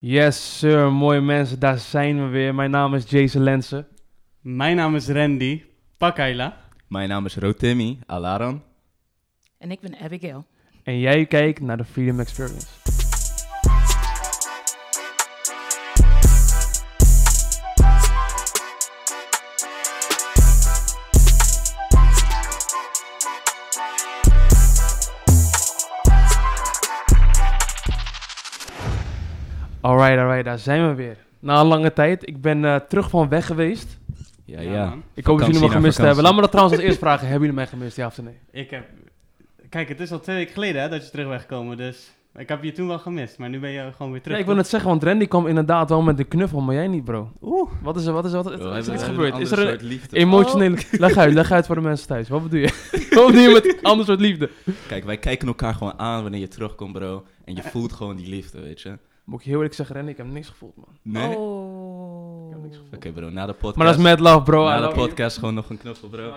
Yes, sir, mooie mensen, daar zijn we weer. Mijn naam is Jason Lensen. Mijn naam is Randy. Pak Ayla. Mijn naam is Rotimi Alaran. En ik ben Abigail. En jij kijkt naar de Freedom Experience. Alright, alright, daar zijn we weer. Na een lange tijd, ik ben eh, terug van weg geweest. Ja, ja. man. Ik hoop dat jullie me Vakantie na gemist vakantie. hebben. Laat me dat trouwens als eerst vragen. Hebben jullie mij gemist, ja of nee? Ik heb... Kijk, het is al twee weken geleden hè, dat je terug bent gekomen, dus... Ik heb je toen wel gemist, maar nu ben je gewoon weer Ja, terug. ik wil het zeggen, want Randy kwam inderdaad wel met een knuffel, maar jij niet, bro. Oeh. Wat is er, wat is er, wat is er, is er iets gebeurd? Is er een liefde? emotionele... Oh. Leg uit, leg uit voor de mensen thuis. Wat bedoel je? wat bedoel je met een ander soort liefde? Oh. Kijk, wij kijken elkaar gewoon aan wanneer je terugkomt, bro. En je voelt gewoon die liefde, weet je. Moet ik je heel eerlijk zeggen, Randy, ik heb niks gevoeld, man. Nee? Oké, Oh. Ik heb niks gevoeld. bro, na de podcast... Maar dat is met love, bro. I Na de love you. podcast gewoon nog een knuffel, bro.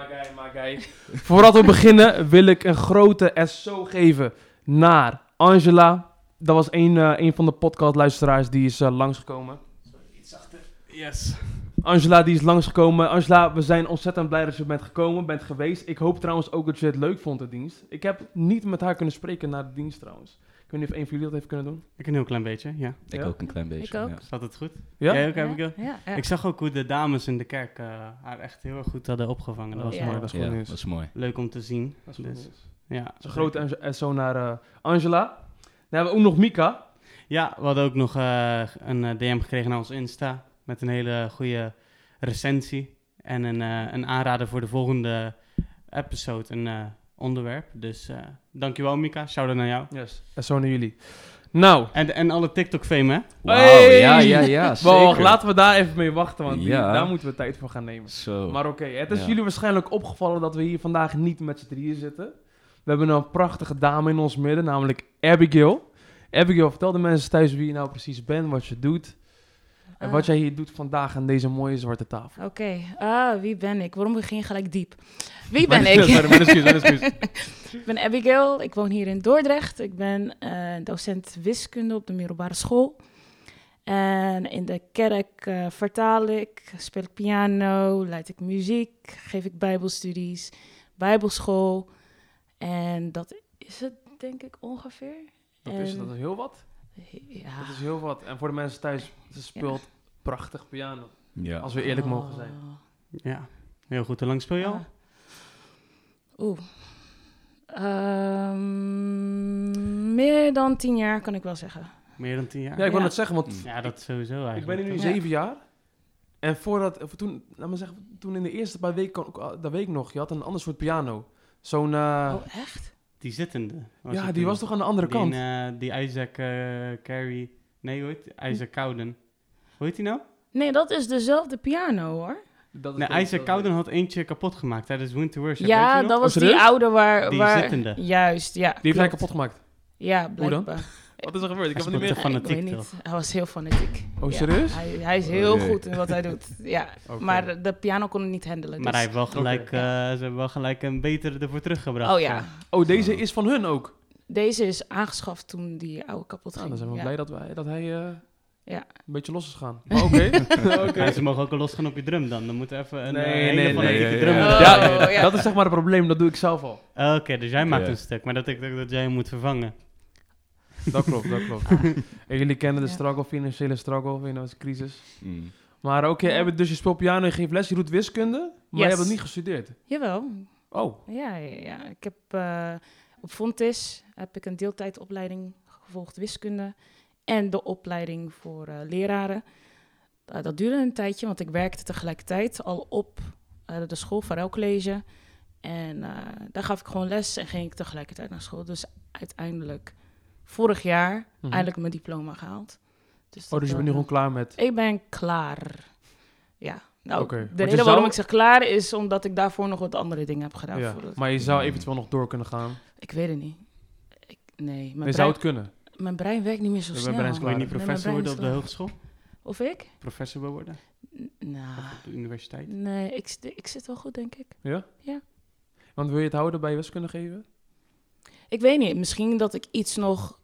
Voordat we beginnen wil ik een grote SO geven naar Angela. Dat was een, eh, een van de podcastluisteraars die is eh, langsgekomen. Yes. Angela die is langsgekomen. Angela, we zijn ontzettend blij dat je bent gekomen, bent geweest. Ik hoop trouwens ook dat je het leuk vond, de dienst. Ik heb niet met haar kunnen spreken na de dienst trouwens. Ik weet niet of een van jullie dat heeft kunnen doen. Ik een heel klein beetje, ja. Ik Ja? ook een klein beetje. Ik ook. ja. Staat het goed? Ja? Jij ook, Abigail? Ja, ja. Ik zag ook hoe de dames in de kerk eh, haar echt heel erg goed hadden opgevangen. Dat was Ja. mooi. dat is Ja, goed nieuws. dat is mooi. Leuk om te zien. Dat is goed Dus, nieuws. Ja. Dus een grote Ange- SO naar eh, Angela. Dan hebben we ook nog Mika. Ja, we hadden ook nog eh, een eh, DM gekregen naar ons Insta. Met een hele goede recensie. En een, eh, een aanrader voor de volgende episode. Een eh, onderwerp. Dus eh, dankjewel Mika. Shout-out naar jou. Yes, SO naar jullie. Nou, En, en alle TikTok-fame, hè? Wauw, Hey! ja, ja, ja, Wacht, zeker. laten we daar even mee wachten, want die- Ja. daar moeten we tijd voor gaan nemen. Zo. Maar oké, het is Ja. jullie waarschijnlijk opgevallen dat we hier vandaag niet met z'n drieën zitten. We hebben een prachtige dame in ons midden, namelijk Abigail. Abigail, vertel de mensen thuis wie je nou precies bent, wat je doet. En Ah. wat jij hier doet vandaag aan deze mooie zwarte tafel. Oké, ah, wie ben ik? Waarom begin je gelijk diep? Wie ben Mijn excuus, ik? mijn excuus, mijn excuus. ik ben Abigail, ik woon hier in Dordrecht. Ik ben eh, docent wiskunde op de middelbare school. En in de kerk eh, vertaal ik, speel ik piano, leid ik muziek, geef ik bijbelstudies, bijbelschool. En dat is het denk ik ongeveer. Dat is, En- dat is heel wat. Ja. Dat is heel wat. En voor de mensen thuis, ze speelt prachtig piano. Ja. Als we eerlijk mogen zijn. Oh. Ja. Heel goed. Hoe lang speel je al? Ah. Oeh. Ehm, meer dan tien jaar kan ik wel zeggen. Meer dan tien jaar? Ja, ik wil Ja. het zeggen, Mm. want Ja, dat sowieso eigenlijk. Ik ben hier nu Ja. zeven jaar. En voordat, of toen, laat me zeggen, toen in de eerste paar weken, dat weet ik nog, je had een ander soort piano. Zo'n, eh, oh, echt? Die zittende. ja, het die toen. was toch aan de andere Die, kant? eh, die Isaac eh, Carey... Nee, hoe heet Isaac Cowden. Hoe heet die nou? Nee, dat is dezelfde piano hoor. Dat is Nee, deze, Isaac dat is Cowden had eentje kapot gemaakt tijdens Winter Worship. weet je ja, nog? dat Oh, was die serieus? oude waar... Die waar, zittende. Juist, ja. deze. Die heeft hij klopt. kapot gemaakt. Ja, dan? blijkbaar. Wat is er gebeurd? Ik Hij heb het niet meer. speelt te Ja, ik fanatiek, weet toch? Hij was heel fanatiek. Oh, Ja, serieus? Hij, hij is heel Oh, jee. goed in wat hij doet. Ja, Oké. maar de piano kon het niet handelen. Maar hij dus- heeft wel gelijk, Oké. eh, ze hebben wel gelijk een betere ervoor teruggebracht. Oh ja, Oh, deze is van hun ook. deze is aangeschaft toen die oude kapot ging. Nou, dan zijn we ja. blij dat, wij, dat hij eh, Ja. een beetje los is gaan. Maar oké. Oké. Ja, ze mogen ook al losgaan op je drum dan. Dan moeten we even een Nee, eh, nee, hele nee, fanatieke nee, drum. nee. erbij Ja, zetten. Oh, ja. Dat is zeg maar het probleem, dat doe ik zelf al. Oké, dus jij maakt Ja. een stuk. Maar dat ik dat jij hem moet vervangen. Dat klopt, dat klopt. En jullie kennen de Ja. struggle, financiële struggle, you know, het is crisis. Mm. Maar oké, Abbott, dus je speelt piano, je geeft les, je doet wiskunde, maar je Yes. hebt het niet gestudeerd. Jawel, Oh, Ja, ja, ja. ik heb eh, op Fontis heb ik een deeltijdopleiding gevolgd wiskunde en de opleiding voor eh, leraren. Eh, dat duurde een tijdje, want ik werkte tegelijkertijd al op eh, de school Varel College. En eh, daar gaf ik gewoon les en ging ik tegelijkertijd naar school. Dus uiteindelijk vorig jaar Mhm. eindelijk mijn diploma gehaald. Dus Oh, dat, dus je bent eh, nu gewoon klaar met... Ik ben klaar. Ja. Nou, Oké, want de je reden zou- waarom ik zeg klaar is omdat ik daarvoor nog wat andere dingen heb gedaan. Ja, voordat- maar je zou eventueel nog door kunnen gaan. ik weet het niet. Ik, nee, mijn Maar brein, je zou het kunnen. mijn brein werkt niet meer zo Mijn snel. brein is Wil je niet Nee, professor mijn brein worden is op de klaar. hogeschool? Of ik? Professor wil worden? N- nou, Op de universiteit? nee, ik, zit- ik zit wel goed, denk ik. Ja? Ja. Want wil je het houden bij wiskunde geven? Ik weet niet, misschien dat ik iets nog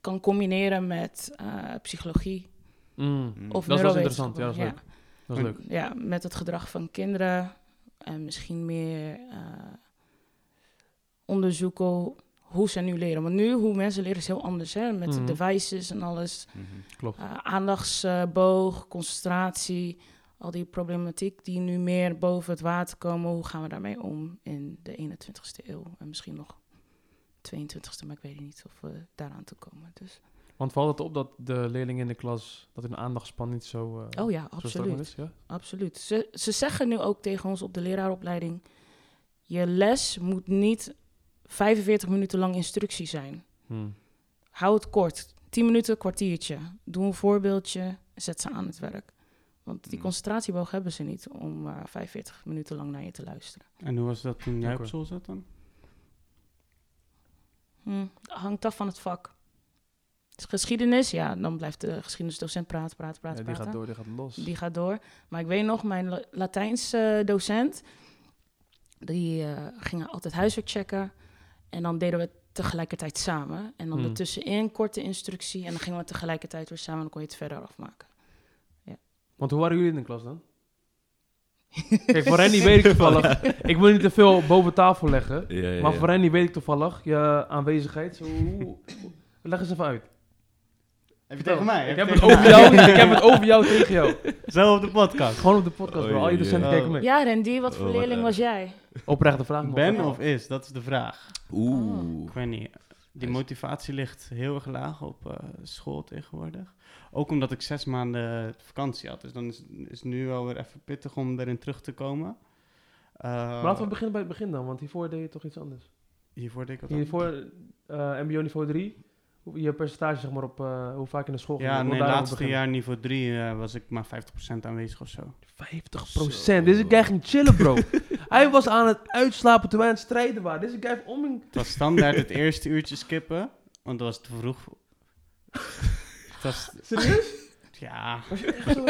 kan combineren met eh, psychologie Mm, Mm. of Dat is wel eens neurowetenschappen. interessant, ja, dat is dat is leuk. Ja, met het gedrag van kinderen en misschien meer eh, onderzoeken hoe ze nu leren. Want nu, hoe mensen leren, is heel anders. Hè? Met Mhm. de devices en alles. Mhm. Klopt. Eh, aandachtsboog, concentratie, al die problematiek die nu meer boven het water komen. Hoe gaan we daarmee om in de 21ste eeuw? En misschien nog 22ste, maar ik weet niet of we daaraan toe komen. Dus, Want valt het op dat de leerlingen in de klas, dat hun aandachtspan niet zo... eh, oh ja, zo sterk absoluut. is? Ja? Absoluut. Ze, ze zeggen nu ook tegen ons op de leraaropleiding: je les moet niet 45 minuten lang instructie zijn. Hm. Hmm. Hou het kort. 10 minuten, kwartiertje. Doe een voorbeeldje, zet ze aan het werk. Want Hmm. die Mm. concentratieboog hebben ze niet om eh 45 minuten lang naar je te luisteren. En hoe was dat toen jij op Oké. school zat dan? Hm, hangt af van het vak. Dus geschiedenis, ja, dan blijft de geschiedenisdocent praten, praten, Ja, praten. die gaat praten. door, die gaat los. Die gaat door. Maar ik weet nog, mijn La- Latijnse eh, docent, die eh, ging altijd huiswerk checken. En dan deden we het tegelijkertijd samen. En dan Hmm. ertussenin korte instructie. En dan gingen we tegelijkertijd weer samen. En dan kon je het verder afmaken. Want hoe waren jullie in de klas dan? Kijk, voor Randy weet ik toevallig... ik wil niet te veel boven tafel leggen. Ja, ja, Maar ja. voor Randy weet ik toevallig je aanwezigheid. Zo, hoe- leg eens even uit. Heb je Vertel. tegen mij? Ik heb het over jou, ik heb het over jou tegen jou. Zo op de podcast. Gewoon op de podcast, bro. Oei, Al je oei, docenten oei. kijken mee. Ja, Randy, wat voor Oh, wat leerling erg. was jij? Oprechte vraag. man. Ben of is, dat is de vraag. Oeh. Ik weet niet. Die Nice. motivatie ligt heel erg laag op eh, school tegenwoordig. Ook omdat ik zes maanden vakantie had. Dus dan is is nu alweer even pittig om erin terug te komen. Eh, Maar laten we beginnen bij het begin dan, want hiervoor deed je toch iets anders. Hiervoor deed ik wat Hiervoor eh, MBO niveau 3, hoe- je percentage zeg maar op eh, hoe vaak in de school ging. Ja, Ik wil nee, daarom laatste beginnen. jaar niveau 3 was ik maar 50% aanwezig of zo. 50%. Deze guy ging chillen, bro. Hij was aan het uitslapen toen wij aan het strijden waren. Deze guy heeft om een... Het was standaard het eerste uurtje skippen, want dat was te vroeg. het was, Serieus? ja.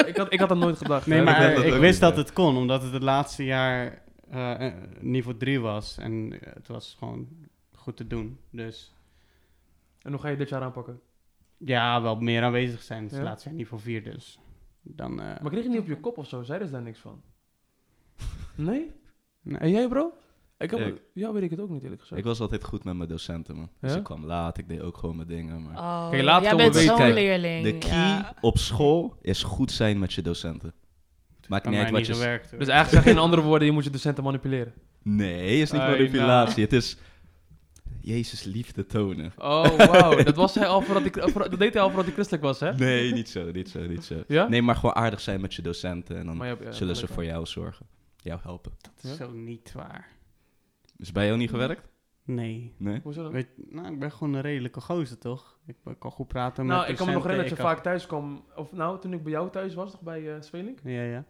ik, had, ik had dat nooit gedacht. Nee, hè. maar ik eh, weet dat ik, ook wist niet, dat hè. het kon, omdat het het laatste jaar eh, eh, niveau 3 was. En eh, het was gewoon goed te doen. Dus En hoe ga je dit jaar aanpakken? ja, wel meer aanwezig zijn. Het is Ja. laatste jaar niveau 4 dus. Dan, eh, Maar kreeg je niet op je kop of zo? Zeiden ze daar niks van? Nee? Nee. En jij, bro? Ik heb... Ik- Ja, weet ik het ook niet eerlijk gezegd. Ik was altijd goed met mijn docenten, man. Ah. Dus Ja? ik kwam laat, ik deed ook gewoon mijn dingen. Maar Oh, Kijk, later jij komen we bent weten. zo'n Kijk, leerling. de key ja. op school is goed zijn met je docenten. Maakt kan niet mij uit wat niet je... gewerkt. Dus eigenlijk zeg je in andere woorden, je moet je docenten manipuleren. Nee, is niet Ai, manipulatie. Het is Jezus liefde tonen. Oh, wauw. dat, was hij al voordat ik, voor- dat deed hij al voordat hij christelijk was, hè? Nee, niet zo, niet zo, niet zo. Ja? Nee, maar gewoon aardig zijn met je docenten en dan Maar je hebt, eh, zullen ze gelijk, voor jou zorgen. Jou helpen. Dat is zo niet waar. Is bij jou niet gewerkt? Nee. Nee? Hoezo dan? Weet, nou, ik ben gewoon een redelijke gozer, toch? Ik ben- kan goed praten met Nou, ik kan me nog docenten, herinneren dat je ik vaak thuis kwam. Of nou, toen ik bij jou thuis was, toch bij eh Spelink? kan- Ja, ja.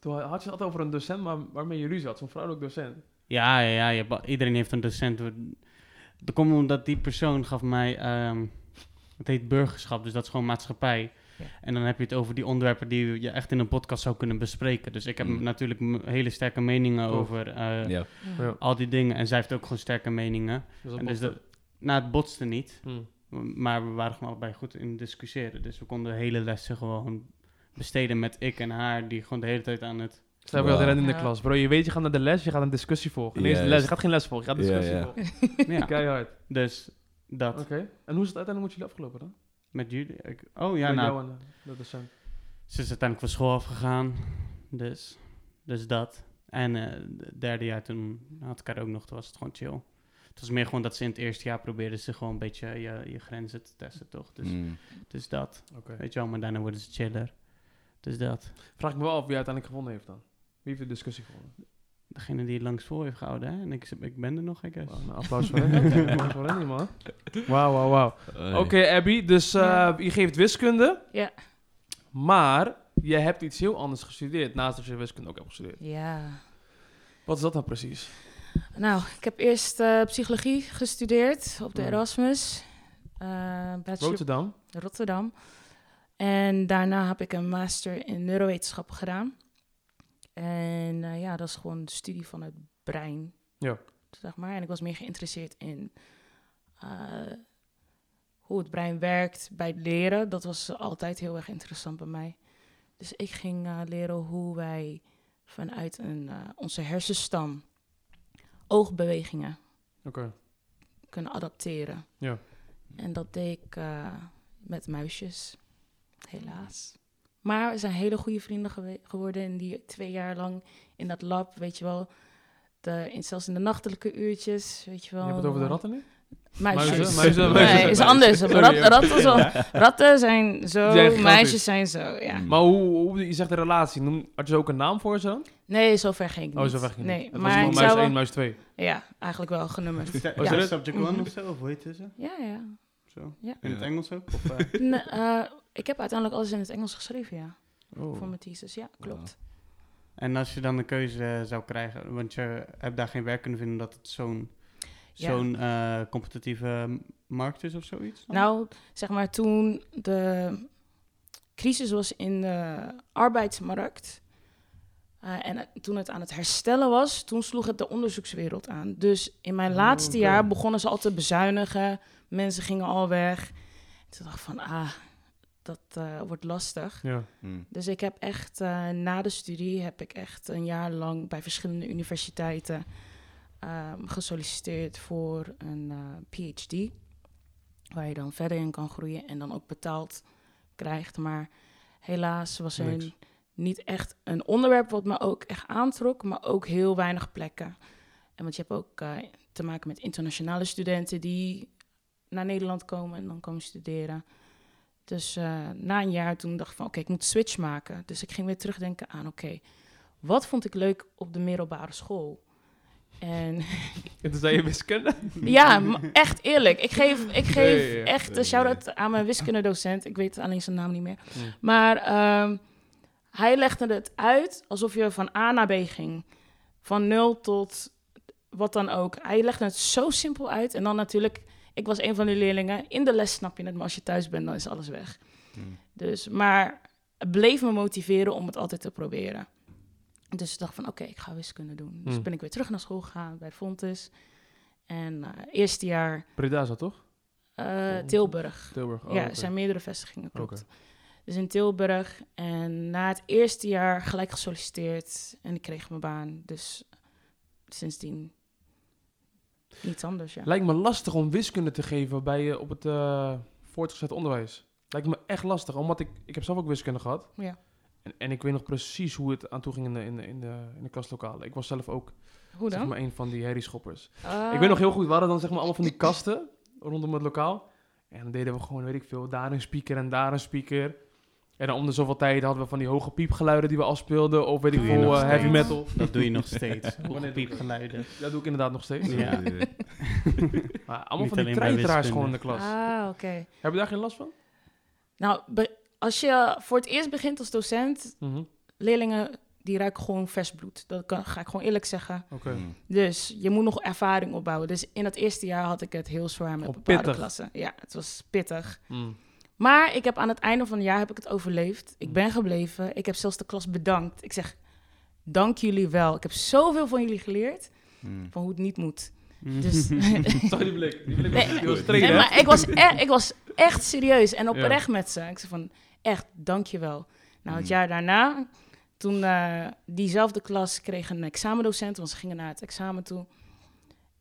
Toen had je het altijd over een docent maar waarmee je ruzie had. Zo'n vrouwelijk docent. Ja, ja, ja, je hebt al- iedereen heeft een docent. We- Dat komt omdat die persoon gaf mij, ehm, het heet burgerschap, dus dat is gewoon maatschappij. Ja. En dan heb je het over die onderwerpen die je echt in een podcast zou kunnen bespreken. Dus ik heb Mm. natuurlijk m- hele sterke meningen Klopt. over eh, Ja. Ja. al die dingen. En zij heeft ook gewoon sterke meningen. Dus en dus botste. dat, nou, het botste niet, Hmm. maar we waren gewoon allebei goed in discussiëren. Dus we konden de hele lessen gewoon besteden met ik en haar, die gewoon de hele tijd aan het... Stel je dat Wauw. rennen in de Ja. klas. Bro, je weet, je gaat naar de les, je gaat een discussie volgen. Nee, is de les. Juist. Je gaat geen les volgen, je gaat Ja, discussie ja. volgen. ja, Keihard. dus dat. Oké. En hoe is het uiteindelijk met jullie afgelopen dan? Met jullie? Ik- oh ja, Met nou, jou en eh, de docent. Ze is uiteindelijk van school afgegaan. Dus, dus dat. En eh, het derde jaar toen had ik haar ook nog, toen was het gewoon chill. Het was meer gewoon dat ze in het eerste jaar probeerden ze gewoon een beetje je, je grenzen te testen, toch? Dus, Mm. dus dat. Oké. Weet je wel, maar daarna worden ze chiller. Dus dat. Vraag ik me wel af wie uiteindelijk gewonnen heeft dan. Wie heeft de discussie gewonnen? Degene die het langst vol heeft gehouden, hè? En ik, zit- ik ben er nog, ik guess. Wauw, een applaus voor hen. Applaus voor hen, man. Wauw, wauw, wauw. Oei. Oké, Abby, dus eh, Ja. je geeft wiskunde. Ja. Maar je hebt iets heel anders gestudeerd, naast dat je wiskunde ook hebt gestudeerd. ja. Wat is dat nou precies? Nou, ik heb eerst eh, psychologie gestudeerd op de Hmm. Mm. Erasmus. Eh bachelor Rotterdam. Rotterdam. En daarna heb ik een master in neurowetenschappen gedaan. En eh, ja, dat is gewoon de studie van het brein. Ja. Zeg maar. En ik was meer geïnteresseerd in eh, hoe het brein werkt bij het leren, dat was altijd heel erg interessant bij mij. Dus ik ging eh, leren hoe wij vanuit een, eh, onze hersenstam oogbewegingen Oké. kunnen adapteren. Ja. En dat deed ik eh, met muisjes, helaas. Mm. Maar we zijn hele goede vrienden gewe- geworden in die twee jaar lang in dat lab, weet je wel. De, in, zelfs in de nachtelijke uurtjes, weet je Je wel. hebt het over de ratten nu? Muisjes. Muizen, muizen, muizen. Nee, is Muizen. anders. Sorry, Rat- ja. ratten, zo- ratten zijn Die zijn zo, gigantisch. meisjes zijn zo, ja. Mm. Maar hoe, hoe, je zegt de relatie. Noem, had je er ook een naam voor zo? Nee, zover ging ik Oh, niet. zo weg ging het nee, niet. Het was maar gewoon ik muis zou 1, wel, muis 2. Ja, eigenlijk wel genummerd. Is dat is dat- subject Mhm. one of zo? Of hoe heet het zo? Ja, ja. Zo. Ja. In het Ja. Engels ook? Of, eh, Nee, eh, ik heb uiteindelijk alles in het Engels geschreven, ja. Oh. Voor mijn thesis, ja, klopt. en als je dan de keuze eh, zou krijgen, want je hebt daar geen werk kunnen vinden omdat het zo'n Ja. zo'n eh, competitieve markt is of zoiets? dan? Nou, zeg maar toen de crisis was in de arbeidsmarkt... eh, en het- toen het aan het herstellen was, toen sloeg het de onderzoekswereld aan. Dus in mijn Oh, laatste oké. jaar begonnen ze al te bezuinigen. Mensen gingen al weg. Toen dacht ik van, ah, dat eh, wordt lastig. Ja. Mm. Dus ik heb echt eh, na de studie heb ik echt een jaar lang bij verschillende universiteiten ehm, gesolliciteerd voor een eh, PhD. Waar je dan verder in kan groeien en dan ook betaald krijgt. Maar helaas was er Niks. n- niet echt een onderwerp wat me ook echt aantrok, maar ook heel weinig plekken. En want je hebt ook eh, te maken met internationale studenten die naar Nederland komen en dan komen studeren. Dus eh, na een jaar toen dacht ik van oké, ik moet switch maken. Dus ik ging weer terugdenken aan oké, wat vond ik leuk op de middelbare school? En En toen zei je wiskunde? ja, m- echt eerlijk. Ik geef, ik geef ja, ja. echt een shout-out aan mijn wiskundedocent. Ik weet alleen zijn naam niet meer. Nee. Maar ehm, hij legde het uit alsof je van A naar B ging. Van nul tot wat dan ook. Hij legde het zo simpel uit. En dan natuurlijk, ik was een van die leerlingen. In de les snap je het, maar als je thuis bent, dan is alles weg. Mm. Dus, maar het bleef me motiveren om het altijd te proberen. Dus ik dacht van, oké, ik ga wiskunde doen. Dus Hmm. ben ik weer terug naar school gegaan bij Fontes. En eh, eerste jaar Breda is dat toch? eh, Oh. Tilburg. Tilburg. Oh, ja, oké. er zijn meerdere vestigingen, klopt. Oké. Dus in Tilburg. En na het eerste jaar gelijk gesolliciteerd. En ik kreeg mijn baan. Dus sindsdien niets anders, ja. Lijkt me lastig om wiskunde te geven bij, eh, op het eh, voortgezet onderwijs. Lijkt me echt lastig, omdat ik, ik heb zelf ook wiskunde gehad. Ja. En, en ik weet nog precies hoe het aan toe ging in de, in de, in de, in de klaslokalen. Ik was zelf ook Hoe zeg dan? maar, een van die herrieschoppers. Ah. Ik weet nog heel goed, we hadden dan zeg maar allemaal van die kasten rondom het lokaal. En dan deden we gewoon, weet ik veel, daar een speaker en daar een speaker. En dan om de zoveel tijd hadden we van die hoge piepgeluiden die we afspeelden. Of weet ik Doe je veel, nog eh, heavy steeds? metal. Dat doe je nog steeds. Wanneer doe ik Piepgeluiden. Dat doe ik inderdaad nog steeds. Ja. Eh, Maar allemaal van die alleen bij treiteraars wiskunde. gewoon in de klas. Ah, oké. Heb je daar geen last van? Nou, be- als je voor het eerst begint als docent... Mhm. Leerlingen, die ruiken gewoon vers bloed. Dat kan, ga ik gewoon eerlijk zeggen. Oké. mm. Dus je moet nog ervaring opbouwen. Dus in het eerste jaar had ik het heel zwaar met Gewoon bepaalde pittig. klassen. Ja, het was pittig. Mm. Maar ik heb aan het einde van het jaar heb ik het overleefd. Ik ben gebleven. Ik heb zelfs de klas bedankt. Ik zeg, dank jullie wel. Ik heb zoveel van jullie geleerd, Mm. van hoe het niet moet. Dus, Zag je die blik? Die blik was Nee, die was nee, streng, Nee, hè? maar ik was, e- ik was echt serieus en oprecht met ze. Ik zei van, echt, dank je wel. Nou, het Mm. jaar daarna, toen eh, diezelfde klas kreeg een examendocent, want ze gingen naar het examen toe.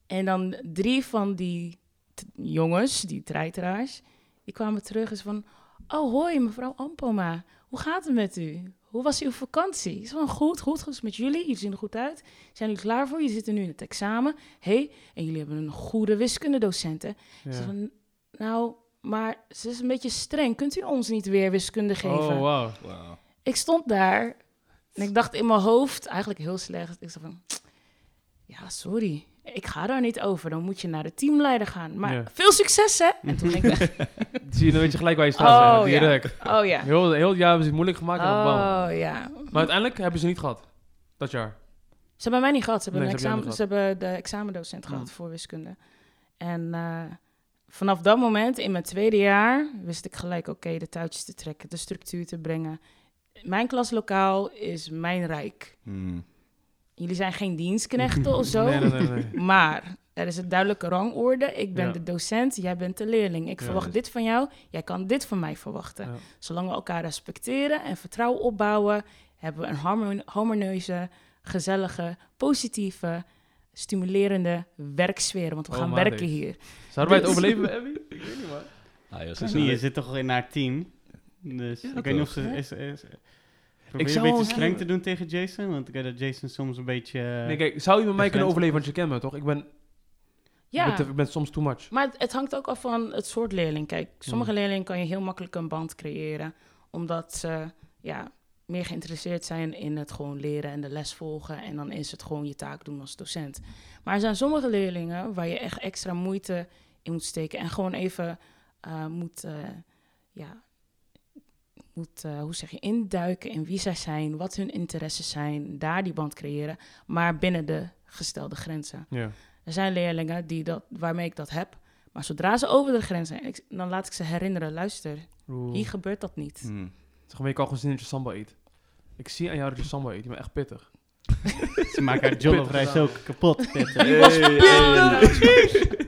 En dan drie van die t- jongens, die treiteraars, die kwamen terug en ze van... Oh, hoi, mevrouw Ampoma. Hoe gaat het met u? Hoe was uw vakantie? Is van goed, goed, goed is het met jullie. Jullie zien er goed uit. Zijn jullie klaar voor? Jullie zitten nu in het examen. Hé, hey, en jullie hebben een goede wiskundedocent, hè? Ik zeg Ja. van, nou, maar ze is een beetje streng. Kunt u ons niet weer wiskunde geven? Oh, wow. Wauw. Ik stond daar en ik dacht in mijn hoofd, eigenlijk heel slecht. Ik zei van, ja, sorry. Ik ga daar niet over. Dan moet je naar de teamleider gaan. Maar Ja. veel succes, hè? En toen ging ik weg. Zie je, dan weet je gelijk waar je staat. Oh, hè, ja. direct. Oh ja. Heel, heel het jaar hebben ze het moeilijk gemaakt. en dan bam. Oh ja. Maar uiteindelijk hebben ze niet gehad. Dat jaar. Ze hebben mij niet gehad. Ze hebben, Nee, een ze hebben examen, jou ze hebben de examendocent Mm. gehad voor wiskunde. En eh, vanaf dat moment, in mijn tweede jaar, wist ik gelijk, oké, de touwtjes te trekken, de structuur te brengen. Mijn klaslokaal is mijn rijk. Mm. Jullie zijn geen dienstknechten of zo, Nee, nee, nee. nee. maar Er is een duidelijke rangorde. Ik ben Ja. de docent, jij bent de leerling. Ik Ja, verwacht dus- dit van jou, jij kan dit van mij verwachten. Ja. Zolang we elkaar respecteren en vertrouwen opbouwen, hebben we een harmon- harmonieuze, gezellige, positieve, stimulerende werksfeer. Want we Oh, gaan maar werken deze. hier. Zouden wij het Dus- overleven, bij Abby? Ik weet niet, man. Ah, joh, ze Is is niet, je leuk. zit toch in haar team. Dus Ja, ik dat weet niet of ze... toch? Is, is, probeer zou een wel- beetje streng te doen tegen Jason. Want ik weet dat Jason soms een beetje... eh, Nee, kijk, zou je met mij Defensie. kunnen overleven, want je kent me, toch? Ik ben, ik ben, Ja. te- ik ben soms too much. Maar het, het hangt ook af van het soort leerling. Kijk, sommige Mm. leerlingen kan je heel makkelijk een band creëren, omdat ze ja, meer geïnteresseerd zijn in het gewoon leren en de les volgen. En dan is het gewoon je taak doen als docent. Maar er zijn sommige leerlingen waar je echt extra moeite in moet steken en gewoon even eh, moet, eh, ja, moet eh, hoe zeg je, induiken in wie zij zijn, wat hun interesses zijn, daar die band creëren, maar binnen de gestelde grenzen. Ja. Er zijn leerlingen die dat, waarmee ik dat heb. Maar zodra ze over de grens zijn, ik- dan laat ik ze herinneren. Luister, Oeh. hier gebeurt dat niet. Hm. Zeg maar, je kan gewoon zien dat je samba eet. Ik zie aan jou dat je samba eet. Je bent echt pittig. Ze maken haar jollof ook kapot. Dit, eh.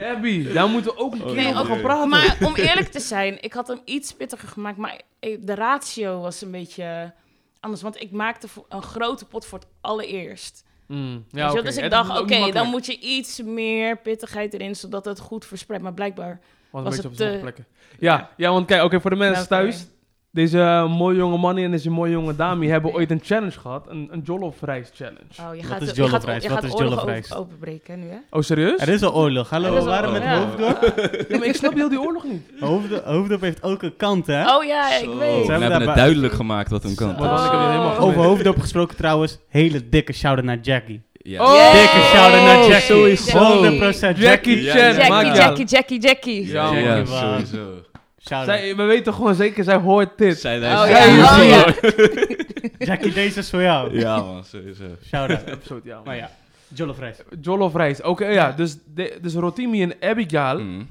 Abby, daar moeten we ook een keer Nee, over ook- gaan praten. Maar om eerlijk te zijn, ik had hem iets pittiger gemaakt. Maar eh, de ratio was een beetje anders. Want ik maakte voor- een grote pot voor het allereerst. Mm, ja, Weet je wel? oké. Dus Het ik is dacht, ook oké, niet makkelijk. dan moet je iets meer pittigheid erin, zodat het goed verspreidt. Maar blijkbaar... Want een was beetje op het, sommige plekken. eh, Ja, ja, want kijk, oké, voor de mensen Nou, thuis. sorry. Deze eh, mooie jonge man en deze mooie jonge dame die hebben ooit een challenge gehad. Een, een jollof-reis challenge. Oh, je Wat gaat, is je gaat- jollof rijst? Je Wat gaat is oorlogen jollof over- rijst? openbreken nu, hè? Oh, serieus? Er is al oorlog. Hallo, Er is we al waren met oorlog. Hoofddorp. Nee, maar ik snap heel die oorlog niet. Hoofddorp. Hoofddorp heeft ook een kant, hè? Oh ja, ik Ze Zo. weet. We hebben hebben daarbij- het duidelijk gemaakt wat hem kan. Maar dan, ik heb het helemaal Oh. Over gemist. Hoofddorp gesproken trouwens. Hele dikke shout-out naar Jackie. Ja. Oh! Dikke shout-out naar Jackie. sowieso. 100% Jackie Jackie. Ja, Chan, ja. maak Jackie, je Jackie, Jackie, Jackie. Ja, Ja, man. sowieso. Shout-out. Zij, we weten gewoon zeker, zij hoort dit. Zij Oh, ja. Ja, Oh, ja. Jackie, deze is voor jou. ja, man, sowieso. Shout-out. Episode, ja. Maar ja, Jollof Rijs. Jollof reis. Oké, ja. Dus, de- dus Rotimi en Abigail, Mm.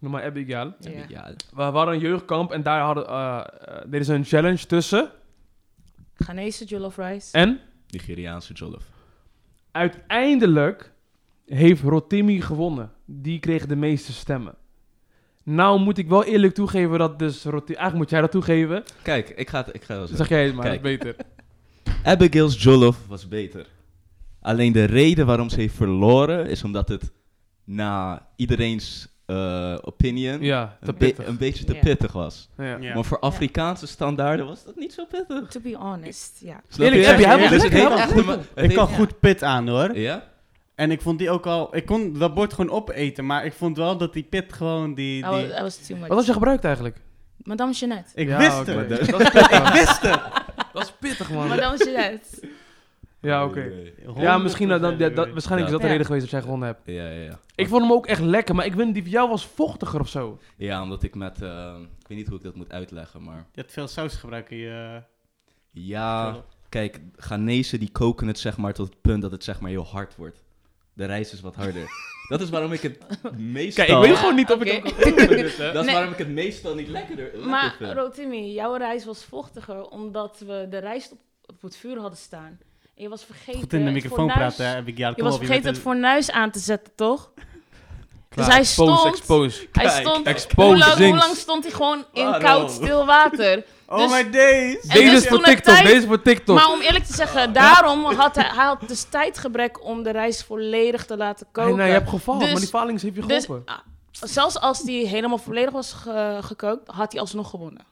noem maar Abigail, Ja. Ja. we, we hadden een jeugdkamp en daar hadden, eh, eh, er is een challenge tussen. Ghanese jollof rice. En Nigeriaanse jollof. uiteindelijk heeft Rotimi gewonnen. Die kreeg de meeste stemmen. Nou moet ik wel eerlijk toegeven dat dus Rotimi... Eigenlijk moet jij dat toegeven. Kijk, ik ga het, ik ga het wel Dan zeggen. zeg jij het maar, Kijk. dat is beter. Abigail's jollof was beter. Alleen de reden waarom ze heeft verloren is omdat het na iedereen's eh, opinion Ja, te een, be- pittig. een beetje te Ja. pittig was. Ja. Ja. Maar voor Afrikaanse standaarden was dat niet zo pittig. To be honest, ja. Snap Eerlijk, je? heb je- hij was Dus het lekker, hij heeft was echt goed. te ma- het Ik kan heeft- goed pit aan, hoor. Ja? En ik vond die ook al... Ik kon dat bord gewoon opeten, maar ik vond wel dat die pit gewoon die... Oh, Dat was, die dat was too much. Wat was je gebruikt eigenlijk? Madame Jeannette. ik eh. Ja, wist oké. het. Dat is pittig. man. Wist het. Dat is pittig, man. Madame Jeannette. Ja, oké. Ja, 100% misschien dat, dat, dat, waarschijnlijk is dat de Ja. reden geweest dat jij gewonnen hebt. Ja, ja, ja. Ik vond hem ook echt lekker, maar ik weet niet, die van jou was vochtiger of zo. Ja, omdat ik met... eh, ik weet niet hoe ik dat moet uitleggen, maar... Je hebt veel saus gebruikt in je... eh, Ja, jollof. kijk, Ghanese die koken het zeg maar tot het punt dat het zeg maar heel hard wordt. De rijst is wat harder. dat is waarom ik het meestal... Kijk, ik weet gewoon niet of ik Oké. hem kan proeven, dus, hè. Dat is Nee. waarom ik het meestal niet lekkerder lekker Maar vind. Rotimi, jouw rijst was vochtiger omdat we de rijst op, op het vuur hadden staan. En je was vergeten... Goed in de het microfoon fornuis- praten, hè, heb ik ja, Je kom was op, vergeten bent het een- fornuis aan te zetten, toch? Dus Klaar, hij expose, stond- Expose, hij stond... Hoe lang, Exposing. hoe lang stond hij gewoon in Waarom? koud, stil water? Oh Dus- my days! En Deze dus is voor toen het TikTok, tijd- deze is voor TikTok. Maar om eerlijk te zeggen, daarom had hij, hij had dus tijdgebrek om de rijst volledig te laten Hey, koken. nou, je hebt gevallen, Dus- maar die falings heeft je Dus geholpen. ah, zelfs als die helemaal volledig was ge- gekookt, had hij alsnog gewonnen.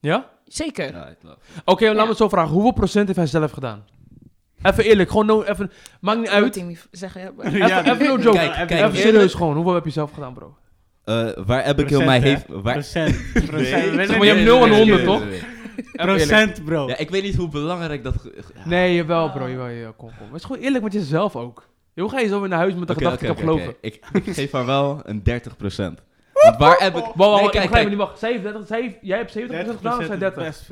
ja? Zeker. Ja, ik love- Oké, laat Ja. me het zo vragen. Hoeveel procent heeft hij zelf gedaan? Even eerlijk, gewoon no, even, maakt niet uit. Moet hij niet zeggen, ja, maar- Even, Ja, even no joke. Kijk, kijk, even serieus gewoon, hoeveel heb je zelf gedaan, bro? Eh, waar Abigail mij heeft... Waar... Procent. Procent. Zeg maar, je hebt nul en honderd, toch? Even eerlijk. Procent, bro. Ja, ik weet niet hoe belangrijk dat... ge- ge- Nee, jawel bro, jawel, jawel, kom, kom. Wees gewoon eerlijk met jezelf ook. Hoe ga je zo weer naar huis met de Oké, gedachte, oké, ik heb oké, geloven? oké. Ik, ik geef haar wel een 30 Want waar heb ik... Wow, wow, Nee, wow, ik kijk, begrijp kijk. me niet, wacht. Zij heeft 30, zij heeft, jij hebt 70% gedaan of zij 30? best-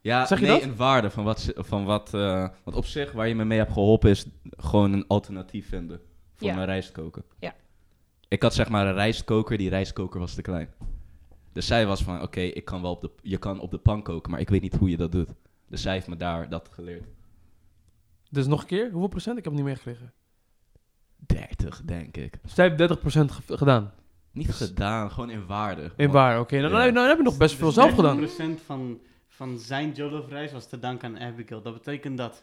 Ja, Zeg je nee, dat? een waarde van wat... ze- Van wat eh, want op zich, waar je me mee hebt geholpen is gewoon een alternatief vinden. Voor Ja. mijn rijstkoker. Ja. Ik had zeg maar een rijstkoker, die rijstkoker was te klein. Dus zij was van, oké, ik kan wel op de... Je kan op de pan koken, maar ik weet niet hoe je dat doet. Dus zij heeft me daar dat geleerd. Dus nog een keer, hoeveel procent? Ik heb het niet meegekregen. 30, denk ik. Dus jij hebt 30% ge- gedaan. Niet gedaan, gewoon Dus- in waarde. In Gewoon- waar, oké. Dan, Oh. Ja. dan, dan heb je nog best veel Dus zelf gedaan. 30% van, van zijn Jollof-reis was te danken aan Abigail. Dat betekent dat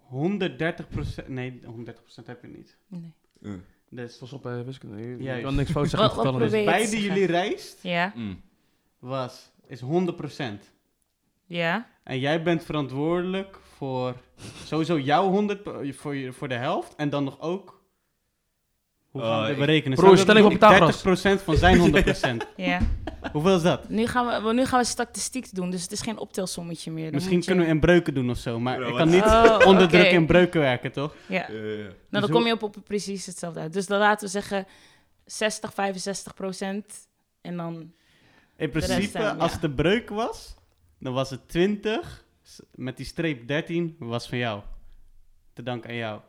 130%... Nee, 130% heb je niet. Nee. Mm. Dus Pas op, eh, wiskunde. Je- Je Juist. kan niks fout zeggen dus- met Wat- wat getallen. probeer- Weet beide je. jullie reis Ja, Mm. was, is 100%. ja, En jij bent verantwoordelijk voor sowieso jouw 100 per- voor, je- voor de helft en dan nog ook. Hoe gaan we Eh, dit ik- berekenen? Broer, Stel dat stelling ik op Pythagoras. 30% van zijn 100%. ja. Hoeveel is dat? Nu gaan, we, nu gaan we statistiek doen, dus het is geen optelsommetje meer. Dan Misschien moet je- kunnen we in breuken doen of zo, maar Bro, ik wat- kan niet Oh, onder oké. druk in breuken werken, toch? Ja, Ja, ja. nou Dus dan hoe- kom je op, op precies hetzelfde uit. Dus dan laten we zeggen 60, 65 procent. En dan, In rest principe, zijn, als ja. het de breuk was, dan was het 20 s- met die streep 13 was van jou. Te danken aan jou.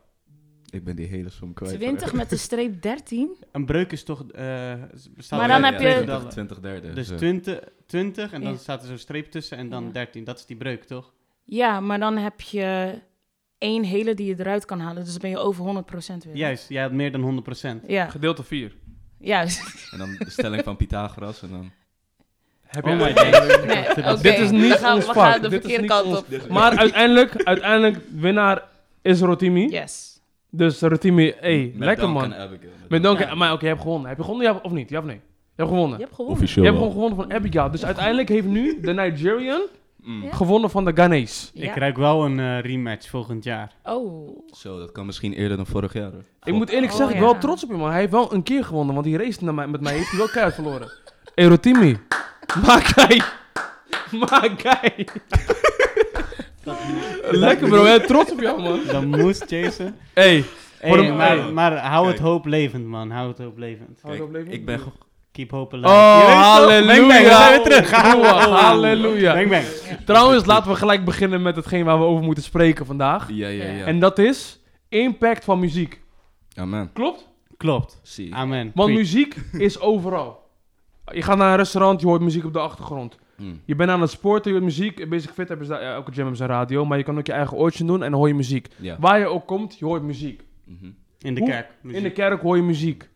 Ik ben die hele som kwijt. 20 met de streep 13. Een breuk is toch. eh, s- bestaat Maar uit dan heb twee je- getallen. 20 derde. Dus zo. 20, 20 en dan Ja. staat er zo'n streep tussen en dan Ja. 13. Dat is die breuk, toch? Ja, maar dan heb je één hele die je eruit kan halen. Dus dan ben je over 100 procent weer. Juist, jij had meer dan 100%. Ja, Gedeeld door 4. juist. En dan de stelling van Pythagoras en dan... Heb Oh je my days. Nee, Dit was- oké. Dit is niet we gaan, ons we vak. gaan de Dit is verkeerde niet kant ons- op. Maar uiteindelijk, uiteindelijk, winnaar is Rotimi. Yes. Dus Rotimi, hey, Met lekker dank man. aan Abigail. Met Met dank- dank, Ja. maar oké, je hebt gewonnen. Heb je gewonnen ja, of niet? Ja of nee? Je hebt Je gewonnen. hebt gewonnen. Officieel Je hebt gewoon wel. gewonnen van Abigail. Dus uiteindelijk heeft nu de Nigerian Mm. Ja. gewonnen van de Ghanese. Ja. Ik ruik wel een eh, rematch volgend jaar. Oh, Zo, dat kan misschien eerder dan vorig jaar. hoor. Ik moet eerlijk Oh, zeggen, ik ja. ben wel trots op je man. Hij heeft wel een keer gewonnen, want die race naar mij, met mij heeft hij wel keihard verloren. Hey Rotimi, Makai. Makai. Lekker bro, hè? trots op jou man. Dan moest Jason. Hey, Hey, Voor hem- maar, hey. maar hou het Kijk. hoop levend, man. Hou het hoop levend. Hou het op leven. ik ben gewoon... Keep hope alive. Je Oh, weet toch? halleluja. Bang, bang, we zijn weer terug. Broer, halleluja. Bang, bang. Trouwens, laten we gelijk beginnen met hetgeen waar we over moeten spreken vandaag. Ja, ja, ja. En dat is impact van muziek. Amen. Klopt? Klopt. Zie. Amen. Want Preach. muziek is overal. Je gaat naar een restaurant, je hoort muziek op de achtergrond. Mm. Je bent aan het sporten, je hoort muziek. Basic Fit hebben ze daar, ja, elke gym hebben ze een radio. Maar je kan ook je eigen oortje doen en dan hoor je muziek. Ja. Waar je ook komt, je hoort muziek. Mhm. In de Hoe- kerk. In de muziek. kerk hoor je muziek.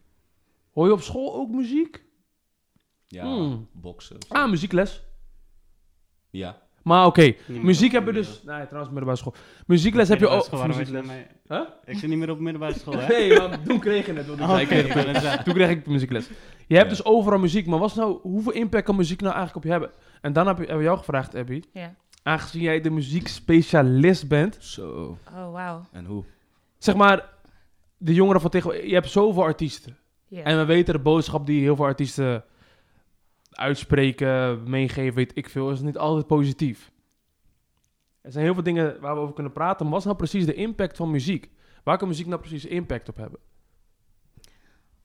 Hoor je op school ook muziek? Ja, Mm. boksen. Ah, muziekles. Ja. Maar oké, Niemand muziek op heb je middelbare- dus... Nee, trouwens, middelbare school. Muziekles heb je Middelbare ook... school, waarom muziekles. weet je Huh? dat mij- Ik zit niet meer op middelbare school, hè? Oh, Nee, maar toen kreeg je het. want ik zei, ik Oké, kreeg het. ik ben het zelf. Toen kreeg ik de muziekles. Je hebt Ja. dus overal muziek, maar was nou, hoeveel impact kan muziek nou eigenlijk op je hebben? En dan heb ik- hebben we jou gevraagd, Abby. ja. Aangezien jij de muziekspecialist bent, Zo. Oh, wauw. En hoe? zeg maar, de jongeren van tegenwoordig, je hebt zoveel artiesten. Ja. En we weten de boodschap die heel veel artiesten uitspreken, meegeven, weet ik veel, is niet altijd positief. Er zijn heel veel dingen waar we over kunnen praten, maar wat is nou precies de impact van muziek? Waar kan muziek nou precies impact op hebben?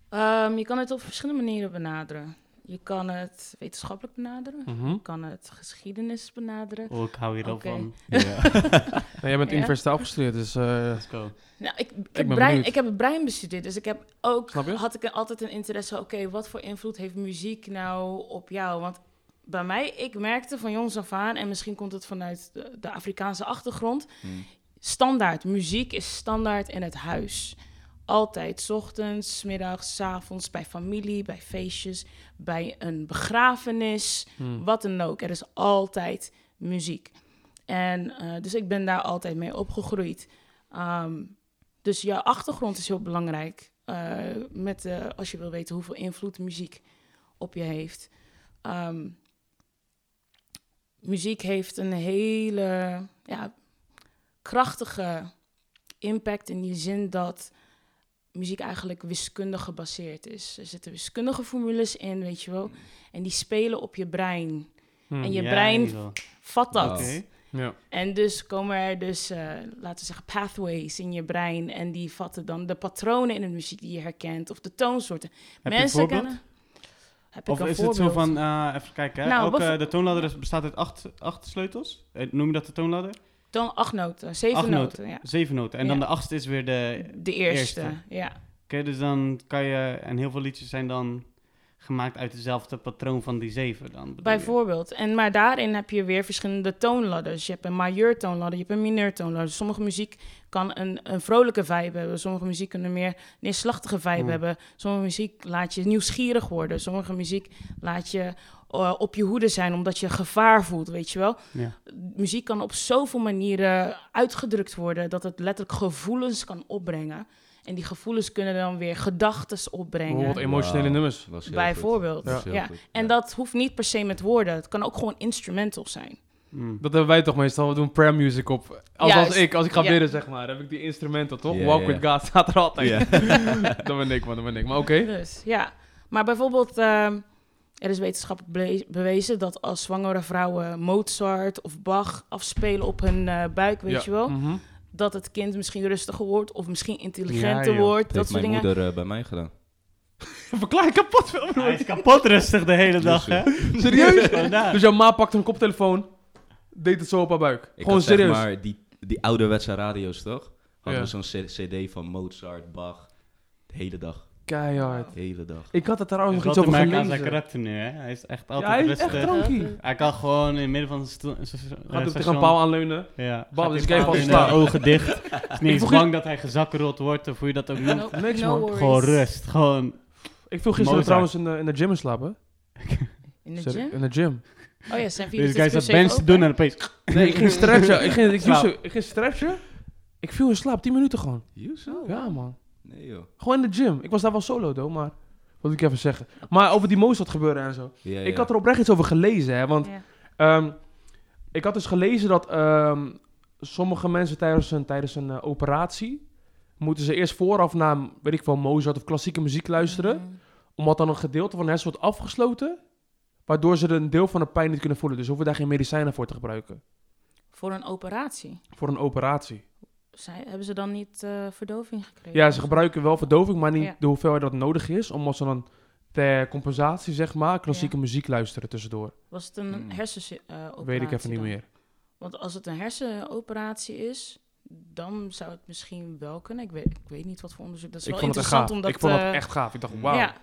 Ehm, je kan het op verschillende manieren benaderen. Je kan het wetenschappelijk benaderen. Mhm. Je kan het geschiedenis benaderen. Oh, ik hou hier al Oké. van. Ja. Nou, jij bent Ja. universitair afgestudeerd, dus... eh, Let's go. Nou, ik, ik, ben heb brein, benieuwd. ik heb het brein bestudeerd, dus ik heb ook Snap je? had ik altijd een interesse. Oké, wat voor invloed heeft muziek nou op jou? Want bij mij, ik merkte van jongs af aan, en misschien komt het vanuit de, de Afrikaanse achtergrond, Mm. standaard muziek is standaard in het huis. Altijd, 's ochtends, 's middags, 's avonds, bij familie, bij feestjes, bij een begrafenis, hmm. wat dan ook. Er is altijd muziek. En eh, dus ik ben daar altijd mee opgegroeid. Ehm, dus jouw achtergrond is heel belangrijk. eh, met, eh, als je wil weten hoeveel invloed muziek op je heeft. Ehm, muziek heeft een hele ja, krachtige impact in die zin dat muziek eigenlijk wiskundig gebaseerd is. Er zitten wiskundige formules in, weet je wel. En die spelen op je brein. Hmm. En je Ja, brein- hier wel. Vat dat. Wauw. Oké. Ja. En dus komen er dus, eh, laten we zeggen, pathways in je brein. En die vatten dan de patronen in de muziek die je herkent. Of de toonsoorten. Heb je een voorbeeld? Heb ik Of een is het zo voorbeeld? van, eh, even kijken, hè? Nou, Elke- bijvoorbeeld- de toonladder is- bestaat uit acht, acht sleutels. Eh, Noem je dat de toonladder? Dan acht noten, zeven Acht noten. ja. Zeven noten. En dan Ja. de achtste is weer de... De eerste, Eerste. ja. Oké, dus dan kan je... En heel veel liedjes zijn dan gemaakt uit hetzelfde patroon van die zeven dan. bedoel je? Bijvoorbeeld. En, maar daarin heb je weer verschillende toonladders. Je hebt een majeur toonladder, je hebt een mineur toonladder. Dus Sommige muziek kan een, een vrolijke vibe hebben. Sommige muziek kan een meer neerslachtige vibe Hmm. hebben. Sommige muziek laat je nieuwsgierig worden. Sommige muziek laat je eh, op je hoede zijn omdat je gevaar voelt, weet je wel. Ja. Muziek kan op zoveel manieren uitgedrukt worden dat het letterlijk gevoelens kan opbrengen. En die gevoelens kunnen dan weer gedachten opbrengen. Bijvoorbeeld emotionele Wauw. nummers. Was heel Bijvoorbeeld, goed. Was ja. heel Ja, goed, En dat hoeft niet per se met woorden. Het kan ook gewoon instrumental zijn. Mm. Dat hebben wij toch meestal. We doen prayer music op. Als, als Juist. ik, als ik ga Ja. bidden, zeg maar, heb ik die instrumenten toch? Ja, Walk ja. with God staat er altijd. Oh, Ja. dat ben ik, man. Dat ben ik. Maar oké. Dus ja. Maar bijvoorbeeld, ehm, er is wetenschappelijk ble- bewezen dat als zwangere vrouwen Mozart of Bach afspelen op hun eh, buik, weet Ja. je wel, Mhm. dat het kind misschien rustiger wordt of misschien Ja, intelligenter joh. Dat wordt. Dat heeft soort mijn dingen. moeder eh, bij mij gedaan. Verklaar je kapot veel, broer. Hij is kapot rustig de hele dag, hè? Serieus? Gewoon daar. Dus jouw ma pakt een koptelefoon, deed het zo op haar buik. Ik Gewoon had, serieus. Zeg maar die, die ouderwetse radio's, toch? Hadden Ja. we zo'n c- cd van Mozart, Bach. De hele dag. Keihard. De hele dag. Ik had het trouwens Dus nog iets dat te over merken aan zijn gelezen. karakter nu, hè? Hij is echt Ja, altijd hij is rustig. echt Eh, drankie. Hij kan gewoon in het midden van zijn station... Gaat op tegen een paal aanleunen. Ja. Bam, Gaat dus die ik paal even in, slaan. eh, Ogen dicht. Is niet Ik vroeg eens bang dat hij gezakkerot wordt of hoe je dat ook noemt. No- Niks, no man. worries. Gewoon rust. Gewoon... Ik viel gisteren Mozart. trouwens in de, in de gym in slapen. In de gym? In de gym. Oh ja, zijn Deze vier guys dat Dus bands te doen en opeens... Nee, ik ging stretchen. Ik ging, ik, Slaap. doe zo- ik ging stretchen. Ik viel in slaap, 10 minuten gewoon. Yuzu? Ja, man. Nee joh. Gewoon in de gym. Ik was daar wel solo, though, maar... Wat moet ik even zeggen. Maar over die Mozart gebeuren en zo. Ja, Ik ja. had er oprecht iets over gelezen, hè. Want Ja. ehm, ik had dus gelezen dat ehm, sommige mensen tijdens een, tijdens een eh, operatie... moeten ze eerst vooraf naar, weet ik veel, Mozart of klassieke muziek luisteren. Mhm. Mm. Omdat dan een gedeelte van de hersen wordt afgesloten... waardoor ze een deel van de pijn niet kunnen voelen. Dus ze hoeven daar geen medicijnen voor te gebruiken. Voor een operatie. Voor een operatie. Zij, hebben ze dan niet eh, verdoving gekregen? Ja, ze gebruiken wel verdoving, maar niet Ehm, Ja. de hoeveelheid dat nodig is. Omdat ze dan ter compensatie, zeg maar, klassieke muziek luisteren tussendoor. Was het een eh, Hmm. hersenoperatie? Mm. Weet ik even niet meer. Want als het een hersenoperatie is, dan zou het misschien wel kunnen. Ik weet, ik weet niet wat voor onderzoek. Dat is Ik wel vond het echt interessant gaaf. omdat. ik vond eh, dat echt gaaf. Ik dacht, wauw. Ja.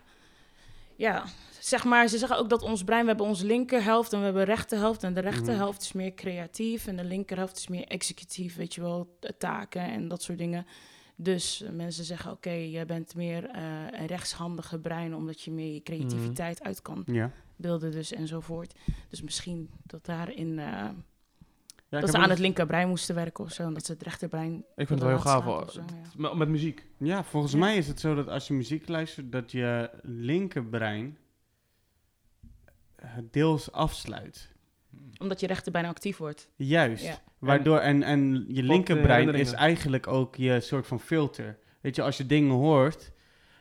ja, zeg maar, ze zeggen ook dat ons brein, we hebben onze linkerhelft en we hebben rechterhelft. En de Mhm. rechterhelft is meer creatief en de linkerhelft is meer executief, weet je wel, eh, taken en dat soort dingen. Dus eh, mensen zeggen, oké, jij bent meer eh, een rechtshandige brein, omdat je meer je creativiteit Mhm. uit kan Ja. beelden dus enzovoort. Dus misschien dat daarin... eh, Ja, ik dat heb ze aan ook- het linkerbrein moesten werken of zo. En dat ze het eh. rechterbrein. Ik vind het wel heel wilden gaaf. laten hoor. slapen of zo, ja. Met, met muziek. Ja, volgens Ja. mij is het zo dat als je muziek luistert, dat je linkerbrein eh, deels afsluit. Mm. Omdat je rechterbrein actief wordt. Juist. Ja. Waardoor, en, en je linkerbrein is herinneringen. eigenlijk ook je soort van filter. Weet je, als je dingen hoort,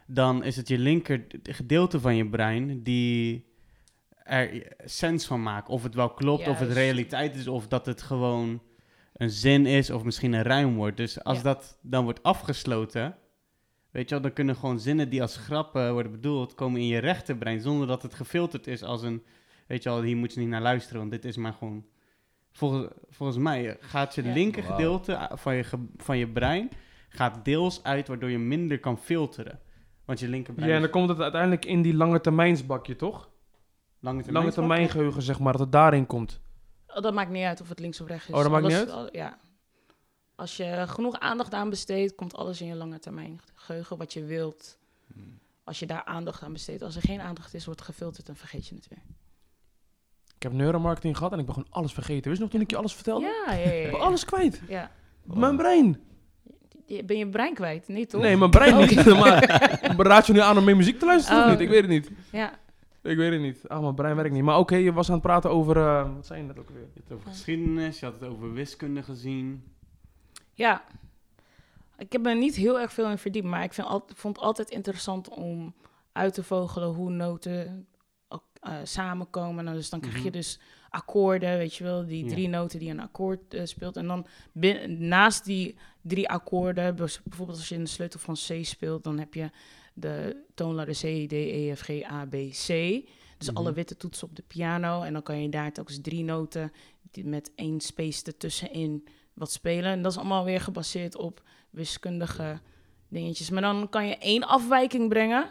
dan is het je linker het gedeelte van je brein die er sens van maakt. Of het wel klopt, of het Juist. realiteit is, of dat het gewoon een zin is, of misschien een rijmwoord. Dus als Ja. dat dan wordt afgesloten, weet je wel, dan kunnen gewoon zinnen die als grappen worden bedoeld, komen in je rechterbrein, zonder dat het gefilterd is als een, weet je wel, hier moet je niet naar luisteren, want dit is maar gewoon... Volgens, volgens mij gaat je Ja. linker Wauw. gedeelte eh, van je, ge- van je brein gaat deels uit, waardoor je minder kan filteren. Want je linkerbrein dus- Ja, en is dan komt het uiteindelijk in die lange termijnsbakje, toch? lange termijn. Lange termijn geheugen, zeg maar, dat het daarin komt. Oh, dat maakt niet uit of het links of rechts is. Oh, dat maakt niet Alles- al- ja. Als je genoeg aandacht aan besteedt, komt alles in je lange termijn geheugen wat je wilt. Hmm. Als je daar aandacht aan besteedt. Als er geen aandacht is, wordt gefilterd en vergeet je het weer. Ik heb neuromarketing gehad en ik ben gewoon alles vergeten. Wist je nog toen ik je alles vertelde? Ja, ja, ja, Ik ja. ben alles kwijt. Ja. Oh. Mijn brein. Je- Ben je brein kwijt? Nee, toch? Nee, mijn brein niet. Maar raad je nu aan om meer muziek te luisteren of Oh. niet? Ik weet het niet. Ja. Ik weet het niet. Ah, mijn brein werkt niet. Maar oké, je was aan het praten over... eh, wat zei je net ook weer? Je had het over geschiedenis, je had het over wiskunde gezien. Ja. Ik heb me niet heel erg veel in verdiept, maar ik vind al, vond het altijd interessant om uit te vogelen hoe noten ook, eh, samenkomen. Nou, dus dan krijg je Mhm. dus akkoorden, weet je wel, die Ja. drie noten die een akkoord eh, speelt. En dan bin- naast die drie akkoorden, dus bijvoorbeeld als je in de sleutel van C speelt, dan heb je de toonladder C, D, E, F, G, A, B, C. Dus Mhm. alle witte toetsen op de piano. En dan kan je daar telkens drie noten die met één space ertussenin wat spelen. En dat is allemaal weer gebaseerd op wiskundige dingetjes. Maar dan kan je één afwijking brengen.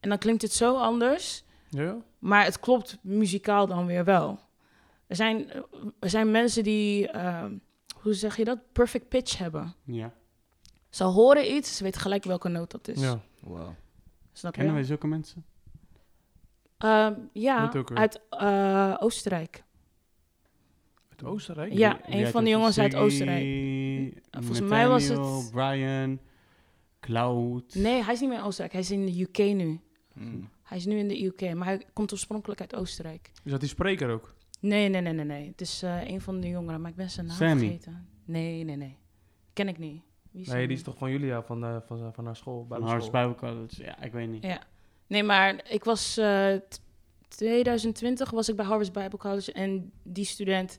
En dan klinkt het zo anders. Ja? Maar het klopt muzikaal dan weer wel. Er zijn, er zijn mensen die, ehm, hoe zeg je dat, perfect pitch hebben. Ja. Ze horen iets, ze weten gelijk welke noot dat is. Ja. Wow. Snap je? Kennen wij zulke mensen? Ehm, ja, Moet ook weer. uit eh, Oostenrijk. Uit Oostenrijk? Ja, een van de jongens uit Oostenrijk. Volgens mij was het... Brian, Cloud. Nee, hij is niet meer in Oostenrijk. Hij is in de UK nu. Mm. Hij is nu in de UK, maar hij komt oorspronkelijk uit Oostenrijk. Is dat die spreker ook? Nee, nee, nee, nee, nee. Het is eh, een van de jongeren, maar ik ben zijn naam Sammy. vergeten. Nee, nee, nee. Ken ik niet. Wie Nee, die is Sammy? toch van Julia, van, eh, van, van haar school. Van bijbelschool. Harvest Bible College. Ja, ik weet niet. Ja. Nee, maar ik was... eh, t- 2020 was ik bij Harvest Bible College en die student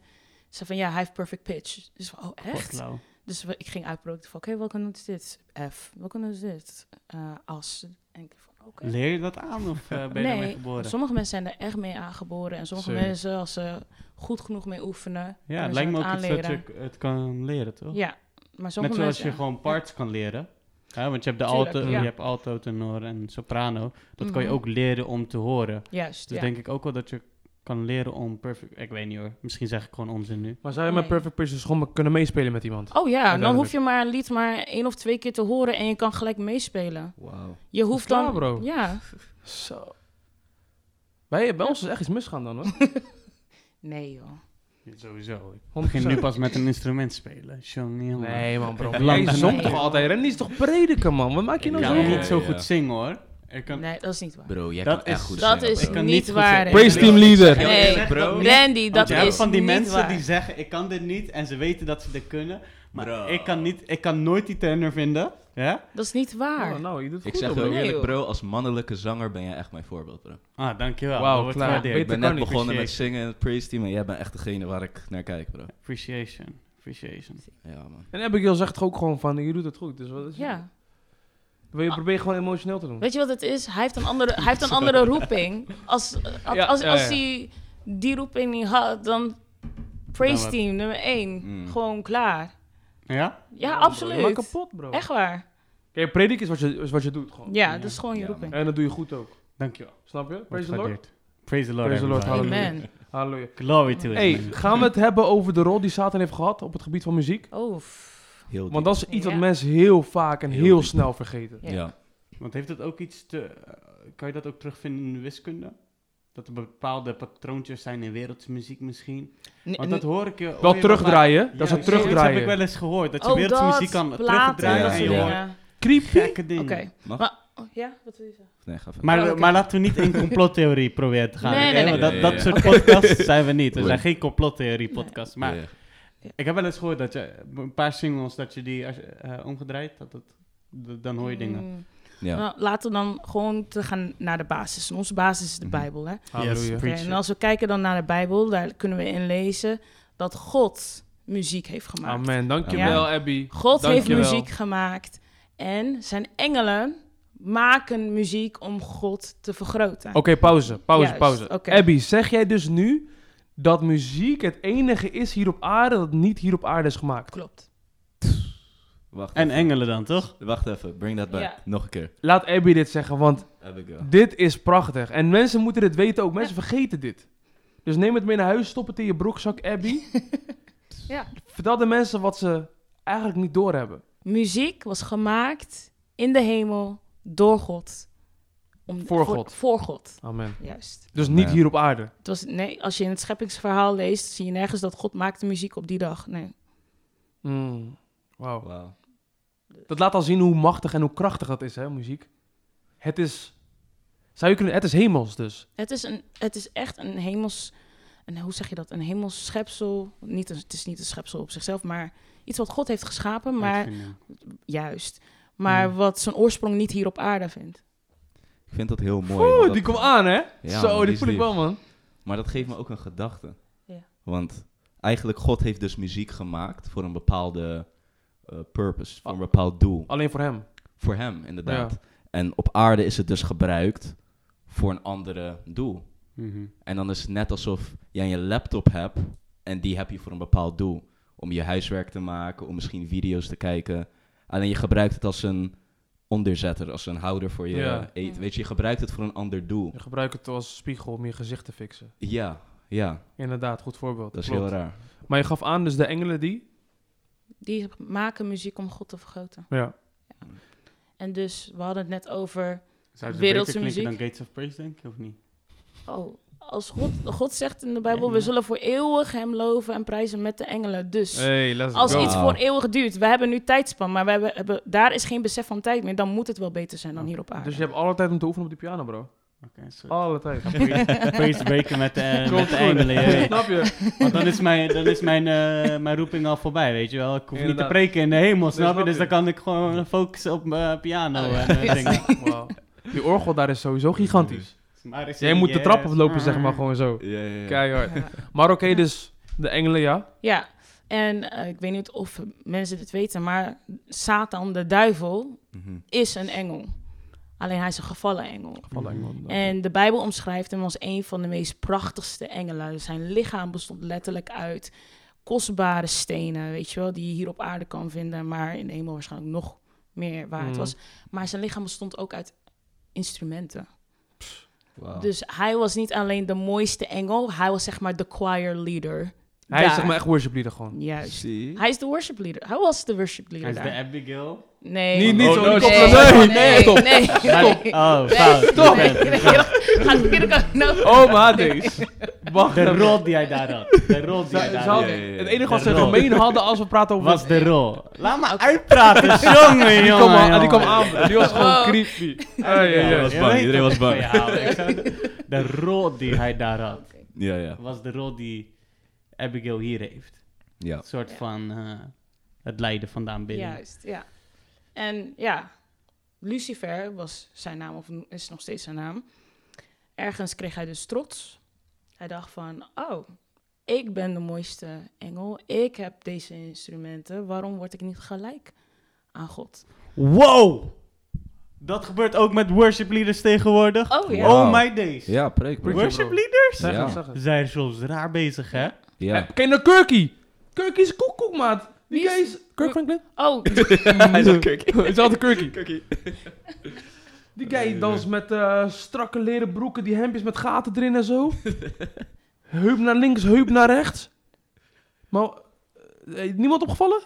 zei van ja, hij heeft perfect pitch. Dus van, oh Wat echt? lauw. Dus we- ik ging uitproberen van oké, welke noot is dit? F. Welke noot is dit? Eh, as. En ik van oké. Leer je dat aan of eh, ben je Nee, daarmee geboren? Sommige mensen zijn er echt mee aangeboren. En sommige Zeker. mensen, als ze goed genoeg mee oefenen... ja, het kunnen ze lijkt me ook het iets dat aanleren. je het kan leren, toch? Ja, maar Net sommige zoals mensen... je gewoon parts kan leren. Hè, want je hebt de Tuurlijk, alto, ja. je hebt alto, tenor en soprano. Dat kan je Mhm. ook leren om te horen. Juist, Dus ja. denk ik ook wel dat je kan leren om perfect... Ik weet niet hoor, misschien zeg ik gewoon onzin nu. Maar zou je met Nee. Perfect Pitch dus gewoon maar kunnen meespelen met iemand? Oh ja, dan Uiteindelijk. hoef je maar een lied maar één of twee keer te horen... en je kan gelijk meespelen. Wow. Je hoeft klaar, dan... bro. Ja. Zo. Bij, bij ons is echt iets misgaan dan, hoor. Nee, joh. Ja, Sowieso. Ik 100%. begin nu pas met een instrument spelen. Jongen, Nee, man, bro. Lang Jij geleden. zong toch altijd? Randy is toch prediken, man? Wat maak je Ik nou kan zo? ook Ja, niet zo ja. goed zingen hoor. Ik kan... Nee, dat is niet waar. Bro, jij Dat kan echt is- goed dat zingen, is bro. Ik kan niet goed waar, zingen. hè. Praise team leader. Ja, Nee, eerlijk, bro. Randy, dat Want je hebt is van die niet mensen waar. die zeggen, ik kan dit niet. En ze weten dat ze dit kunnen. Maar Bro. ik kan, niet, ik kan nooit die tenor vinden. Ja? Dat is niet waar. Oh, nou, je doet het Ik goed, hoor, bro. zeg je ook Nee, eerlijk, joh. bro. Als mannelijke zanger ben jij echt mijn voorbeeld, bro. Ah, dankjewel. Wauw, Dat wordt klaar. gewaardeerd. Beter Ik ben kan net niet, begonnen met precies. zingen en het praise team. En jij bent echt degene waar ik naar kijk, bro. Appreciation. Appreciation. Ja, man. En Abigail zegt toch ook gewoon van, je doet het goed. Dus wat is Ja. Wil je proberen gewoon emotioneel te doen? Weet je wat het is? Hij heeft een andere, hij heeft een andere roeping. Als, als, Ja, als, ja, ja. hij die roeping niet had, dan Dan Praise wat? Team nummer 1. Mm. Gewoon klaar. Ja? Ja, bro, Nou, Je maakt absoluut. kapot, bro. Echt waar. Kijk, prediken is wat, je, is wat je doet, gewoon. Ja, Ja. dat is gewoon je Ja, roeping. man. En dat doe je goed ook. Dankjewel. Snap je? Wordt Praise the Lord. gewaardeerd. Praise the Lord, Praise the Lord, everybody. hallelujah. Amen. Halleluja. Glory to it. Hey, man. gaan we het hebben over de rol die Satan heeft gehad op het gebied van muziek? Oh, pff. Heel Want diep. dat is iets wat Ja. mensen heel vaak en Heel heel, diep. snel vergeten. Ja. Ja. Want heeft dat ook iets te... eh, kan je dat ook terugvinden in de wiskunde? Dat er bepaalde patroontjes zijn in wereldmuziek misschien? Nee, Want dat hoor ik je... hoor Wel je terugdraaien, vaak. dat is Ja, het zoiets terugdraaien. heb ik wel eens gehoord. Dat je oh, wereldmuziek dat, kan platen, terugdraaien dat en soort je ja. hoort dingen. Mm. Creepy? gekke dingen. Oké. Mag? Maar- oh, ja, wat wil je zeggen? Nee, ga verder. Maar, Oh, oké. maar laten we niet in complottheorie proberen te gaan. Nee, oké? nee, Want nee. Dat, Ja, dat ja, soort podcasts zijn we niet. We Oei. zijn geen complottheorie-podcast. Maar Ja. ik heb wel eens gehoord dat je een paar singles, dat je die als je, eh, omgedraaid, dat het, d- dan hoor je dingen. Mm. Ja. Nou, laten we dan gewoon te gaan naar de basis. En onze basis is de Mhm. Bijbel, hè? Halleluja. preach en it. als we kijken dan naar de Bijbel, daar kunnen we in lezen dat God muziek heeft gemaakt. Amen. Dankjewel, Abby. God Dankjewel. heeft muziek gemaakt en zijn engelen maken muziek om God te vergroten. Oké, pauze, pauze, Juist, pauze. oké. Abby, zeg jij dus nu dat muziek het enige is hier op aarde dat niet hier op aarde is gemaakt? Klopt. Wacht, En even. engelen dan, toch? Wacht even, bring that back. Ja. Nog een keer. Laat Abby dit zeggen, want Abigail. dit is prachtig. En mensen moeten dit weten ook. Mensen vergeten dit. Dus neem het mee naar huis, stop het in je broekzak, Abby. Ja. Vertel de mensen wat ze eigenlijk niet doorhebben. Muziek was gemaakt in de hemel door God. Om, Voor God. Voor God, Amen. juist. Dus niet Amen. hier op aarde. Het was, nee, als je in het scheppingsverhaal leest, zie je nergens dat God maakte muziek op die dag. Nee. Mm. Wauw. Wauw. Dat laat al zien hoe machtig en hoe krachtig dat is, hè, muziek. Het is... Zou je kunnen... Het is hemels dus. Het is, een, het is echt een hemels... Een, hoe zeg je dat? Een hemels schepsel. Niet een, het is niet een schepsel op zichzelf, maar iets wat God heeft geschapen, maar Uitvinden. juist. Maar Mm. wat zijn oorsprong niet hier op aarde vindt. Ik vind dat heel mooi. Oeh, want dat- die komt aan, hè? Ja, Zo, man, die, die is voel ik lief. wel, man. Maar dat geeft me ook een gedachte. Ja. Want eigenlijk God heeft dus muziek gemaakt voor een bepaalde eh, purpose, voor Ah. een bepaald doel. Alleen voor hem. Voor hem, inderdaad. En op aarde is het dus gebruikt voor een andere doel. Mhm. En dan is het net alsof jij je laptop hebt en die heb je voor een bepaald doel. Om je huiswerk te maken, om misschien video's te kijken. Alleen je gebruikt het als een onderzetter, als een houder voor je Ja. eh, eten. Ja. Weet je, je gebruikt het voor een ander doel. Je gebruikt het als spiegel om je gezicht te fixen. Ja, ja, Inderdaad, goed voorbeeld. dat is Klopt. heel raar. Maar je gaf aan, dus de engelen die... Die maken muziek om God te vergroten. Ja. En dus, we hadden het net over... Zou het Wereldse beter klinken dan muziek. Gates of Praise, denk ik, of niet? Oh, als God, God zegt in de Bijbel... Ja. we zullen voor eeuwig hem loven en prijzen met de engelen. Dus... Hey, Eh, let's Als go. iets Wow. voor eeuwig duurt, we hebben nu tijdspan, maar we hebben, hebben- daar is geen besef van tijd meer, dan moet het wel beter zijn dan hier op aarde. Dus je hebt alle tijd om te oefenen op die piano, bro. Oké, sorry. Alle tijd. Praise breken met de, eh, Oh. Komt met de goed. engelen. ja. Snap je? Want dan is, mijn, dan is mijn, eh, mijn roeping al voorbij, weet je wel. Ik hoef niet te Inderdaad. preken in de hemel, snap snap je? Dus je. dan kan ik gewoon focussen op mijn piano en eh, dingen. Wauw. Die orgel daar is sowieso gigantisch. Maar is- Jij moet de trap yes. aflopen, zeg Mm. maar, gewoon zo. Ja, ja, ja. Keihard. Ja. Maar oké, dus de engelen, ja. Ja, en eh, ik weet niet of mensen dit weten, maar Satan, de duivel, Mhm. is een engel. Alleen hij is een gevallen engel. Van de engelen. Mm. En de Bijbel omschrijft hem als een van de meest prachtigste engelen. Dus Zijn lichaam bestond letterlijk uit kostbare stenen, weet je wel, die je hier op aarde kan vinden, maar in de hemel waarschijnlijk nog meer waard Mm. was. Maar zijn lichaam bestond ook uit instrumenten. Oh. Wauw. Dus hij was niet alleen de mooiste engel, hij was zeg maar de choir leader. Hij is daar. zeg maar echt worship leader gewoon. Juist. Zie. Hij is de worship leader. Hij was de worship Hij leader is de daar. Abigail. Nee. Niet- niet nee, zo- nee, niet zo- nee, nee, nee, stop. nee, Maar- nee. Oh, Nee, fout. stop. Ik ben- Nee, Gaat de verkeerde kant nou. Oh, maar deze. Wacht De even. rol die hij daar had. De rol die Ze, hij ze daar hadden- had. Ja, ja, ja. Het enige wat De ze rol. gemeen hadden als we praten over... Was de rol. Laat me uitpraten, jongen, jongen. die, kwam aan, die kwam jongen. aan. Die was gewoon Oh. creepy. Ah, ja, ja, Ja, ja. was je bang, weet iedereen dat was bang. ik van je hou. Ik zou- De rol die hij daar had, Ja, ja, was de rol die Abigail hier heeft. ja. Een soort Ja. van eh, het lijden vandaan binnen. Juist, ja. En ja, Lucifer was zijn naam, of is nog steeds zijn naam. Ergens kreeg hij dus trots. Hij dacht van, oh, ik ben de mooiste engel. Ik heb deze instrumenten. Waarom word ik niet gelijk aan God? Wow! Dat gebeurt ook met worship leaders tegenwoordig. Oh ja. Wow. Oh my days. Ja, preek, preek. Worship Worship leaders Zeg Ja. het, zeg het. zijn soms raar bezig, hè? Ja. Ken je nou Kirky? Kirky is koekoek, maat. Die Wie is- guy is... Kirk Franklin? Oh, Hij is ook Kirk. Het is altijd Kirky. Die guy dans met eh, strakke leren broeken, die hemdjes met gaten erin en zo. heup naar links, heup naar rechts. Maar eh, niemand opgevallen?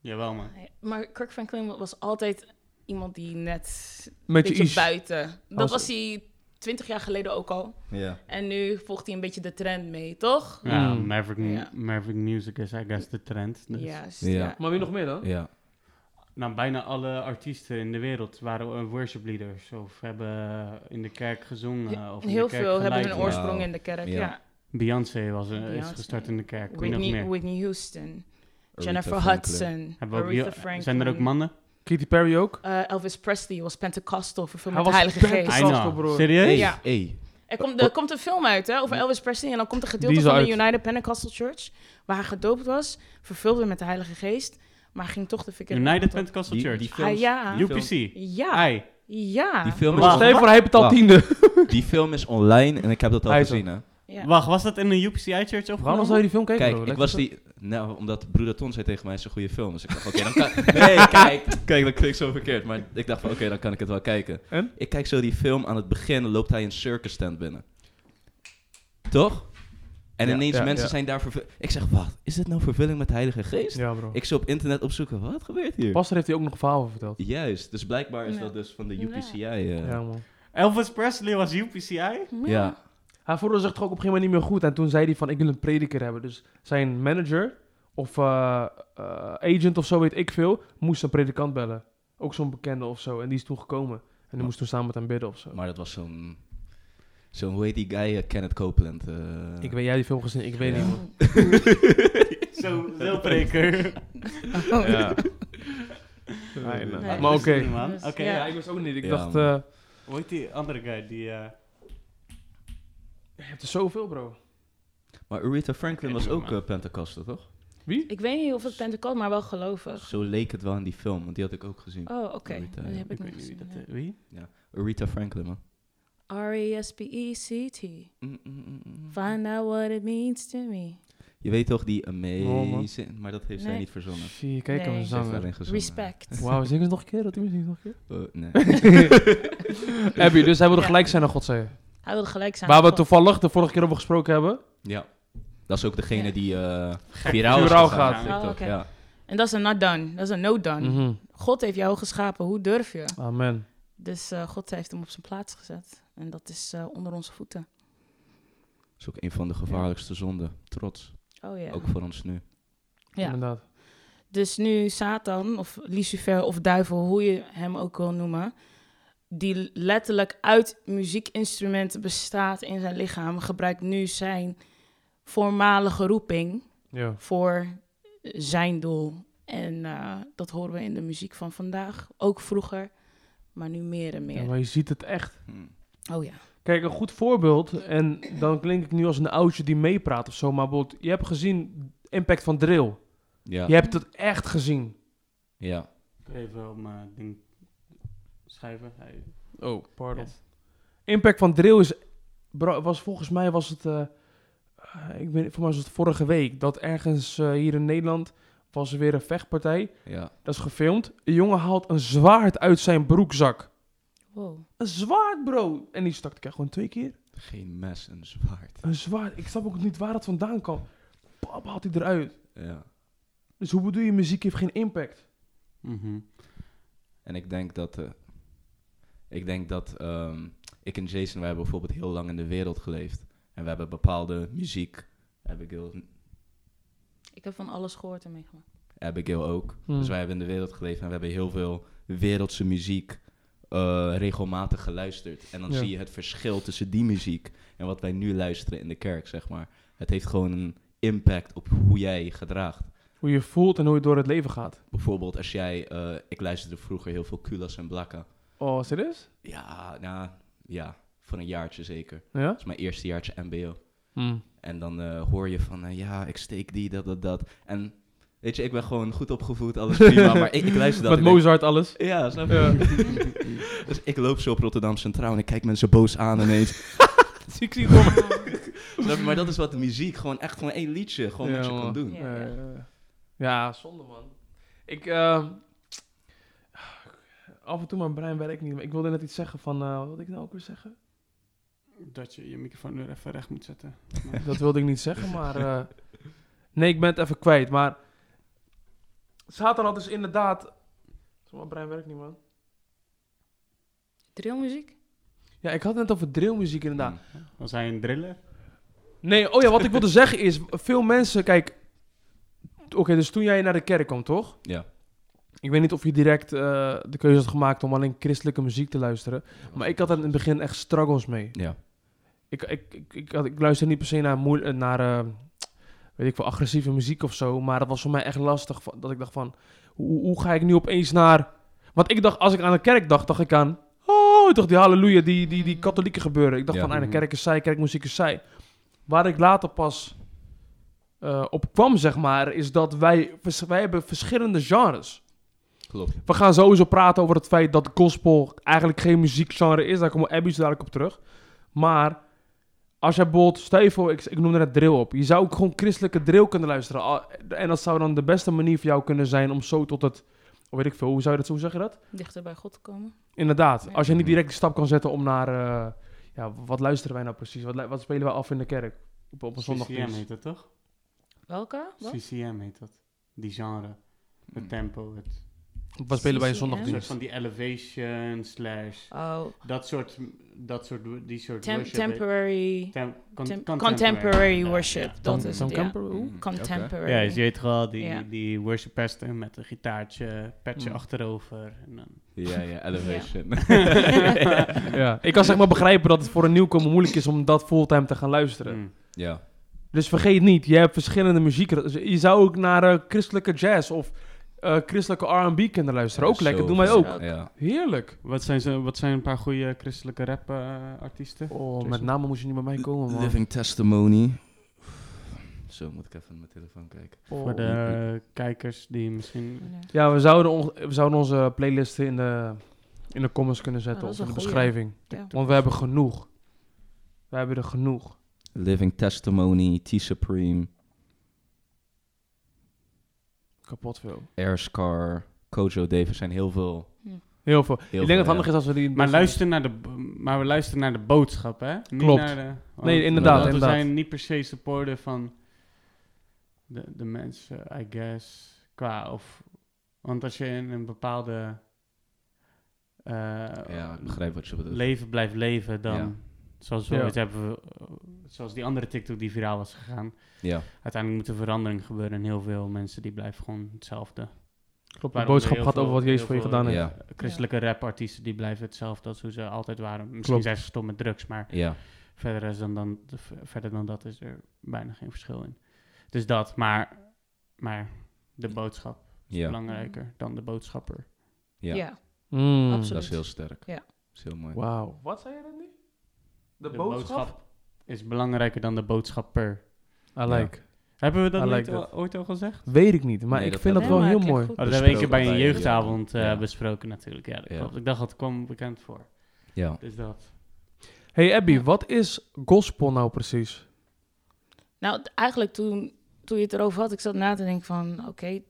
Jawel, man. maar Kirk Franklin was altijd iemand die net een Met je beetje iets. buiten. Dat Als- was hij twintig jaar geleden ook al. Ja. En nu volgt hij een beetje de trend mee, toch? Ja, Mm. Maverick, Ja. Maverick Music is, I guess, de trend. Dus. Juist, Ja. ja. Maar wie nog meer dan? Ja. Nou, bijna alle artiesten in de wereld waren eh, worship leaders of hebben in de kerk gezongen. Of in de Heel kerk veel hebben hun geleid. oor- oorsprong Wauw. in de kerk. Ja. Ja. Beyoncé was eh, is Beyoncé. gestart in de kerk. Wie nog Whitney, meer? Whitney Houston, Jennifer Aretha Franklin. Hudson, Hebben we ook Aretha bio- Franklin. Zijn er ook mannen? Katy Perry ook? Eh, Elvis Presley was Pentecostal, vervuld Hij met de was Heilige Geest. I Pentecostal, know. broer. Serieus? Hey, Ja. hey. Er komt, er komt een film uit hè, over Elvis Presley en dan komt een gedeelte Die is van de uit. United Pentecostal Church waar hij gedoopt was, vervuld werd met de Heilige Geest, maar ging toch de verkeerde United kant op. Pentecostal Die, Church. die films, Ah, ja. die films- UPC. Ja, Ai. ja. die film is Wacht. Stel je voor, hij betaalt Wacht. tiende. Die film is online en ik heb dat al Hij is gezien, hè. ja. Wacht, was dat in een UPCI-church of Waarom zou je die film kijken, Kijk, bro? ik Lekker was zo. die... Nou, omdat Broeder Ton zei tegen mij, het is een goede film. Dus ik dacht, oké, dan kan... Nee, kijk. Kijk, dat klinkt zo verkeerd. Maar ik dacht van, oké, dan kan ik het wel kijken. En? Ik kijk zo die film, aan het begin loopt hij een circus tent binnen. Toch? En Ja, ineens ja, mensen ja. zijn daar vervuld. Ik zeg, wat? Is dit nou vervulling met de Heilige Geest? Ja, bro. Ik zou op internet opzoeken, wat gebeurt hier? Pastor heeft hij ook nog een verhaal over verteld. Juist, dus blijkbaar is Ja. dat dus van de Ja. UPCI. eh, Ja, man. Elvis Presley was UPCI? ja. Hij voelde zich toch ook op een gegeven moment niet meer goed. En toen zei hij van, ik wil een prediker hebben. Dus zijn manager of eh, eh, agent of zo weet ik veel, moest een predikant bellen. Ook zo'n bekende of zo. En die is toen gekomen. En die Maar- moest toen samen met hem bidden of zo. Maar dat was zo'n... Zo'n, hoe heet die guy? eh, Kenneth Copeland. eh. ik weet, jij hebt die film gezien? Ik weet Ja. niet, man. Zo, heel preker. Ja. nee. Nee, Nee. Maar oké. Wist ik niet, man. Dus, Oké, ja. ja, ik ik- wist ook niet. Ik Ja, dacht, man. eh, hoe heet die andere guy die... eh, je hebt er zoveel, bro. Maar Aretha Franklin Ik was weet het ook niet, eh, Pentecostal, toch? Wie? Ik weet niet of het Pentecost, maar wel gelovig. Zo leek het wel in die film, want die had ik ook gezien. Oh, oké. Rita, Dat ja. heb ik, ik nog weet niet wie gezien. dat... ja. eh, Wie? Aretha Franklin, man. E R-E-S-P-E-C-T. Mm-hmm. Mm, mm, mm, mm. Find out what it means to me. Je weet toch, die amazing... man. maar dat heeft zij Nee. niet verzonnen. Ze Zie, kijk hem Nee. heeft zanger. daarin gezongen. Respect. Wauw, zing eens nog een keer, dat muziek nog een keer. Eh, nee. Abby, dus hij wilde Ja. gelijk zijn aan God zeggen. Hij wilde gelijk zijn. Waar we God. toevallig de vorige keer over gesproken hebben. ja. Dat is ook degene Ja. die eh viraal, is Viraal gegaan op gaat. TikTok, Oh, oké. ja. En dat is een not done. Dat is een no done. Mhm. God heeft jou geschapen. Hoe durf je? Amen. Dus eh, God heeft hem op zijn plaats gezet. En dat is eh, onder onze voeten. Dat is ook een van de gevaarlijkste zonden. Trots. Oh ja. Ook voor ons nu. Ja. Inderdaad. Dus nu Satan, of Lucifer, of duivel, hoe je hem ook wil noemen, die letterlijk uit muziekinstrumenten bestaat in zijn lichaam, gebruikt nu zijn voormalige roeping Ja. voor zijn doel. En eh, dat horen we in de muziek van vandaag, ook vroeger, maar nu meer en ja. meer. Maar je ziet het echt. Hm. Oh ja. Kijk, een goed voorbeeld, en dan klink ik nu als een oudje die meepraat of zo, maar bijvoorbeeld, je hebt gezien impact van drill. Ja. Je hebt het echt gezien. ja. Even op mijn ding schuiven. Hij- Oh, pardon. yes. Impact van drill is, bro- was volgens mij was het, eh, eh, ik weet, voor mij was het vorige week, dat ergens eh, hier in Nederland was er weer een vechtpartij. Ja. Dat is gefilmd. Een jongen haalt een zwaard uit zijn broekzak. Wow. Een zwaard, bro! En die stak ik echt gewoon twee keer. Geen mes, een zwaard. Een zwaard. Ik snap ook niet waar dat vandaan kwam. Pap, haalt hij eruit. Ja. Dus hoe bedoel je, muziek heeft geen impact? Mhm. En ik denk dat... eh, ik denk dat... ehm, ik en Jason, wij hebben bijvoorbeeld heel lang in de wereld geleefd. En we hebben bepaalde muziek. Abigail, Ik heb van alles gehoord en meegemaakt. Abigail ook. Hmm. Dus wij hebben in de wereld geleefd en we hebben heel veel wereldse muziek eh, regelmatig geluisterd. En dan Ja. zie je het verschil tussen die muziek en wat wij nu luisteren in de kerk, zeg maar. Het heeft gewoon een impact op hoe jij je gedraagt. Hoe je voelt en hoe je door het leven gaat. Bijvoorbeeld als jij, eh, ik luisterde vroeger heel veel Kulas en Blakka. Oh, serieus? Ja, nou, ja, voor een jaartje zeker. Ja? Dat is mijn eerste jaartje mbo. Hm. En dan eh, hoor je van, eh, ja, ik steek die, dat, dat, dat. En weet je, ik ben gewoon goed opgevoed, alles prima, maar ik, ik luister dat. Met en ik- Mozart alles. Ja, snap je? Ja. Dus ik loop zo op Rotterdam Centraal en ik kijk mensen boos aan ineens. ik zie het om. Eh, Snap je? Maar dat is wat de muziek, gewoon echt gewoon één liedje, gewoon Ja, wat je man. kan doen. Ja. Ja, zonde man. Ik, eh, af en toe mijn brein werkt niet, maar ik wilde net iets zeggen van, eh, wat wilde ik nou ook weer zeggen? Dat je je microfoon weer even recht moet zetten. Dat wilde ik niet zeggen, maar, eh, nee, ik ben het even kwijt, maar Satan had dus inderdaad, mijn brein werkt niet man. Drillmuziek? Ja, ik had het net over drillmuziek inderdaad. Hmm. Was hij een driller? Nee, oh ja, wat ik wilde zeggen is, veel mensen, kijk, oké, dus toen jij naar de kerk kwam, toch? Ja. Ik weet niet of je direct eh, de keuze had gemaakt om alleen christelijke muziek te luisteren, maar ik had er in het begin echt struggles mee. Ja. Ik, ik, ik, ik, had, ik luister niet per se naar, moe- eh, naar eh, weet ik wel, agressieve muziek of zo, maar dat was voor mij echt lastig, van- dat ik dacht van, hoe, hoe ga ik nu opeens naar... Want ik dacht, als ik aan de kerk dacht, dacht ik aan, oh, toch die halleluja, die, die, die katholieke gebeuren. Ik dacht Ja. van, ah, de Mhm. kerk is zij, kerkmuziek is zij. Waar ik later pas eh, op kwam, zeg maar, is dat wij, vers- wij hebben verschillende genres. Klopt. We gaan sowieso praten over het feit dat gospel eigenlijk geen muziekgenre is. Daar komen Abby zo dadelijk op terug. Maar als jij bijvoorbeeld, stel je voor, ik, ik noemde net drill op. Je zou ook gewoon christelijke drill kunnen luisteren. Al- En dat zou dan de beste manier voor jou kunnen zijn om zo tot het, oh, weet ik veel, hoe zou je dat, hoe zeg je dat? Dichter bij God te komen. Inderdaad, Ja. als je niet Mhm. direct die stap kan zetten om naar, eh, ja, wat luisteren wij nou precies? Wat, lu- wat spelen wij af in de kerk? Op, op een zondag. CCM heet dat toch? Welke? Wat? CCM heet dat. Die genre. Het tempo. Het Wat spelen wij in CCM? een soort zondagdienst? van die elevation slash... Oh, Dat soort, dat soort, wo- die soort Tem- worship. temporary. Tem- con- Tem- contemporary. contemporary Ja, worship. ja. Dat is Zo'n het, ja. camper? Oeh. Mm, oké. Contemporary. Ja, dus je weet toch wel, die, Ja. die worshipester met een gitaartje, petje Mm. achterover. En dan, Ja, ja, elevation. Ja. Ik kan zeg maar begrijpen dat het voor een nieuwkomer moeilijk is om dat fulltime te gaan luisteren. Mm. ja. Dus vergeet niet, je hebt verschillende muziek. Je zou ook naar eh, christelijke jazz of eh, christelijke R&B kunnen luisteren. Ook Zo lekker, doen wij goed. ook. Ja. Ja. Heerlijk. Wat, zijn ze, wat zijn een paar goede christelijke rap eh, artiesten? Oh, met name moest je niet bij mij komen, man. Living Testimony. Zo, moet ik even naar mijn telefoon kijken. Oh. Voor de kijkers die misschien... Ja. Ja, we zouden, on- we zouden onze playlisten in de, in de comments kunnen zetten Oh, of dat in is de een goeie. beschrijving. Ja. Want we hebben genoeg. We hebben er genoeg. Living Testimony, T-Supreme. Kapot veel. Airscar, Kojo Davis zijn heel veel. Heel veel. Heel ik veel, denk dat het ja. handig is als we die... Maar, luister naar de, b- maar we luisteren naar de boodschap, hè? Niet Klopt. naar de- want- Nee, inderdaad, want inderdaad. We zijn niet per se supporter van de, de mensen, I guess. Qua of... Want als je in een bepaalde eh, Ja, ik begrijp wat je bedoelt. leven blijft leven, dan... Ja. Zoals we Ja. ooit hebben... we- Zoals die andere TikTok die viraal was gegaan. ja. Uiteindelijk moet er verandering gebeuren en heel veel mensen die blijven gewoon hetzelfde. Klopt, de Waarom boodschap heel gaat veel- over wat Jezus voor je heel gedaan veel- heeft. ja, Christelijke rapartiesten die blijven hetzelfde als hoe ze altijd waren. Misschien Klopt. zijn ze gestopt met drugs, maar... ja. Verder, is dan, dan, v- verder dan dat is er bijna geen verschil in. Dus dat, maar, maar de boodschap is Ja. belangrijker dan de boodschapper. Ja. Ja, Mm. absoluut. Dat is heel sterk. Ja. Dat is heel mooi. Wauw. Wat zei je dan nu? De, boodschap? is belangrijker dan de boodschapper. I like. Hebben we dat I niet like al- that. ooit al gezegd? Weet ik niet, maar Nee, ik dat vind dat hebben wel Nee, heel maar mooi. klinkt Oh, goed. dat hebben we een keer bij een Besproken bij- jeugdavond eh, ja. besproken natuurlijk. Ja, dat Ja. klopt. Ik dacht, dat kwam bekend voor. Ja. Dus dat. Hey Abby, Ja. wat is gospel nou precies? Nou, t- eigenlijk toen, toen je het erover had, ik zat na te denken van, oké,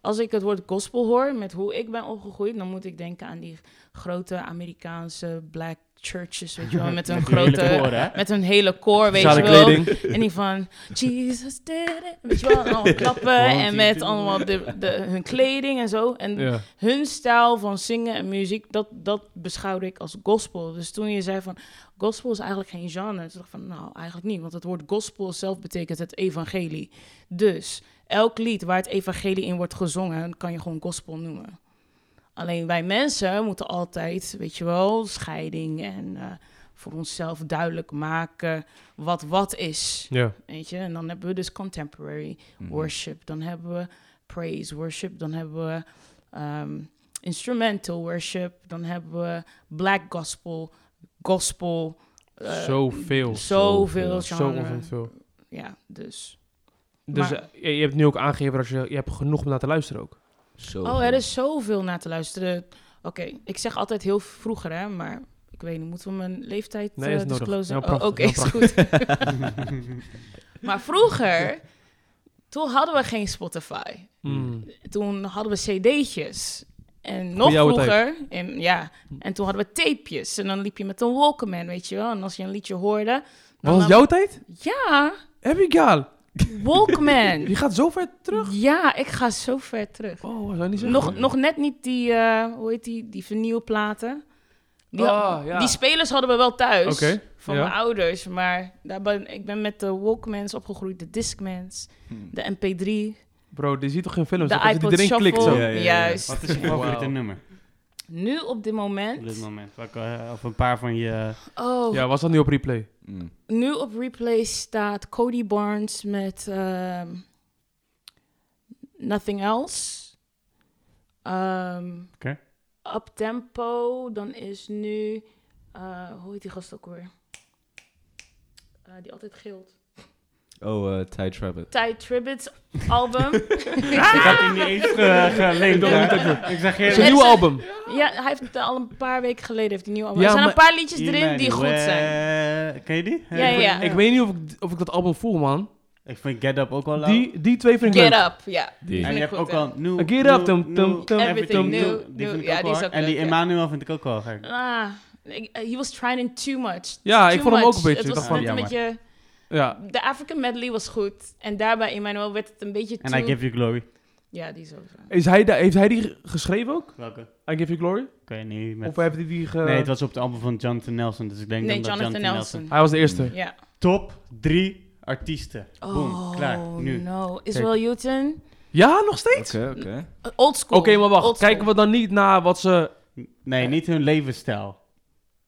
als ik het woord gospel hoor met hoe ik ben opgegroeid, dan moet ik denken aan die grote Amerikaanse black churches, weet je wel, met een Die hele grote, koor, hè? met een hele koor, weet je Sociale wel. kleding. En die van, Jesus did it, weet je wel, en allemaal klappen Want en die met doen- allemaal de, de, hun kleding en zo. En Ja. hun stijl van zingen en muziek, dat, dat beschouwde ik als gospel. Dus toen je zei van gospel is eigenlijk geen genre, toen dacht ik van nou eigenlijk niet, want het woord gospel zelf betekent het evangelie. Dus elk lied waar het evangelie in wordt gezongen, kan je gewoon gospel noemen. Alleen wij mensen moeten altijd, weet je wel, scheiding en eh, voor onszelf duidelijk maken wat wat is. Ja. Weet je, en dan hebben we dus contemporary Mhm. Mm-hmm. worship. Dan hebben we praise worship. Dan hebben we ehm, instrumental worship. Dan hebben we black gospel, gospel. eh, Zoveel. Zoveel Zo genre. ontzettend veel. ja, dus. Dus Maar- eh, je je hebt nu ook aangegeven dat je, je hebt genoeg om naar te luisteren ook. Mhm. Zo Oh, goed. er is zoveel naar te luisteren. Oké, ik zeg altijd heel vroeger, hè, maar ik weet niet, moeten we mijn leeftijd Nee, eh, is nodig. disclosen? Heel Oh, Oké, prachtig, heel is goed. maar vroeger, toen hadden we geen Spotify. Hmm. Nou, Mm. toen hadden we cd'tjes. En nog oude vroeger, en, ja, Hm. en toen hadden we tapejes. En dan liep je met een Walkman, weet je wel. En als je een liedje hoorde... Was dan het nam- jouw tijd? Ja, Abby Gaal, Walkman. je gaat zo ver terug. ja, ik ga zo ver terug. Oh, zou je niet zeggen? Nog, nog net niet die, eh, hoe heet die, die vernieuwplaten. Die, Ah, ja. die spelers hadden we wel thuis Oké, dus. van ja. mijn ouders. Maar daar ben, ik ben met de Walkmans opgegroeid, de Discmans, Hm. de MP3, Bro, die ziet toch geen films? de Dat als je iPod iedereen Shuffle. klikt zo. Ja, ja, ja. Juist. Wat is je Wauw. favoriete nummer Nu op dit op dit moment... moment? Welke, eh, of een paar van je... Oh, Ja, was dat nu op replay? Mm. nu op replay staat Cody Barnes met ehm, Nothing Else. Ehm Oké. Up Tempo, dan is nu, eh, hoe heet die gast ook weer? Eh, die altijd gilt. Oh, eh, Ty Trabbit. Ty Tribbitt's album. Ah! Ik had die niet eens ge- gelinkt. hè? Ik zeg Het is Ja, een je... nieuw het is- album. ja, hij heeft het al een paar weken geleden heeft hij een nieuw album. Ja, er zijn maar- een paar liedjes erin die goed zijn. Eh, Ken je die? Ja, ja, ja. Ik weet niet of ik, of ik dat album voel, man. Ik vind Get Up ook wel leuk. Die, die twee vind ik Get leuk. Up, ja. Die. en vind je ik hebt goed, ook hè. al New... Get Up, tum, New- tum, New tum, tum, New. tum. Die vind ik Ja, ook wel die is hard. ook En die leuk, ja. Emmanuel vind ik ook wel gek. Ah, ik- he was trying too much. Ja, ik Too vond hem ook een much. beetje. Het Ik was dacht van, net een jammer. beetje... Ja. De African medley was goed. En daarbij Emmanuel werd het een beetje En too... I Give You Glory. Ja, die sowieso. Is hij da- heeft hij die ge- geschreven ook? Welke? I Give You Glory? Ik weet niet. Met... Of heeft hij die ge... Nee, het was op het album van Jonathan Nelson. Dus ik denk Nee, dan Jonathan dat Nelson. Hij was de eerste. Ja. Top drie artiesten. Boom. Oh, Klaar. Nu. no. Israel Newton. Ja, nog steeds? Oké, oké. Uh, Old Oké, school. maar wacht. Old school. Kijken we dan niet naar wat ze... Eh. Nee, niet hun levensstijl.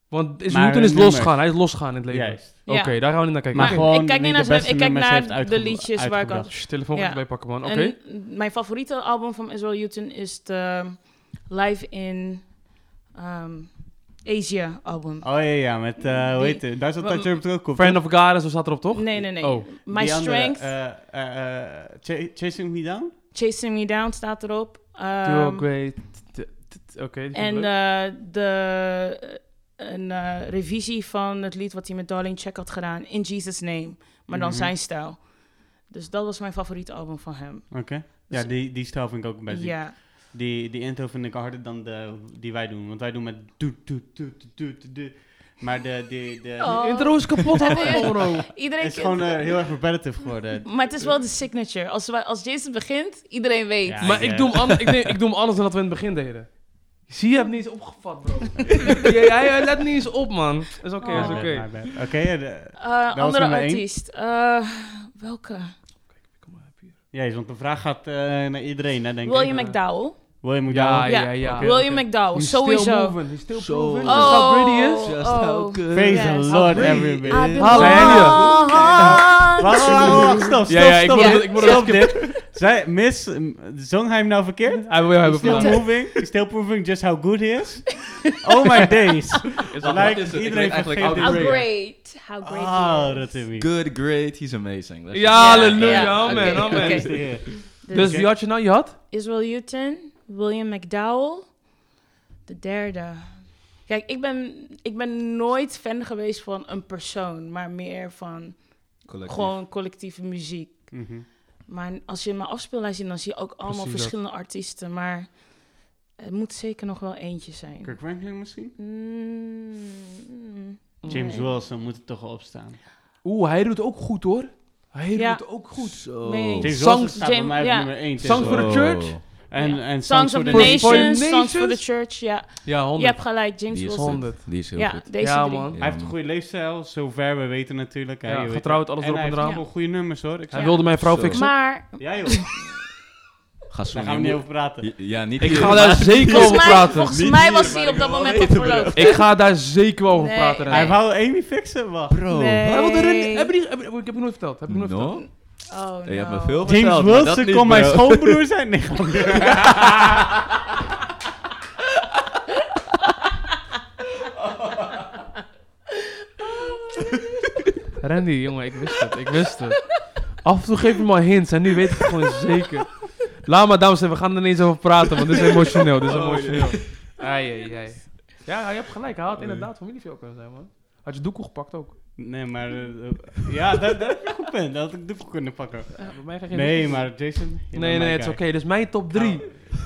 Want is Maar Newton hun is nummers. losgaan. Hij is losgaan in het leven. Juist. Ja. Oké, daar gaan we niet naar kijken. Maar Oké. gewoon ik kijk wie niet de naar zijn- beste ik kijk nummers naar heeft de uitgebro- liedjes waar ik al- uitgebracht. Sst, telefoon Ja. erbij pakken, man. Oké. En mijn favoriete album van Israel Newton is de Live in ehm Asia album. Oh ja, ja, met, eh hoe Die- heet het? Daar zat Wa- dat term terugkomt. Friend of God, zo staat erop, toch? Nee, nee, nee. Oh. My Die andere, Strength, eh, eh, eh, Ch- Chasing Me Down? Chasing Me Down staat erop. Too Ehm, great. T- t- Oké. die vind ik En leuk. eh, de, eh, een eh, revisie van het lied wat hij met Darling Check had gedaan, In Jesus' Name. Maar dan Mhm. zijn stijl. Dus dat was mijn favoriete album van hem. Ja, die, die stijl vind ik ook best ja, Die, die intro vind ik harder dan de, die wij doen. Want wij doen met doet, doet, doet, doet, doet, doet. Maar de, de, de, Oh. De intro is kapot, had Ja. bro. iedereen het is kent- gewoon eh, heel erg repetitive geworden. Maar het is wel de signature. Als, wij- als Jason begint, iedereen weet. Ja, Maar ik, ik eh, doe, hem anders, ik, neem- ik doe hem anders dan dat we in het begin deden. Zie je, hebt niet eens opgevat, bro. jij, jij- jij let niet eens op, man. Is oké, Oh. is oké. My bad, my bad. Oké, ja, de- Eh, was andere nummer één. artiest. Eh, welke? Kom maar, heb hier. Jezus, want de vraag gaat eh, naar iedereen, hè, denk ik. William eh, McDowell. William Ja, McDowell. ja, ja. ja. Ah, Oké, William oké. McDowell, He's Still sowieso. moving. He's still Zo. proving. Oh. That's how pretty he is. Just Oh. how good. Praise Yes. Ah, the Lord, How everybody. pretty I've it been is. Hallo. lost. Wacht, wacht, wacht, stop, stop, Ja, ja, ik stop. moet het- ik moet het Stop dit. Zij, miss, m, zong hij hem nou verkeerd? Hij wil jou hebben Still vandaag. moving, still proving just how good he is. Oh my days. Is dat- Lijkt wat is het? Ik iedereen weet eigenlijk vergeet How How great. How great. Ah, dat is wie. Good, great, he's amazing. Let's Ja, halleluja, Ja, amen, oké, amen. oké. Dus wie had je nou? Je had? Israel Houghton, William McDowell, de derde. Kijk, ik ben, ik ben nooit fan geweest van een persoon, maar meer van Collectief. gewoon collectieve muziek. Mhm. Maar als je mijn afspeellijst ziet, dan zie je ook allemaal Precies dat. verschillende artiesten. Maar het moet zeker nog wel eentje zijn. Kirk Franklin misschien? Mm, James nee. Wilson moet er toch wel op staan. Oeh, hij doet ook goed, hoor. Hij Ja. doet ook goed. Zo. Nee. James Songs- Wilson staat bij James- mij op ja. nummer 1. Songs for the Church. En, Ja. en Songs of the Nation. Nations, Nation. Songs for the Nations? Church, ja. Ja, Je 100. hebt gelijk, James Die is Wilson. honderd. Die is heel Ja, goed. deze Ja, drie. man. Ja, Hij heeft man. een goede leefstijl, zover we weten natuurlijk. hè, Ja, je weet getrouwd, het. alles En erop en Hij eraan. heeft gewoon goede nummers hoor. Ik Hij zeg- wilde mijn vrouw Zo. fixen. Maar Ja joh, Ga zo daar gaan we niet over praten. Ja, ja, niet Ik hier, ga maar- daar zeker volgens over mij, praten. volgens Niet mij hier, was maar hij op ik dat wil wel moment op weten, bro. verloofd. Ik ga daar zeker wel over Nee, praten. nee. Rijn. Hij wou Amy fixen, wacht. Bro. Nee. Hij wilde Nee. Ren- Heb je die- heb- heb ik nooit verteld? Heb ik nooit verteld? No? Oh, Je hebt me no. veel James verteld, maar dat Wilson niet, kon mijn bro. schoonbroer zijn. Nee, grapje. Randy, jongen, ik wist het. Ik wist het. Af en toe geef je me al hints en nu weet ik het gewoon zeker. Laat maar, dames en heren, we gaan er niet eens over praten, want dit is emotioneel. Dit is emotioneel. Ai, ai, ai. Ja, je hebt gelijk. Hij had inderdaad familieveel kunnen zijn, man. Had je doekoe gepakt ook. nee maar... eh, eh, ja, dat, dat heb je goed punt. Dat had ik dubbel kunnen pakken. Bij mij geen Nee, maar Jason... je bent Nee, nee, mijn het is guy. oké. Dus mijn top 3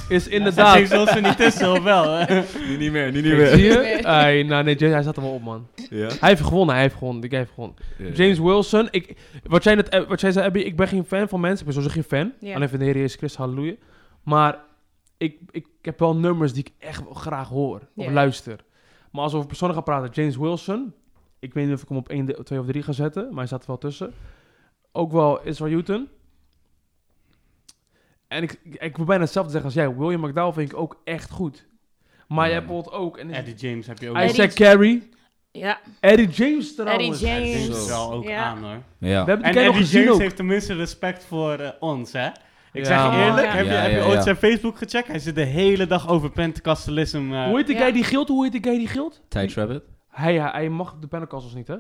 is Ja, inderdaad... James Wilson niet tussen, of wel? hè? Nu niet meer, nu niet Zie meer. je? Nee. Ai, nou nee, Jay, hij zat er wel op, man. Ja? Hij heeft gewonnen, hij heeft gewonnen. Die guy heeft gewonnen. Eh, James Wilson. Ik, wat, jij net, eh, wat jij zei, Abby, ik ben geen fan van mensen. Ik ben sowieso geen fan. Ja. Alleen van de Heer Jezus Christus, halleluja. Maar ik, ik heb wel nummers die ik echt wel graag hoor of Ja. luister. Maar als we over personen gaan praten, James Wilson. Ik weet niet of ik hem op 1, 2 of 3 ga zetten, maar hij staat er wel tussen. Ook wel Israel Newton. En ik, ik, ik wil bijna hetzelfde zeggen als jij. William McDowell vind ik ook echt goed. Maar je Ja. hebt bijvoorbeeld ook... En Eddie James heb je ook. Eddie- Isaac Carey. Ja, Eddie James trouwens. Eddie Eddie James James. is wel ook Ja. aan, hoor. We hebben die En guy nog Eddie gezien James ook. heeft tenminste respect voor eh, ons, hè? Ik Ja, zeg je man. eerlijk, Ja. heb je, Ja, heb je ja, ooit ja. zijn Facebook gecheckt? Hij zit de hele dag over Pentecostalisme. eh, Hoe heet die Ja. guy die gilt? Hoe heet die guy die gilt? Tijd Rabbit? Hij, hij, hij mag de Pentecostals niet, hè?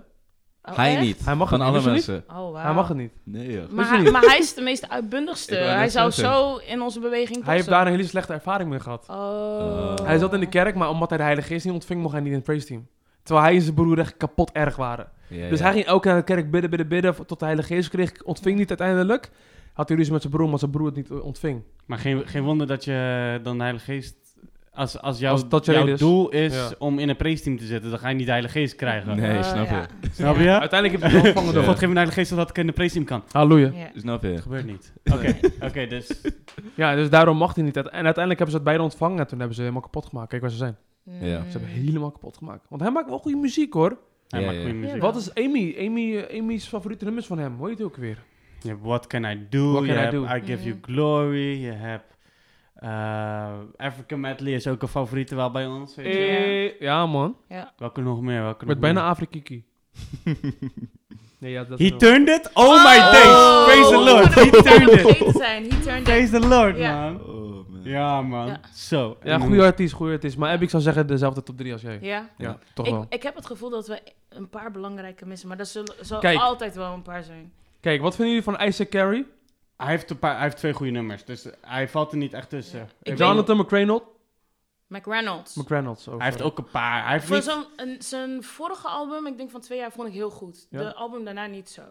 Oh, hij echt? niet. Hij mag Van het niet, alle wist je mensen. Oh, wow. Hij mag het niet. Nee, joh. Maar, Wist je hij, niet? maar hij is de meest uitbundigste. Ik wou net Hij zou zeggen. zo in onze beweging Hij heeft passen. daar een hele slechte ervaring mee gehad. Oh. Eh, Hij zat in de kerk, maar omdat hij de Heilige Geest niet ontving, mocht hij niet in het praise team. Terwijl hij en zijn broer echt kapot erg waren. Ja, Dus ja. hij ging elke keer naar de kerk bidden, bidden, bidden, tot de Heilige Geest kreeg, ontving niet uiteindelijk. Had hij ruzie met zijn broer, maar zijn broer het niet eh, ontving. Maar geen, geen wonder dat je eh, dan de Heilige Geest... Als, als, jouw, Als dat je jouw reden is. doel is Ja. om in een praise-team te zitten, dan ga je niet de Heilige Geest krijgen. Nee, Eh, snap ja. je. Snap je? Uiteindelijk heeft hij het wel ontvangen God door geeft God. me de Heilige Geest zodat ik in de praise-team kan. Halleluja. Ja. Snap je? Dat gebeurt niet. Oké, oké, dus... Ja, dus daarom mag hij niet. En uiteindelijk hebben ze het beide ontvangen en toen hebben ze helemaal kapot gemaakt. Kijk waar ze zijn. Ja. Mm. Ze hebben helemaal kapot gemaakt. Want hij maakt wel goede muziek, hoor. Hij Ja, maakt ja. goede muziek. Ja. Wat is Amy? Amy, eh, Amy's favoriete nummers van hem. Hoe heet hij ook weer? Je hebt What Can I Do, What je Can I hebt Do. I Give You Mhm. Glory, je hebt eh, African Medley is ook een favoriete wel bij ons. weet je. Eh, ja, man. Welke nog meer? Welke Ik werd nog bijna meer? Afrikiki. nee, ja, dat He wel. turned it? Oh, my days! Praise the Lord! He Ik zou turned het it! vergeten zijn. He turned it. Praise the Lord, Ja. man! Oh, man. Ja, man. Ja. Zo. Ja, en- goede artiest, goede artiest. Maar Abby, ik zou zeggen dezelfde top 3 als jij. Ja. Ja, Ja. toch Ik, wel. ik heb het gevoel dat we een paar belangrijke missen, maar dat zullen, zal Kijk. altijd wel een paar zijn. Kijk, wat vinden jullie van Isaac Carey? Hij heeft, een paar, hij heeft twee goede nummers, dus hij valt er niet echt tussen. Ja. Ik Ik weet- Jonathan McReynolds. McReynolds. McReynolds oh, ook. hij heeft ook een paar. Hij heeft Voor niet- zo'n, een- zijn vorige album, ik denk van twee jaar, vond ik heel goed. Ja. De album daarna niet zo.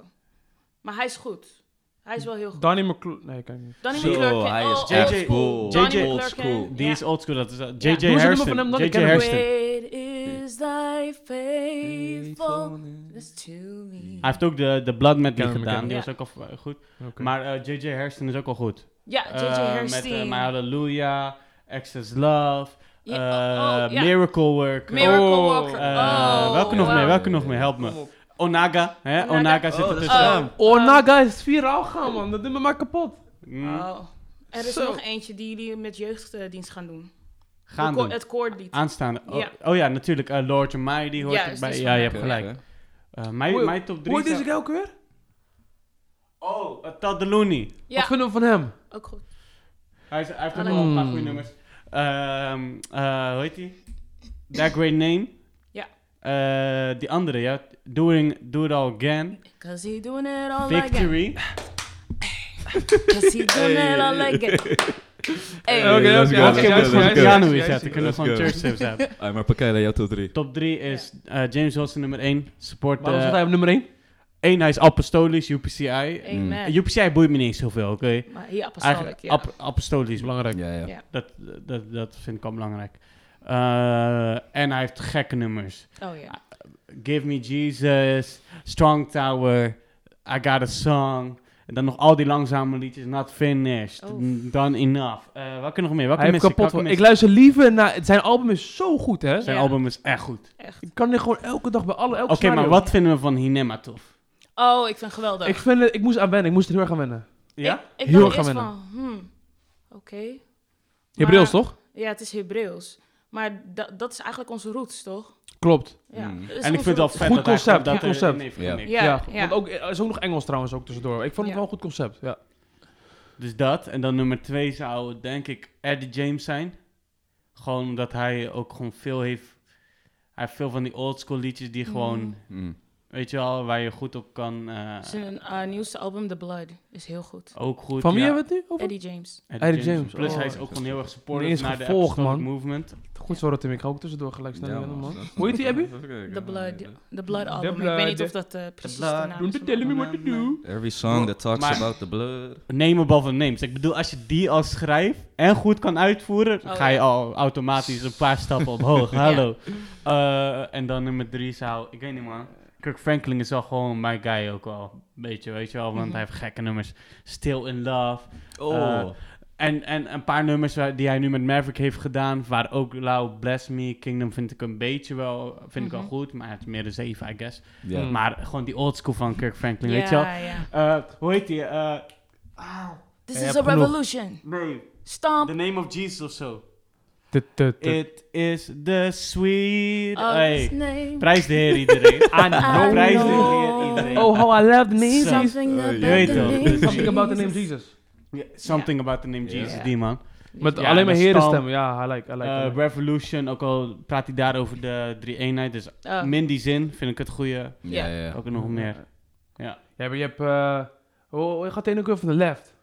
Maar hij is goed. Hij is wel heel goed. Danny McClure. Nee, kan ik niet. Danny Zo, McClurkin. hij is oh, JJ. old school. JJ. Donnie Old McClurkin, school. Die ja. is oldschool, dat is uh, Doe eens J.J. een nummer Harrison. van hem dan, ik J.J. ken hem. Harrison. Great is thy Oh, faithfulness to me. Hij heeft ook de, de Blood Medley Ken hem, gedaan, ken die hem. was ook al v- goed. Oké. Maar eh, J.J. Harrison is ook al goed. Ja, J.J. Eh, Met Harrison. eh, My Hallelujah, Excess Love, Ja, eh, oh, oh, ja. Miracle Worker. Miracle Oh. Walker. Eh, oh, welke nog wow. meer? Welke nog meer? Help Kom me. op. Onaga. Hè? Onaga. Onaga, zit Oh, er dat is tussen. hem. Oh, nou. Naga is viraal gaan, man. Dat doet me maar kapot. Mm, Oh. Er is Zo. nog eentje die jullie met jeugddienst gaan doen. gaan De ko- doen. Het koordlied. Aanstaande. Oh Ja. ja, oh, ja natuurlijk. eh, Lord and Mighty hoort Juist, erbij. die is Ja, van je hem. hebt gelijk. Oké. Eh, mijn, Hoe- mijn top 3 Hoe heet deze guy ook weer? Oh, eh, Todd Delaney. Wat Ja, vinden we van hem? ook goed. Hij, is, hij heeft ook Alleen- wel een paar Mm. goede nummers. Ehm, eh, hoe heet die? That Great Name. Ja. Eh, die andere, ja. Doing, do It All Again. Cause he doing it all again. Victory. Cause he doing it all Hey. again. Hey. Oké, oké, Ja, let's ik go, heb let's gewoon go. een piano in Juist, zetten. Kunnen we juist. gewoon church Let's steps hebben. Hey, maar Pakela, jouw top 3. Top 3 is eh, James Wilson nummer 1. Support Waarom staat hij eh op nummer 1? 1. Hij is apostolisch, UPCI. Amen. UPCI boeit me niet eens zoveel, oké? Maar hier apostolic, Eigenlijk ja. ap- apostolisch, belangrijk. Ja, ja. Ja. Dat, dat, dat vind ik al belangrijk. Eh, en hij heeft gekke nummers. oh ja. Give Me Jesus, Strong Tower, I Got A Song. En dan nog al die langzame liedjes, Not Finished, Oh. n- Done Enough. Eh welke nog meer? Welke Hij heeft mis ik? kapot. Welke van- mis Ik luister liever naar... Zijn album is zo goed, hè? ik? Zijn Ja. album is echt goed. Ik kan dit gewoon elke dag bij alle... Oké, maar wat vinden we van Hinema tof? Oh, ik vind het geweldig. Ik, vind het, ik moest aan wennen. Ik moest er heel erg aan wennen. Ja? Ik, Heel heel erg eerst aan van, hmm, oké. Maar- Hebreeuws, toch? Ja, het is Hebreeuws. Maar da- dat is eigenlijk onze roots, toch? Klopt. Ja, Mm. dat is En ik onze vind het wel roots. vet Goed dat hij- concept, dat goed hij concept. erin heeft Ja. gemixt. Ja, ja. Want ook, er is ook nog Engels trouwens ook tussendoor. Ik vond het Ja. wel een goed concept, ja. Dus dat. En dan nummer twee zou denk ik Eddie James zijn. Gewoon omdat hij ook gewoon veel heeft... Hij heeft veel van die oldschool liedjes die gewoon... Mhm. Mm. Weet je wel, waar je goed op kan... eh, Zijn eh, nieuwste album, The Blood, is heel goed. ook goed. Van wie ja. hebben we het nu over? Eddie James. Eddie, Eddie James, James. Plus oh. hij is ook gewoon heel erg Die supportive is naar de gevolgd, Apostolic man. Movement. Goed zo, Tim. Ik ga ook tussendoor gelijk snel Ja, wennen, man. man. Hoe heet die, Abby? The Blood, the blood album. Blood. Ik weet niet of dat eh, precies de Blood. naam Don't is. you tell me what to do. Every song that talks Maar- about the blood. Name above the names. Ik bedoel, als je die al schrijft en goed kan uitvoeren, Oh, ga je ja. al automatisch een paar stappen omhoog. Hallo. Eh, en dan nummer drie zou, ik weet niet man. Kirk Franklin is wel gewoon my guy ook wel. Een beetje, weet je wel, want Mhm. hij heeft gekke nummers. Still in Love. Oh. Eh, En, en een paar nummers waar- die hij nu met Maverick heeft gedaan, waar ook Lau Bless Me, Kingdom vind ik een beetje wel, vind ik wel Mhm. goed, maar het is meer een 7, I guess. ja. Mm. Maar gewoon die oldschool van Kirk Franklin, weet je wel. Ja, ja. Eh, hoe heet die? Eh, ah, This Je is a hebt genoeg. revolution. nee, The Stomp. Name of Jesus of zo. Tut, tut, tut. It is the sweet... of Hey, his name. Prijs de heer iedereen. Ah, know. prijs de heer iedereen. Oh, how I loved me. Zo. Jesus. Something Eh, je about weet the wel. name Something Something about the name Jesus. Jesus. Ja, Something about the name Jesus, Ja. die man. Met Ja, alleen maar met herenstemmen. Ja, I like, I like. I Eh, like. Revolution, ook al praat hij daar over de drie eenheid. Dus Oh, min die zin vind ik het goede. Ja, ja, ja. Ook nog meer. Ja, maar je hebt... eh, hoe hoe gaat de ene keer van de left?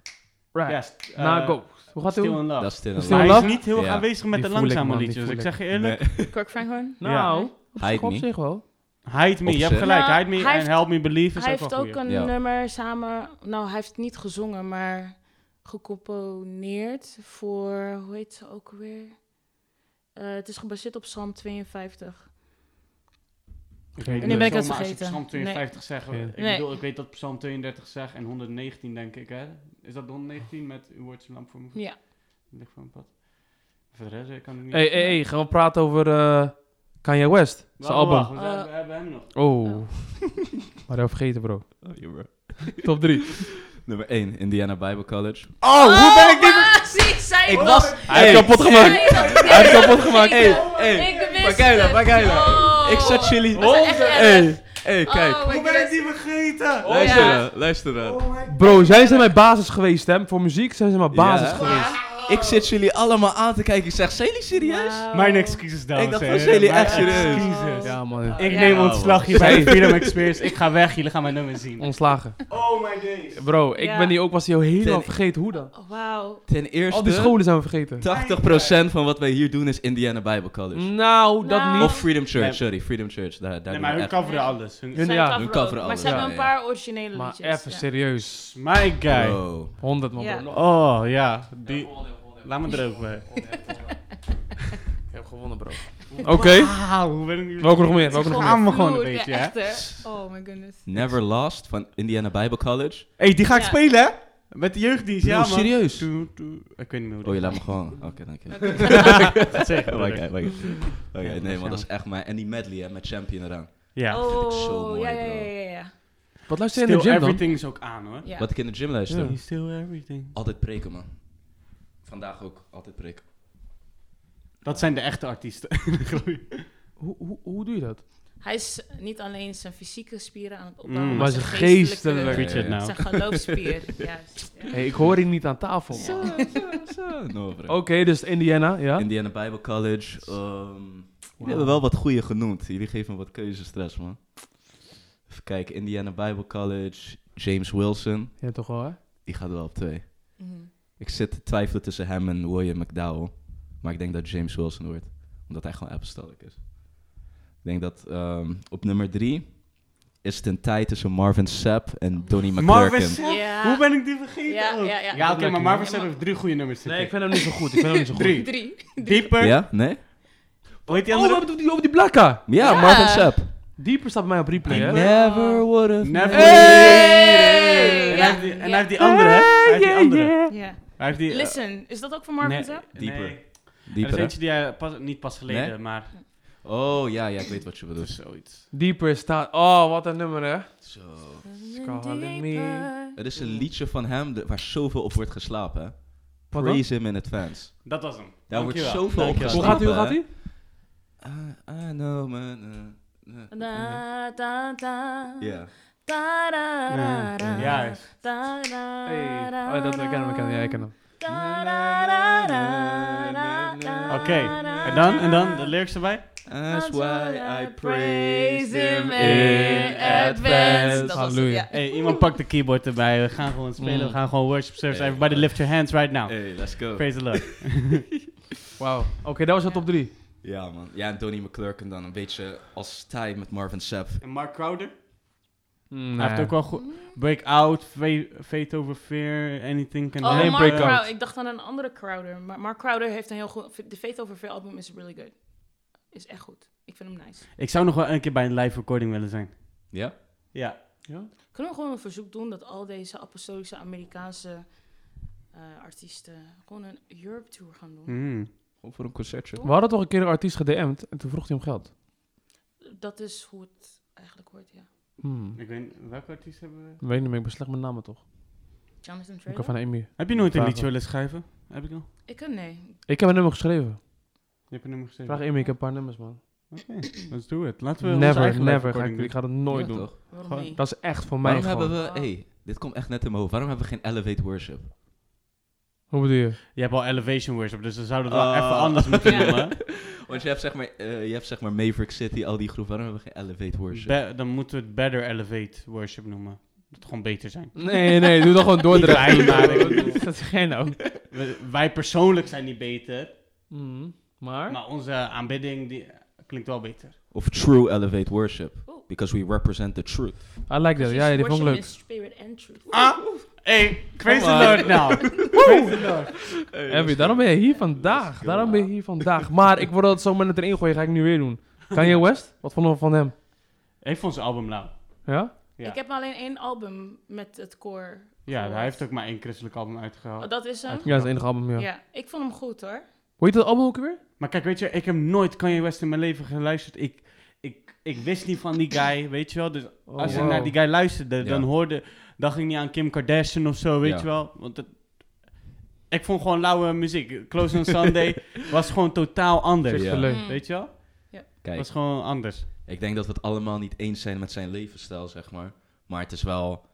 Right. Yes, eh, Na, go. Hoe gaat Still hij? in Love. Dat is Still in Still Maar in hij is Love? niet heel erg Ja. aanwezig met Die de voel ik, langzame man, die liedjes. voel Ik ik. zeg je eerlijk. Kirk Franklin. Nou, op Hide zich- op me. zich wel. Hide Me, Op je hebt zich. gelijk. Nou, Hide Me hij en heeft- Help Me Believe is Hij ook wel heeft ook goed. een Ja. nummer samen. Nou, hij heeft niet gezongen, maar gecomponeerd voor. Hoe heet ze ook weer? Eh, het is gebaseerd op Psalm 52. nu ben ik het vergeten. Als ik Psalm 52 zeg, Nee. ik Nee. bedoel, ik weet dat Psalm 32 zegt en 119 denk ik, hè? Is dat de 119 met uw woord is een lamp voor me? Ja. Licht voor mijn pad. Voor de rest ik kan het niet. Hey, hey, hey, gaan we praten over eh, Kanye West? Zijn album. we, Eh. hebben, we hebben hem nog. Oh. Oh. Maar dat vergeten, bro. Oh, ja, bro. Top 3. Nummer 1, Indiana Bible College. Oh, maar ah, zie, zij Ik was- was... Hij heeft kapot gemaakt. Zij had- Hij heeft kapot gemaakt. Hey, Ik- hey. Ik wist Pakijla, het. pakijla. Oh. Ik zat jullie... Dat is echt erg. Hey, hey, Oh, kijk. ik wist- die vergeten? Oh, Luister ja. dan, luister dan. Bro, zij zijn mijn basis geweest, hè. Voor muziek zijn ze mijn basis Ja. geweest. Ik zit jullie allemaal aan te kijken. Ik zeg, zijn jullie serieus? Mijn excuses, dames Ik dacht, en heren. was jullie Mijn echt serieus? excuses. Ja, man. Ik Ja. neem Ja, ontslag man. hier bij Zij- de Freedom Experience. Ik ga weg, jullie gaan mijn nummer zien. Ontslagen. Oh my days. Bro, ik Ja. ben die ook was die al helemaal Ten- vergeten. Hoe dan? Wauw. Ten Al die eerste, scholen zijn we vergeten. 80% van wat wij hier doen is Indiana Bible College. Nou, dat Nou. niet. Of Freedom Church, Nee. sorry. Freedom Church. Daar, daar Nee, doen maar we hun echt- coveren alles. Hun- Hun- Zij ja, coveren hun coveren ook, Maar alles. ze hebben Ja, een ja. paar originele Maar liedjes. even ja. serieus. My guy. Wow. 100 man. Ja. bro. Oh ja, die... Laat me er ook bij. Ik heb gewonnen, bro. Oké. Wauw, Ah, hoe ben ik nu... Welke nog meer? Welke nog Gewoon meer? aan me gewoon een Vloer, ja, beetje, hè? echt, hè? Oh my goodness. Never Lost van Indiana Bible College. hey, die ga ik Ja. spelen, hè? Met de jeugddienst, ja Bro, man. serieus? Doe, doe. Ik weet niet meer Oh, hoe je dat laat me gewoon. Oké, dank je. gaat zeggen. Oh, brother. Oké, oké. Ja, Oké, dat nee, is man, dat jammer. is echt mijn... En die medley, hè, met Champion eraan. Ja. oh, vind ik zo mooi, ja, ja, bro. ja, ja, ja. Wat luister je in Still de gym dan? Everything is ook aan, hoor. ja. Wat ik in de gym luister. Ja. Still Everything. Altijd preken, man. Vandaag ook, altijd preken. Dat zijn de echte artiesten. Hoe, hoe, hoe doe je dat? Hij is niet alleen zijn fysieke spieren aan het opbouwen, Mm. maar Maar zijn zijn geestelijke... geestelijke- Preach it now. Zijn geloofsspier, juist. ja. Hey, ik hoor hier niet aan tafel. man. Zo, Oh, zo, zo. No, bro. Oké, dus Indiana, ja? Indiana Bible College. ehm, Jullie hebben wel wat goede genoemd. Jullie geven me wat keuzestress, man. Even kijken, Indiana Bible College. James Wilson. Ja, toch wel, hè? Die gaat wel op twee. Mhm. Ik zit te twijfelen tussen hem en William McDowell. Maar ik denk dat James Wilson wordt. Omdat hij gewoon apostolic is. Ik denk dat ehm, op nummer drie is het een tijd tussen Marvin Sapp en Donnie Marvin McClurkin. Sapp? Ja. Hoe ben ik die vergeten? Ja, ook? ja, ja. oké, maar Marvin Ja, Sapp heeft drie goede nummers zitten. Nee, ik vind hem niet zo goed. Ik vind hem niet zo goed. Drie. Drie. Dieper. Ja? Nee? Hoe heet die Oh, we andere? hebben het over die, over die blakka. Ja, Ja. Marvin Sapp. Dieper staat bij mij op replay, I hè? never would have... Never. Hey! En, Ja, hij heeft die, en ja. hij heeft die andere, hè? Hij heeft die andere. Ja. Hij heeft die... eh, Listen, is dat ook van Marvin nee, Zapp? Dieper. nee. Er is Dieper, hè? eentje die hij pas, niet pas geleden, Nee? maar Oh, ja, ja, ik weet wat je dat bedoelt. is zoiets. Dieper staat... Oh, wat een nummer, hè? Zo. Calling me. Er is een liedje van hem de- waar zoveel op wordt geslapen, hè? Wat dan? Praise him in advance. Dat was hem. Daar wordt Dankjewel. zoveel op Dankjewel. Hoe gaat geslapen. hij? Hoe gaat hij? I know, man. eh, eh, eh. Da, da, da. Ja. Da, da, da, da. Ja, is- Da, da, Hey. da, Oh, dat ik ken hem, ik ken hem. Ja, ik ken hem. da, da, da, da, da, da, Oké, da, en dan, da, en dan, da. de lyrics erbij. That's why I praise praise him him in in advance. advance. Dat was het, Halleluja. ja. Hey, iemand pakt de keyboard erbij, we gaan gewoon spelen, we Mm. gaan gewoon worship service. Hey. Everybody lift your hands right now. Hey, let's go. Praise the Lord. Wauw. Oké, dat was de top drie. Ja, man. Ja, en Donnie McClurkin dan een beetje als tijd met Marvin Sapp. En Mark Crowder? Nee. Hij heeft ook wel goed... Breakout, Fa- Fate Over Fear, Anything Can Oh, Geen Happen. Mark breakout. Crowder. Ik dacht aan een andere Crowder. Maar Mark Crowder heeft een heel goed... De Faith Over Veel album is really good. Is echt goed. Ik vind hem nice. Ik zou nog wel een keer bij een live recording willen zijn. Ja? Ja. Kunnen we gewoon een verzoek doen dat al deze apostolische Amerikaanse eh, artiesten gewoon een Europe Tour gaan doen? Mm. Gewoon voor een concertje. We hadden toch een keer een artiest gedm'd en toen vroeg hij om geld. Dat is hoe het eigenlijk wordt, ja. Hmm. Ik weet niet, welke artiest hebben we? Weet niet meer, ik ben slecht met namen toch? Jonathan Ik Traylor? kan van Amy. Heb je nooit een Vragen. liedje willen schrijven? Heb ik al? Ik kan, nee. Ik heb een nummer geschreven. Je hebt een nummer geschreven. Vraag Amy, ik heb een paar nummers, man. Let's do it. Laten we onze Never, eigen live never. Ga recording ik, ik ga dat nooit doen. Toch? Waarom Gewoon- niet? Dat is echt voor mij Waarom gewoon. hebben we... Hey, dit komt echt net in mijn hoofd. Waarom hebben we geen Elevate Worship? Hoe bedoel je? doen. Je hebt al Elevation Worship, dus we zouden het wel Ah. even anders moeten Ja. noemen. Want je hebt zeg maar, eh, je hebt zeg maar Maverick City, al die groepen. Waarom hebben we geen Elevate Worship? Be- dan moeten we het Better Elevate Worship noemen. Dat het gewoon beter zijn. Nee, nee, doe dan gewoon door de Niet wij, maar ik bedoel. Dat is geen nou. We- wij persoonlijk zijn niet beter, Mhm. Maar? maar onze aanbidding die, eh, klinkt wel beter. Of True Elevate Worship. Oeh. Because we represent the truth. I like that. Dus Ah, Ja, die vond ik worship leuk. is spirit and truth. Ah, hey, praise the Come on. Lord now. praise the Lord. Abby, daarom ben je hier vandaag. Daarom ben je hier vandaag. Maar ik word dat zo met erin gooien, ga ik nu weer doen. Kanye West? Wat vonden we van hem? Hij vond zijn album nou. Ja? Ja. Ik heb alleen één album met het koor. Ja, gehoord. hij heeft ook maar één christelijk album uitgehaald. Oh, dat is hem? Ja, zijn enige album, ja. Ja. ik vond hem goed hoor. Hoe heet dat album ook weer? Maar kijk, weet je, ik heb nooit Kanye West in mijn leven geluisterd. Ik, ik, ik wist niet van die guy, weet je wel. Dus als ik Oh, wow. naar die guy luisterde, dan Oh, Ja. hoorde... Dan ging ik niet aan Kim Kardashian of zo, weet Ja. je wel. Want het, ik vond gewoon lauwe muziek. Close on Sunday was gewoon totaal anders. Ja. Leuk. Mm. Weet je wel? Kijk, Was gewoon anders. ik denk dat we het allemaal niet eens zijn met zijn levensstijl, zeg maar. Maar het is wel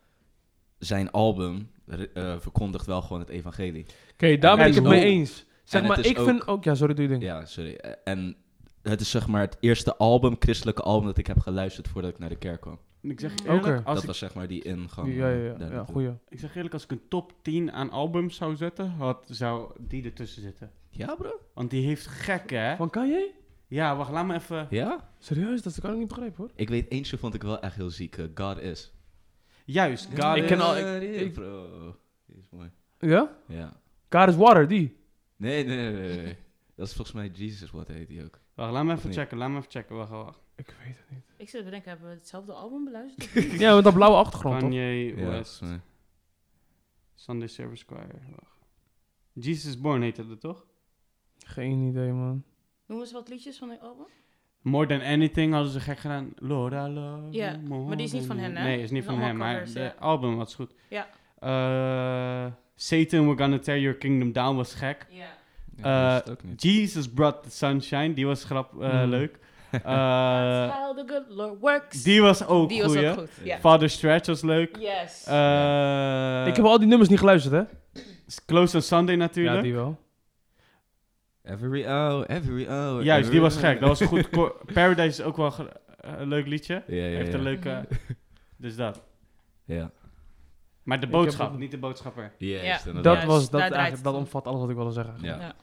zijn album re- eh, verkondigt wel gewoon het evangelie. Oké, daar ben En ik het het mee is ook- eens. Zeg en maar, het is ik vind ook... Ja, sorry, doe je ding. Ja, sorry. Eh, En het is zeg maar het eerste album, christelijke album, dat ik heb geluisterd voordat ik naar de kerk kwam. Ik zeg je Oké. eerlijk, als dat ik, was zeg maar die ingang. Ja, ja, eh, ja. daar ja naartoe. goeie. ik zeg eerlijk, als ik een top 10 aan albums zou zetten, had, zou die ertussen zitten. Ja, bro? Want die heeft gekke, hè? Van Kanye? Ja, wacht, laat me even... Ja? Serieus, dat kan ik niet begrijpen, hoor. Ik weet, eentje vond ik wel echt heel ziek. eh, God is. Juist, God Ik is- ken al- ik- God is, ik- bro. Die is mooi. Ja? Ja. God is water, die. Nee, nee, nee, nee, nee. Dat is volgens mij Jesus, wat heet die ook. Wacht, laat me even Nee. checken, laat me even checken. Wacht, wacht. Ik weet het niet. Ik zit te bedenken, hebben we hetzelfde album beluisterd? Ja, met dat blauwe achtergrond, toch? Kanye Ja, West, volgens mij. Sunday Service Choir. Wacht. Jesus is Born heette dat, toch? Geen idee, man. Noem eens wat liedjes van het album. More Than Anything hadden ze gek gedaan. Laura Love. Ja, you more maar die is niet than van you- hen, hè? Nee, is niet Dat van zijn hem, allemaal maar covers, de ja. album was goed. Ja. Eh, Satan, We're Gonna Tear Your Kingdom Down was gek. Ja. Ja, Eh, dat is het ook niet. Jesus Brought the Sunshine, die was grap, eh, Mm. leuk. Eh, How the good Lord works. die was ook Die goeie. was ook goed. Ja. Father Stretch was leuk. Yes. Eh, ik heb al die nummers niet geluisterd, hè? Close on Sunday Ja, natuurlijk. die wel. Every hour, every hour. Juist, every die was hour. gek. Dat was goed. ko- Paradise is ook wel ge- een leuk liedje. Ja, ja, Heeft ja. een leuke... Dus dat. Ja, Maar de Ik boodschap, heb ook- niet de boodschapper. ja, Ja. juist, Dat, inderdaad. Juist, was, dat, daar draait eigenlijk, het dat om. omvat alles wat ik wilde zeggen. Ja. Ja.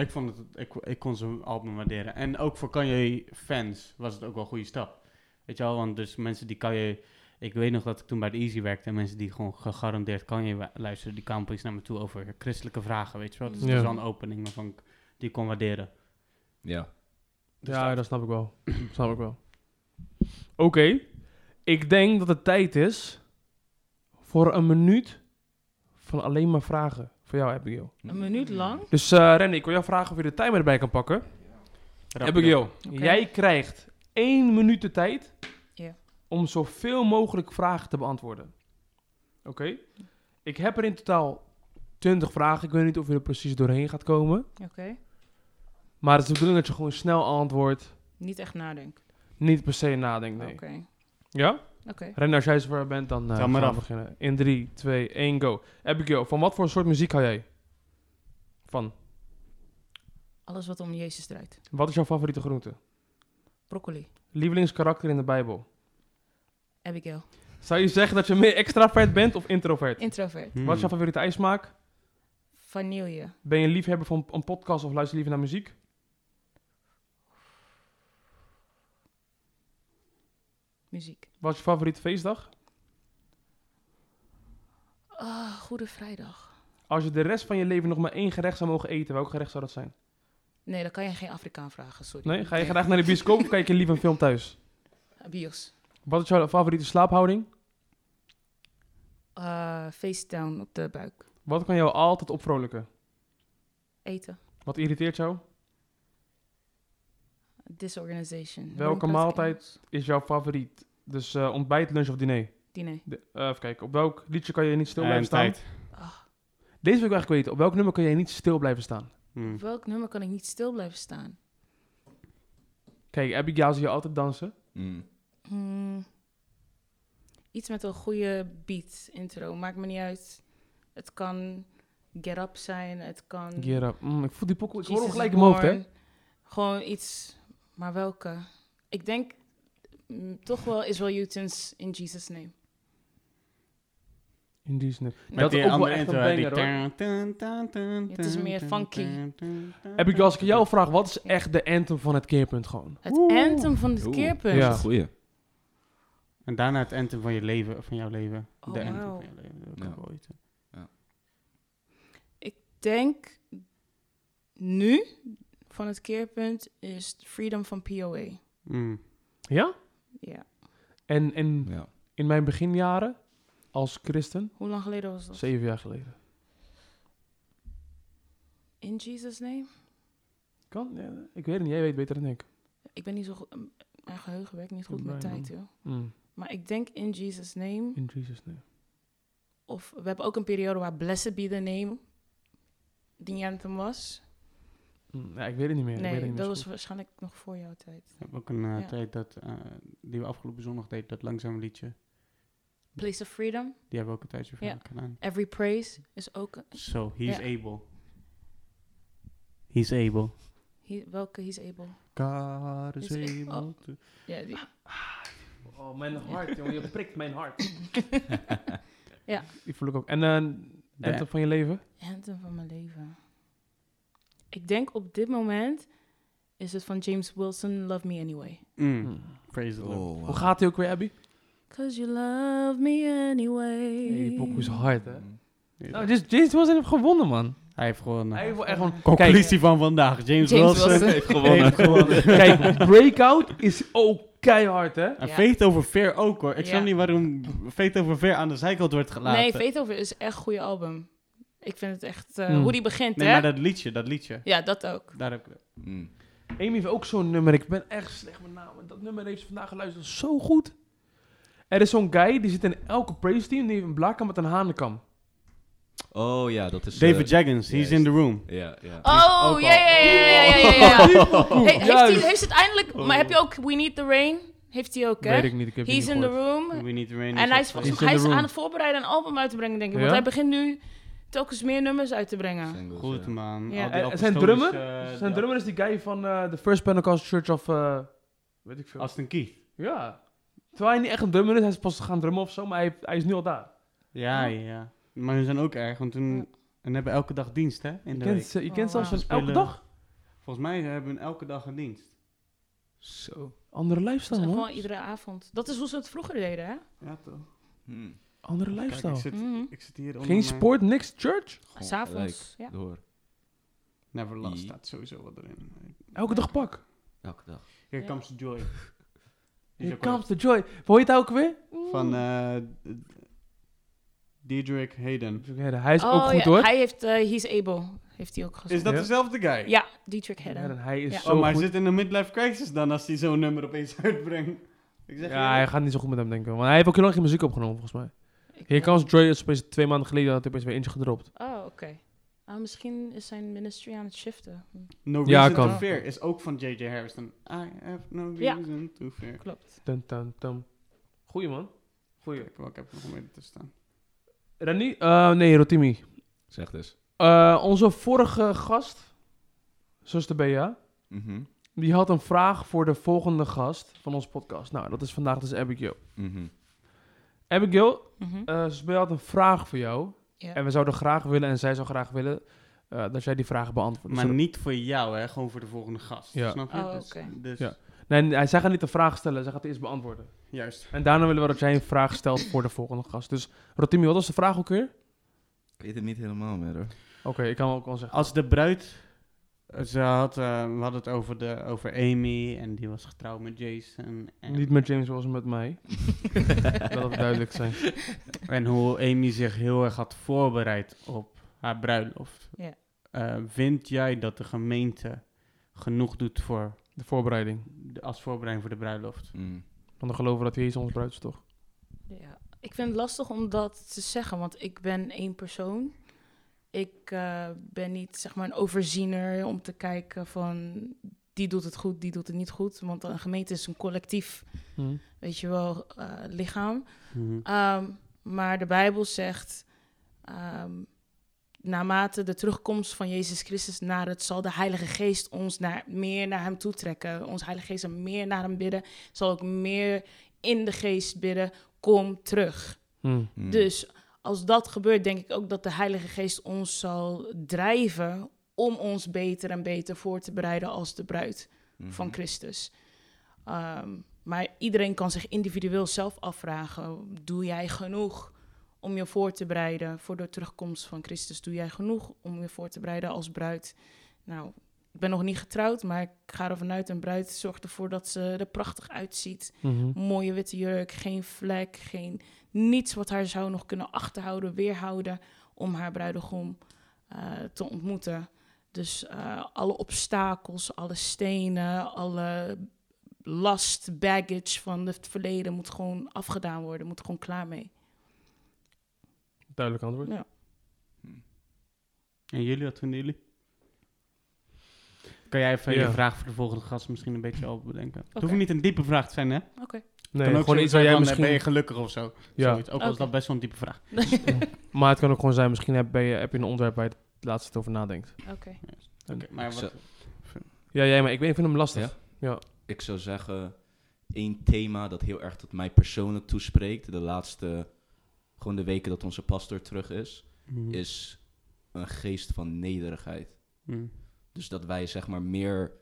Ik vond het, ik, ik kon zijn album waarderen. En ook voor Kanye fans was het ook wel een goede stap. Weet je wel, want dus mensen die Kanye... Ik weet nog dat ik toen bij de Easy werkte en mensen die gewoon gegarandeerd Kanye wa- luisterden, die kwamen eens naar me toe over christelijke vragen, weet je wel. Dus dat Ja. was wel een opening waarvan ik die kon waarderen. Ja. Ja, dat snap ik wel. snap ik wel. Oké. Ik denk dat het tijd is voor een minuut van alleen maar vragen voor jou, Abigail. Een minuut lang. Dus eh René, ik wil jou vragen of je de timer erbij kan pakken. Abigail, Oké. jij krijgt één minuut de tijd Ja. om zoveel mogelijk vragen te beantwoorden. Oké? Ik heb er in totaal 20 vragen. Ik weet niet of je er precies doorheen gaat komen. Oké. Maar het is de bedoeling dat je gewoon snel antwoordt. Niet echt nadenken. Niet per se nadenkt, nee. Oké. Ja? Oké. Ren, als jij zover bent, dan eh Tel maar gaan af. we beginnen. In 3, 2, 1, go. Abigail, van wat voor soort muziek hou jij? Van. Alles wat om Jezus draait. Wat is jouw favoriete groente? Broccoli. Lievelingskarakter in de Bijbel? Abigail. Zou je zeggen dat je meer extravert bent of introvert? Introvert. Hmm. Wat is jouw favoriete ijsmaak? Vanille. Ben je een liefhebber van een podcast of luister je liever naar muziek? Muziek. Wat is je favoriete feestdag? Ah, Goede Vrijdag. Als je de rest van je leven nog maar één gerecht zou mogen eten, welk gerecht zou dat zijn? Nee, dan kan je geen Afrikaan vragen. Sorry. Nee? Ga je Oké. graag naar de bioscoop of kijk je liever een film thuis? Bios. Wat is jouw favoriete slaaphouding? Eh, face down op de buik. Wat kan jou altijd opvrolijken? Eten. Wat irriteert jou? Disorganization. Welke Hoe noem ik dat in maaltijd? Engels? is jouw favoriet? Dus eh, ontbijt, lunch of diner? Diner. De- eh, even kijken, op welk liedje kan je niet stil En blijven staan? Eh, tijd. Deze wil ik eigenlijk weten. Op welk nummer kan je niet stil blijven staan? Hmm. Op welk nummer kan ik niet stil blijven staan? Kijk, Abigail zie je altijd dansen. Mm. Hmm. Iets met een goede beat, intro. Maakt me niet uit. Het kan Get Up zijn. Het kan... Gira, mm, ik voel die pokoe. Ik hoor hem Jesus gelijk in is mijn hoofd, hè? Born. Gewoon iets. Maar welke? Ik denk mm, toch wel Israel Newton's In Jesus' Name. In die zin. Met Dat is ook wel die andere echt een intro, hè, die banger, tan, tan, tan, tan, Het is tan, meer tan, funky. tan, tan, tan, Abigail, als ik jou vraag, wat is echt de anthem van het keerpunt gewoon? Het anthem van het Oeh. keerpunt. Ja. Dat is een goeie. En daarna het anthem van je leven, van jouw leven. Oh, de anthem wauw. van je leven. Dat Ja. kan wel ooit. Denk nu van het keerpunt is Freedom van POA. Mm. Ja? Ja. En, en Ja. in mijn beginjaren als christen, Hoe lang geleden was dat? zeven jaar geleden. In Jesus' Name? Kan? Ja, ik weet het niet. Jij weet beter dan ik. Ik ben niet zo goed. Mijn geheugen werkt niet goed met Bijna. tijd, joh. Mm, Maar ik denk In Jesus' Name. in Jesus name. Of we hebben ook een periode waar Blessed Be The Name die anthem was. Mm, ja, ik weet het niet meer. ik weet het Nee, niet meer dat zo was goed. waarschijnlijk nog voor jouw tijd. Ik heb ook een eh, Ja. tijd dat, eh, die we afgelopen zondag deden, dat langzame liedje. Place of Freedom. Die hebben we ook een tijdje voor Ja. elkaar gedaan. Every Praise is ook... een- So, he's Ja. able. He's able. he- welke He's Able? God is Is oh, a- able. to- Ja, die- Oh, mijn hart, jongen. Je prikt mijn hart. Ja. Die voel ik ook. En eh De- Anthem van je leven? Anthem van mijn leven. Ik denk op dit moment is het van James Wilson, Love Me Anyway. Mm, Hmm. Praise Oh, the Lord. Hoe gaat hij ook weer, Abby? Cause you love me anyway. Die pokoe is hard, Mm. hè? Nee, Nou, James, James Wilson heeft gewonnen, man. Hij heeft gewoon... Hij eh, heeft wel echt gewoon... Conclusie van vandaag. James, Wilson. heeft gewonnen. Heeft gewonnen. Kijk, Breakout is ook keihard, hè? En Ja. Fate over Fear ook hoor. Ik Ja. snap niet waarom Fate over Fear aan de zijkant wordt gelaten. Nee, Beethoven is echt een goede album. Ik vind het echt... eh, Hmm. Hoe die begint, Nee, hè? maar dat liedje, dat liedje. Ja, dat ook. Daar heb ik het. Mm. Amy heeft ook zo'n nummer. Ik ben echt slecht met namen. Dat nummer heeft ze vandaag geluisterd. Dat is zo goed. Er is zo'n guy, die zit in elke praise team. Die heeft een blaakkam met een hanenkam. Oh ja, dat is... eh, David Jaggins, he's juist. in the room. Ja, ja. Oh, al. ja, ja, ja, ja, ja, ja, ja. Hey, heeft, hij, Juist. Oh. heeft het eindelijk... Maar heb je ook We Need the Rain? Heeft hij ook, hè? Weet ik niet, ik heb die He's niet in the gehoord. room. We need rain. En hij is, He's volgens in mij hij the is room. aan het voorbereiden een album uit te brengen, denk ik. Ja? Want hij begint nu telkens meer nummers uit te brengen. Singles, Goed ja. man. Ja. Al Eh, die zijn apostolische, drummer? eh, Zijn die- drummer is die guy van eh de First Pentecostal Church of... eh, weet ik veel. Aston Keith. Ja. Terwijl hij niet echt een drummer is. Hij is pas gaan drummen of zo. Maar hij, hij is nu al daar. Ja, ja, ja. Maar hun zijn ook erg, want Ja. hun, hun hebben elke dag dienst hè, in Je de kent, week. ze, je Oh, kent zelfs wauw. van elke Spelen. dag. Volgens mij hebben hun elke dag een dienst. Zo. Andere Dat lifestyle, is man. gewoon iedere avond. Dat is hoe ze het vroeger deden, hè? Ja toch? Hmm. Andere ik, lifestyle. zit, Mhm. ik zit hier onder Geen mijn- sport, niks, church. Gewoon S'avonds. Ja. gelijk Door. Never Last I- staat sowieso wat erin. Elke dag pak. Elke dag. Here Ja. Comes the Joy. Is Here ook wel- comes the joy. Hoe heet hij ook weer? Van eh Diedrich Hayden. Hij is ook Oh, goed, ja, hoor. Hij heeft eh, He's Able, heeft hij ook gezongen. Is dat Ja. dezelfde guy? Ja, Dietrich Hedden. Ja, hij is Ja. zo Oh, maar hij goed. zit in een midlife crisis dan als hij zo'n nummer opeens uitbrengt. Ik zeg Ja, hij gaat niet zo goed met hem, denken. Want hij heeft ook heel lang geen muziek opgenomen, volgens mij. Ik- eh, Here Comes Joy is opeens twee maanden geleden had hij opeens weer eentje gedropt. Oh, oké. Ah, misschien is zijn ministry aan het shiften. Hm, No Ja, Reason to kan. Fear is ook van J.J. Harrison. I have no Ja. reason to fear. Klopt. Dun, dun, dun. Goeie, man. Goeie. Kijk, ik heb nog meer te staan. Rani? Eh, nee, Rotimi. Zeg dus. Eh, onze vorige gast, zuster Bea, Mhm. die had een vraag voor de volgende gast van onze podcast. Nou, dat is vandaag dus Abigail. Mhm. Abigail, Mhm. eh Sibel had een vraag voor jou. Ja. En we zouden graag willen, en zij zou graag willen, eh, dat jij die vraag beantwoordt. Maar Zodat- niet voor jou, hè. Gewoon voor de volgende gast. Ja. Snap je? Oh, Dus- oké. Dus, Ja. Nee, nee, zij gaat niet de vraag stellen, zij gaat eerst beantwoorden. juist. En daarna willen we dat jij een vraag stelt voor de volgende gast. Dus Rotimi, wat was de vraag ook weer? Ik weet het niet helemaal meer hoor. Oké, ik kan ook wel zeggen. Als de bruid... Ze had, eh, we hadden het over, de, over Amy en die was getrouwd met Jason. En, Niet met James zoals met mij. dat we duidelijk zijn. En hoe Amy zich heel erg had voorbereid op haar bruiloft. Ja. Eh, vind jij dat de gemeente genoeg doet voor De voorbereiding. de, als voorbereiding voor de bruiloft? Mm. Want we geloven dat Jezus ons bruid is, toch? Ja. Ik vind het lastig om dat te zeggen, want ik ben één persoon. Ik eh, ben niet zeg maar een overziener om te kijken van die doet het goed, die doet het niet goed. Want een gemeente is een collectief, Hm. weet je wel, eh, lichaam. Mhm. Ehm, maar de Bijbel zegt, ehm, naarmate de terugkomst van Jezus Christus naar het, zal de Heilige Geest ons naar, meer naar Hem toe trekken. Ons Heilige Geest zal meer naar Hem bidden, zal ook meer in de Geest bidden, kom terug. Hm. Mm. Dus als dat gebeurt, denk ik ook dat de Heilige Geest ons zal drijven om ons beter en beter voor te bereiden als de bruid Mhm. van Christus. Ehm, maar iedereen kan zich individueel zelf afvragen: doe jij genoeg om je voor te bereiden voor de terugkomst van Christus? Doe jij genoeg om je voor te bereiden als bruid? Nou, ik ben nog niet getrouwd, maar ik ga ervan uit: een bruid zorgt ervoor dat ze er prachtig uitziet. Mhm. Mooie witte jurk, geen vlek, geen niets wat haar zou nog kunnen achterhouden, weerhouden om haar bruidegom eh, te ontmoeten. Dus eh, alle obstakels, alle stenen, alle last, baggage van het verleden moet gewoon afgedaan worden, moet gewoon klaar mee. Duidelijk antwoord. Ja. En jullie, wat vinden jullie? Kan jij even Ja. je vraag voor de volgende gast misschien een beetje open bedenken? Het Oké. hoeft niet een diepe vraag te zijn, hè? Oké. Nee, kan ook gewoon iets waar jij zijn van, eh, misschien... Ben je gelukkig of zo? ja. Zoiets. Ook al is Oké. dat best wel een diepe vraag. Maar het kan ook gewoon zijn, misschien heb, ben je, heb je een onderwerp waar je het laatst over nadenkt. Oké, maar Zo. wat, Ja, jij, maar ik, weet, ik vind hem lastig. Ja? Ik zou zeggen, één thema dat heel erg tot mij persoonlijk toespreekt, de laatste, gewoon de weken dat onze pastor terug is, Mm. is een geest van nederigheid. Mm. Dus dat wij zeg maar meer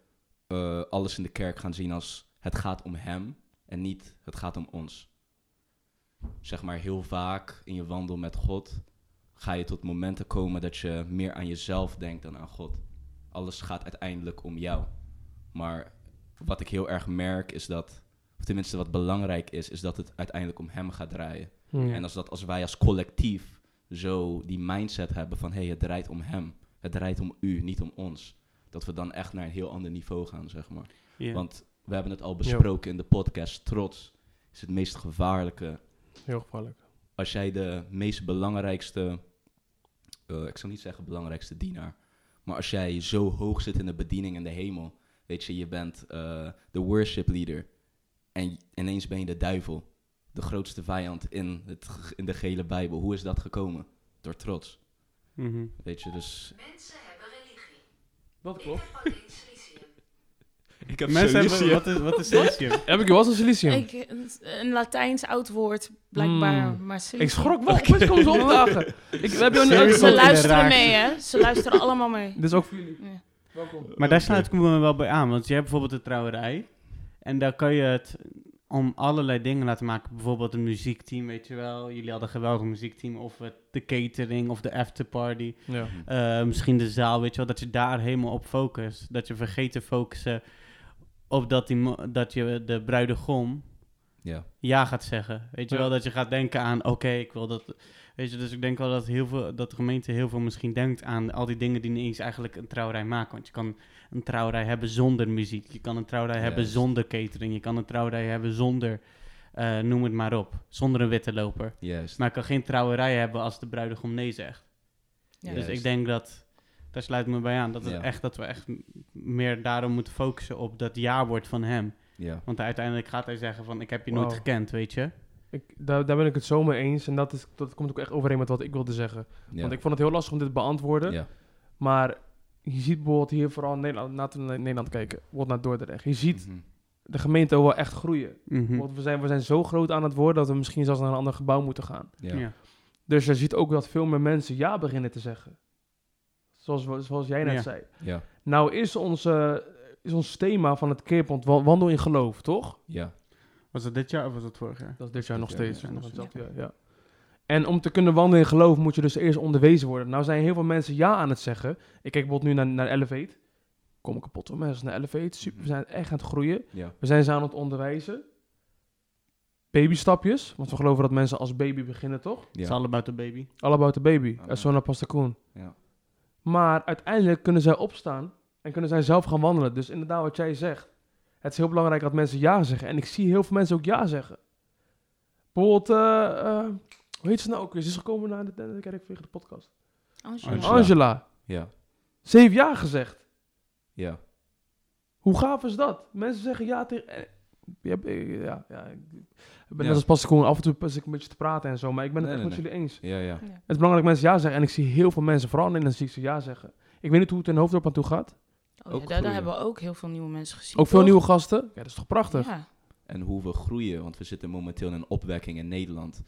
eh, alles in de kerk gaan zien als het gaat om hem en niet het gaat om ons. Zeg maar heel vaak in je wandel met God ga je tot momenten komen dat je meer aan jezelf denkt dan aan God. Alles gaat uiteindelijk om jou. Maar wat ik heel erg merk is dat, of tenminste wat belangrijk is, is dat het uiteindelijk om hem gaat draaien. Hm. En als, dat, als wij als collectief zo die mindset hebben van... hé, hey, het draait om hem. Het draait om u, niet om ons. Dat we dan echt naar een heel ander niveau gaan, zeg maar. Ja. Want we hebben het al besproken in de podcast. Trots is het meest gevaarlijke. Heel gevaarlijk. Als jij de meest belangrijkste... eh, ik zal niet zeggen belangrijkste dienaar... maar als jij zo hoog zit in de bediening in de hemel... weet je, je bent eh, de worship leader... en ineens ben je de duivel de grootste vijand in, het, ge- in de gele Bijbel. Hoe is dat gekomen? Door trots. Mhm. Weet je, dus. Dat klopt. Ik Mensen hebben, wat is, wat is silicium? Heb ik wel eens een silicium? Ik, Ik, een- een Latijns oud woord, blijkbaar. Mm. Maar ze, schrok wel. Opeens komen ze opdagen. ik, we hebben Serieus? nu ze Ze uitgesloten. luisteren raakten. mee, hè? Ze luisteren allemaal mee. Dit is ook voor jullie. Ja. Welkom. Maar daar sluit ik me wel bij aan, want je hebt bijvoorbeeld de trouwerij. En daar kan je het om allerlei dingen laten maken. Bijvoorbeeld een muziekteam, weet je wel. Jullie hadden een geweldig muziekteam. Of het- de catering, of de afterparty. Ja. Eh, misschien de zaal, weet je wel. Dat je daar helemaal op focust. Dat je vergeet te focussen op dat, die, mo- dat je de bruidegom Ja. ja gaat zeggen. Weet je Ja. wel, dat je gaat denken aan, oké, ik wil dat... Weet je, dus ik denk wel dat, heel veel, dat de gemeente heel veel misschien denkt aan al die dingen die niet eens eigenlijk een trouwerij maken. Want je kan een trouwerij hebben zonder muziek. Je kan een trouwerij hebben Juist. zonder catering. Je kan een trouwerij hebben zonder, eh, noem het maar op, zonder een witte loper. Juist. Maar je kan geen trouwerij hebben als de bruidegom nee zegt. Ja. Dus Juist. ik denk dat, daar sluit ik me bij aan, dat, het Ja. echt, dat we echt m- meer daarom moeten focussen op dat ja-woord van hem. Ja. Want uiteindelijk gaat hij zeggen van, ik heb je nooit Wauw. gekend, weet je. Ik, daar, daar ben ik het zo mee eens. En dat, is, dat komt ook echt overeen met wat ik wilde zeggen. Ja. Want ik vond het heel lastig om dit te beantwoorden. ja. Maar je ziet bijvoorbeeld hier vooral in Nederland, laten we naar Nederland kijken. Bijvoorbeeld naar Dordrecht. Je ziet Mhm. de gemeente wel echt groeien. Mhm. Want we zijn, we zijn zo groot aan het worden dat we misschien zelfs naar een ander gebouw moeten gaan. Ja. Ja. Dus je ziet ook dat veel meer mensen ja beginnen te zeggen. Zoals, we- zoals jij net Ja. zei. Ja. Nou is, onze, is ons thema van het keerpunt wa- wandel in geloof, toch? Ja. Was dat dit jaar of was dat vorig jaar? Dat is dit jaar Dit nog jaar, steeds. ja, nog nog hetzelfde, ja, ja. En om te kunnen wandelen in geloof moet je dus eerst onderwezen worden. Nou zijn heel veel mensen ja aan het zeggen. Ik kijk bijvoorbeeld nu naar, naar Elevate. Kom ik kapot van mensen naar Elevate. Super, we zijn echt aan het groeien. Ja. We zijn ze aan het onderwijzen. Babystapjes, want we geloven dat mensen als baby beginnen, toch? Ja. It's all about the baby. All About the Baby, Amen. en Sona Pastakoen. Ja. Maar uiteindelijk kunnen zij opstaan en kunnen zij zelf gaan wandelen. Dus inderdaad, wat jij zegt. Het is heel belangrijk dat mensen ja zeggen. En ik zie heel veel mensen ook ja zeggen. Bijvoorbeeld, eh, eh, hoe heet ze nou ook weer? Ze is gekomen naar de, naar de kerk vanwege de podcast. Angela. Oh, Angela. Angela. Ja. Ze heeft ja gezegd. Ja. Hoe gaaf is dat? Mensen zeggen ja tegen... eh, Ja, eh, ja, ja. Ik ben Ja. net als Pastakoen af en toe pas ik een beetje te praten en zo. Maar ik ben het Nee, echt nee, met jullie eens. Ja. Ja. Het is belangrijk dat mensen ja zeggen. En ik zie heel veel mensen, vooral in Nederland, zie ik ze ja zeggen. Ik weet niet hoe het in Hoofddorp aan toe gaat. Oh, Ook ja, daar, daar groeien. hebben we ook heel veel nieuwe mensen gezien. Ook veel toch? nieuwe gasten. Ja, dat is toch prachtig? Ja. En hoe we groeien, want we zitten momenteel in een opwekking in Nederland.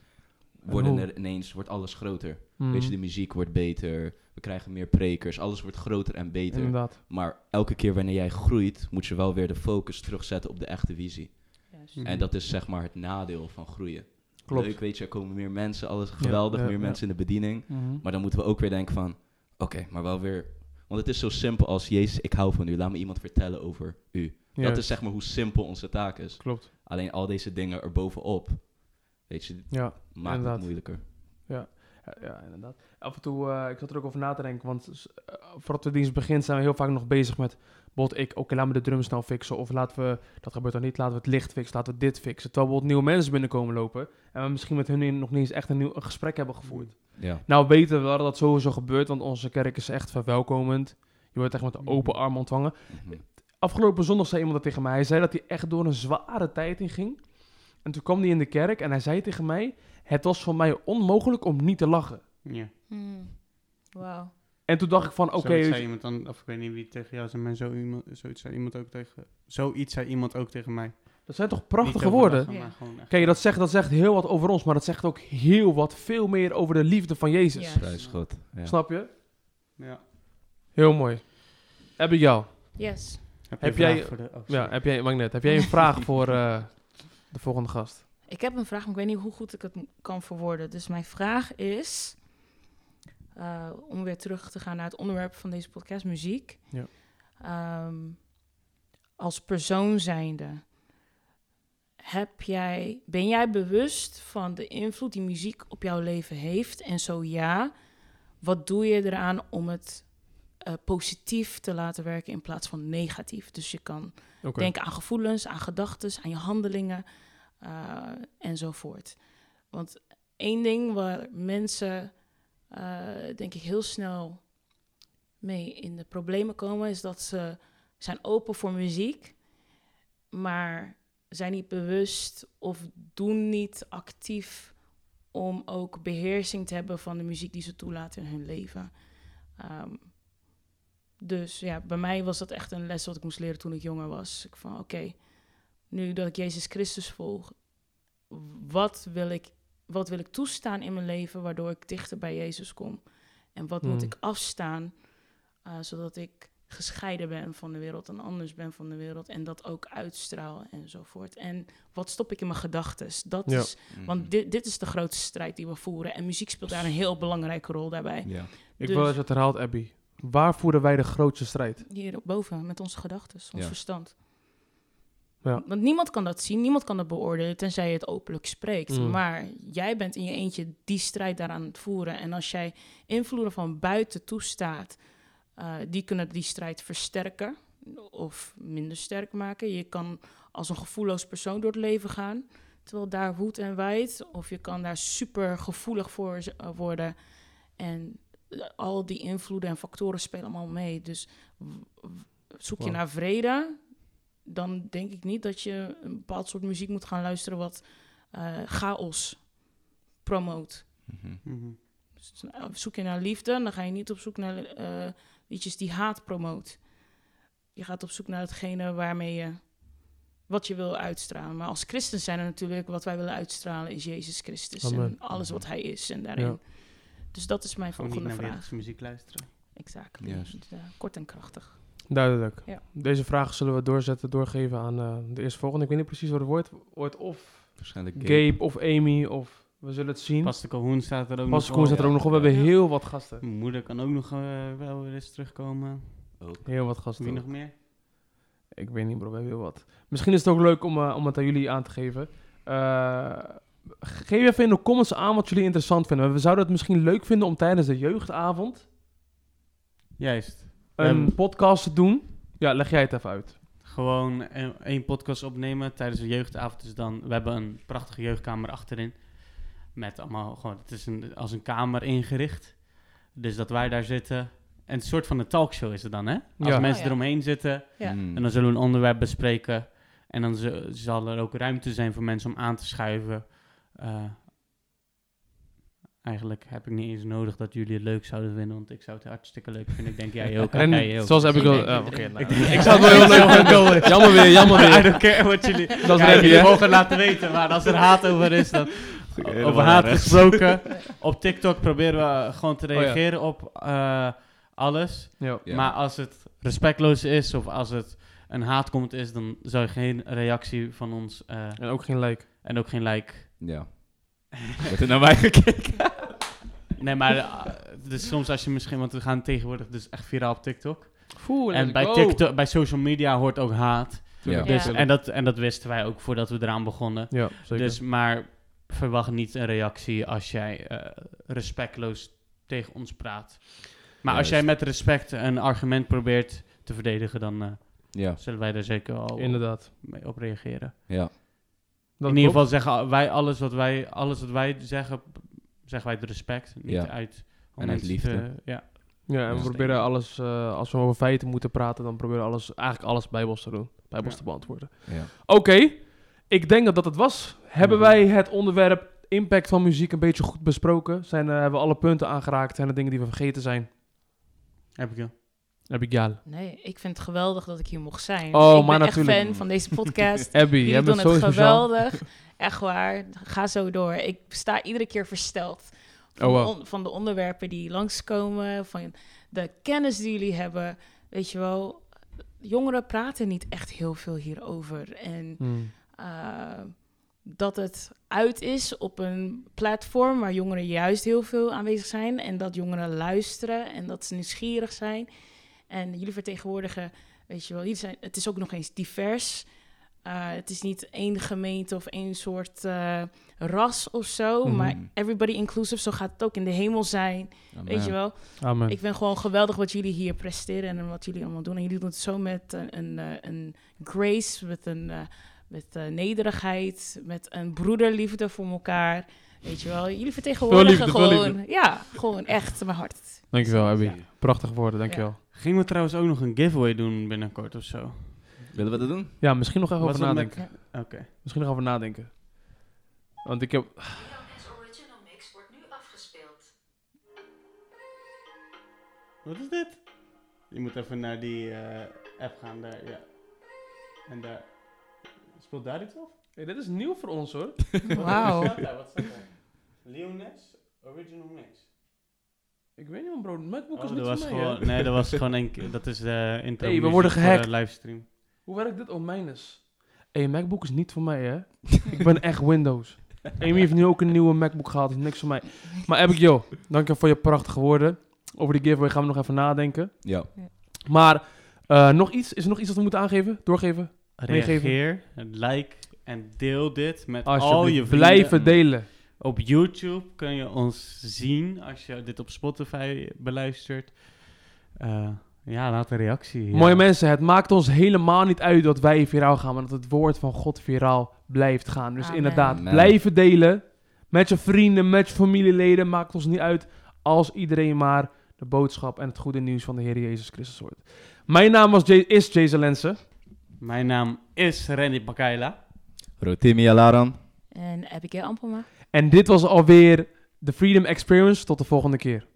En Worden hoe? er ineens, wordt alles groter. Mhm. Weet je, de muziek wordt beter. We krijgen meer prekers. Alles wordt groter en beter. Inderdaad. Maar elke keer wanneer jij groeit, moet je wel weer de focus terugzetten op de echte visie. Juist. Mhm. En dat is zeg maar het nadeel van groeien. Klopt. Leuk, weet je, er komen meer mensen, alles geweldig, ja, meer ja. mensen in de bediening. Mhm. Maar dan moeten we ook weer denken van, oké, maar wel weer... Want het is zo simpel als, Jezus, ik hou van u, laat me iemand vertellen over u. Ja, Dat is zeg maar hoe simpel onze taak is. Klopt. Alleen al deze dingen erbovenop, weet je, Ja, maakt Inderdaad. het moeilijker. ja, ja, inderdaad. Af en toe, eh, ik zat er ook over na te denken, want eh, voordat de dienst begint zijn we heel vaak nog bezig met, bijvoorbeeld ik, oké, laten we de drums nou fixen, of laten we, dat gebeurt dan niet, laten we het licht fixen, laten we dit fixen. Terwijl bijvoorbeeld nieuwe mensen binnenkomen lopen en we misschien met hun nog niet eens echt een nieuw een gesprek hebben gevoerd. Ja, Nou weten we wel dat dat sowieso gebeurt, want onze kerk is echt verwelkomend. Je wordt echt met de open armen ontvangen. Mhm. Afgelopen zondag zei iemand dat tegen mij. Hij zei dat hij echt door een zware tijd in ging. En toen kwam hij in de kerk en hij zei tegen mij: Het was voor mij onmogelijk om niet te lachen. Ja. Hmm. Wauw. En toen dacht ik van, oké, dus- zoiets weet zei je- iemand dan, of ik weet niet wie tegen jou zei, maar zo iemand, zoiets zei iemand ook tegen, zoiets zei iemand ook tegen mij. dat zijn toch Niet prachtige over woorden. lachen, Ja. maar gewoon echt- Kijk, dat zegt, dat zegt heel wat over ons, maar dat zegt ook heel wat, veel meer over de liefde van Jezus. Ja. Prijs God. Ja. Snap je? Ja. Heel mooi. Heb ik jou? Yes. Heb, Heb je een jij- vraag voor de... oh, Ja, sorry. heb jij, magnet. Heb jij een vraag voor eh, de volgende gast? Ik heb een vraag, maar ik weet niet hoe goed ik het m- kan verwoorden. Dus mijn vraag is, eh, om weer terug te gaan naar het onderwerp van deze podcast, muziek. Ja. Ehm, als persoon zijnde, heb jij, ben jij bewust van de invloed die muziek op jouw leven heeft? En zo ja, wat doe je eraan om het eh, positief te laten werken in plaats van negatief? Dus je kan Oké. Denk aan gevoelens, aan gedachten, aan je handelingen eh, enzovoort. Want één ding waar mensen, eh, denk ik, heel snel mee in de problemen komen, is dat ze zijn open voor muziek, maar zijn niet bewust of doen niet actief om ook beheersing te hebben van de muziek die ze toelaten in hun leven. Ehm, dus ja, bij mij was dat echt een les wat ik moest leren toen ik jonger was. Ik van, oké, nu dat ik Jezus Christus volg, wat wil, ik, wat wil ik toestaan in mijn leven waardoor ik dichter bij Jezus kom? En wat moet Hmm. ik afstaan eh, zodat ik gescheiden ben van de wereld en anders ben van de wereld en dat ook uitstraal enzovoort. En wat stop ik in mijn gedachten? Dat Ja. is, Mhm. want dit, dit is de grootste strijd die we voeren en muziek speelt daar een heel belangrijke rol daarbij. Ja. Ik Dus- wil dat je het herhaalt, Abby. Waar voeren wij de grootste strijd? Hier boven, met onze gedachten, ons Ja. verstand. Ja. Want niemand kan dat zien, niemand kan dat beoordelen, tenzij je het openlijk spreekt. Mm. Maar jij bent in je eentje die strijd daaraan het voeren. En als jij invloeden van buiten toestaat, eh, die kunnen die strijd versterken of minder sterk maken. Je kan als een gevoelloos persoon door het leven gaan, terwijl daar woedt en waait. Of je kan daar super gevoelig voor z- eh, worden. En eh, al die invloeden en factoren spelen allemaal mee. Dus w- w- zoek je Wauw. naar vrede, dan denk ik niet dat je een bepaald soort muziek moet gaan luisteren wat eh, chaos promoot. Mhm. Mhm. Dus, eh, Zoek je naar liefde, dan ga je niet op zoek naar eh, liedjes die haat promoot. Je gaat op zoek naar hetgene waarmee je wat je wil uitstralen. Maar als christen zijn er natuurlijk wat wij willen uitstralen is Jezus Christus en Amen. alles wat hij is en daarin. Ja. Dus dat is mijn Gewoon niet volgende naar vraag. wereldse muziek luisteren. Exact. Juist. Dus, eh, kort en krachtig. Duidelijk. Ja. Deze vraag zullen we doorzetten, doorgeven aan eh, de eerstvolgende. Ik weet niet precies wat het wordt. Wordt of Waarschijnlijk gay. Gabe of Amy of... We zullen het zien. Pas de Calhoun staat er ook Pas nog Koen zit er op. ook nog op. We hebben Ja. heel wat gasten. Mijn moeder kan ook nog eh, wel weer eens terugkomen. Heel wat Wie gasten. nog meer? Ik weet niet, bro. We hebben heel wat. Misschien is het ook leuk om, eh, om het aan jullie aan te geven. Eh, geef even in de comments aan wat jullie interessant vinden. We zouden het misschien leuk vinden om tijdens de jeugdavond Juist. een Ehm. podcast te doen. Ja, leg jij het even uit. Gewoon e- één podcast opnemen tijdens de jeugdavond. Dus dan, we hebben een prachtige jeugdkamer achterin. Met allemaal gewoon, het is een, als een kamer ingericht. Dus dat wij daar zitten. En een soort van een talkshow is het dan, hè? Als Ja. mensen Oh, ja. eromheen zitten. Ja. Mm. En dan zullen we een onderwerp bespreken. En dan z- zal er ook ruimte zijn voor mensen om aan te schuiven. Eh, eigenlijk heb ik niet eens nodig dat jullie het leuk zouden vinden. Want ik zou het hartstikke leuk vinden. Ik denk jij ook. En jij ook. zoals heb ik al... Ik denk- eh, ik Oké, denk- nou, ik denk- ik zou het wel heel leuk vinden. Jammer weer, jammer I weer. don't care wat jullie... Dat is Ja, Rebby, jullie hè? mogen laten weten, maar als er haat over is, dan Helemaal over haat rechts. gesproken. Op TikTok proberen we gewoon te Oh, ja. reageren op eh, alles. Ja. Ja. Maar als het respectloos is of als het een haatcomment is, dan zou je geen reactie van ons eh, En ook geen like. en ook geen like. Ja. Wordt er nou naar mij gekeken? Nee, maar eh, dus soms als je misschien, want we gaan tegenwoordig dus echt viraal op TikTok. En bij, TikTok, bij social media hoort ook haat. Ja. Ja. Dus, en, dat, en dat wisten wij ook voordat we eraan begonnen. Ja, zeker. Dus, maar verwacht niet een reactie als jij eh, respectloos tegen ons praat. Maar als Juist. jij met respect een argument probeert te verdedigen, dan eh, Ja. zullen wij daar zeker al Inderdaad. mee op reageren. Ja. Dat In ieder klopt. geval zeggen wij alles wat wij, alles wat wij zeggen, zeggen wij het respect. Niet Ja. uit. om En uit iets te- liefde. ja. Ja, en Ja. we proberen alles... eh, als we over feiten moeten praten, dan proberen we alles, eigenlijk alles bijbels te doen. Bijbels Ja. te beantwoorden. Ja. Oké, ik denk dat dat het was. Hebben wij het onderwerp impact van muziek een beetje goed besproken? Zijn, eh, hebben we alle punten aangeraakt? Zijn er dingen die we vergeten zijn? Heb ik wel. Heb ik Jale. Nee, ik vind het geweldig dat ik hier mocht zijn. Oh, ik maar ben natuurlijk. echt fan van deze podcast. Abby, Jullie jij doen bent het zo speciaal. geweldig. Echt waar. Ga zo door. Ik sta iedere keer versteld. Van, Oh, de wow. on- van de onderwerpen die langskomen. Van de kennis die jullie hebben. Weet je wel, jongeren praten niet echt heel veel hierover. En Hmm. eh, dat het uit is op een platform waar jongeren juist heel veel aanwezig zijn. En dat jongeren luisteren en dat ze nieuwsgierig zijn. En jullie vertegenwoordigen, weet je wel, jullie zijn, het is ook nog eens divers. Eh, het is niet één gemeente of één soort eh, ras of zo. Mhm. Maar everybody inclusive, zo gaat het ook in de hemel zijn. Weet je wel. Amen. Ik vind gewoon geweldig wat jullie hier presteren en wat jullie allemaal doen. En jullie doen het zo met een, een, eh, een grace, met een eh, met, eh, nederigheid, met een broederliefde voor elkaar. Weet je wel, jullie vertegenwoordigen liefde, veel gewoon. Ja, gewoon echt mijn hart. Dankjewel, Abby. Ja. Prachtige woorden, dankjewel. Gingen we trouwens ook nog een giveaway doen binnenkort of zo? Willen we dat doen? Ja, misschien nog even Was over dat nadenken. met- Oké. Misschien nog over nadenken. Want ik heb... Milan's Original Mix wordt nu afgespeeld. Wat is dit? Je moet even naar die eh, app gaan daar, ja. En daar... Speelt daar iets af? Hey, dit is nieuw voor ons, hoor. Wat Wauw. staat daar? Wat staat daar? Leones Original Mix. Ik weet niet, man, bro. MacBook Oh, is dat niet was voor mij, hè? gewoon, nee, dat was gewoon één keer. Dat is de intro. Hey, we music worden voor gehackt. de livestream. Hoe werkt dit? Oh, mijn is. Hey, MacBook is niet voor mij, hè? ik ben echt Windows. Amy heeft nu ook een nieuwe MacBook gehaald. Is niks voor mij. Maar Abigail, dank je voor je prachtige woorden. Over die giveaway gaan we nog even nadenken. Ja. Maar eh, nog iets? Is er nog iets dat we moeten aangeven? Doorgeven? Meegeven. Reageer, like en deel dit met al je Alsjeblieft. vrienden. Blijven delen. Op YouTube kun je ons zien als je dit op Spotify beluistert. Eh, ja, laat een reactie. hier. Mooie mensen, het maakt ons helemaal niet uit dat wij viraal gaan, maar dat het woord van God viraal blijft gaan. Dus Amen. inderdaad, Amen. blijven delen met je vrienden, met je familieleden. Maakt ons niet uit als iedereen maar de boodschap en het goede nieuws van de Heer Jezus Christus hoort. Mijn naam was Jay, is Jason Lensen. Mijn naam is Randy Bakaila. Rotimi Alaran. En Abigail Ampelma. En dit was alweer de Freedom Experience. Tot de volgende keer.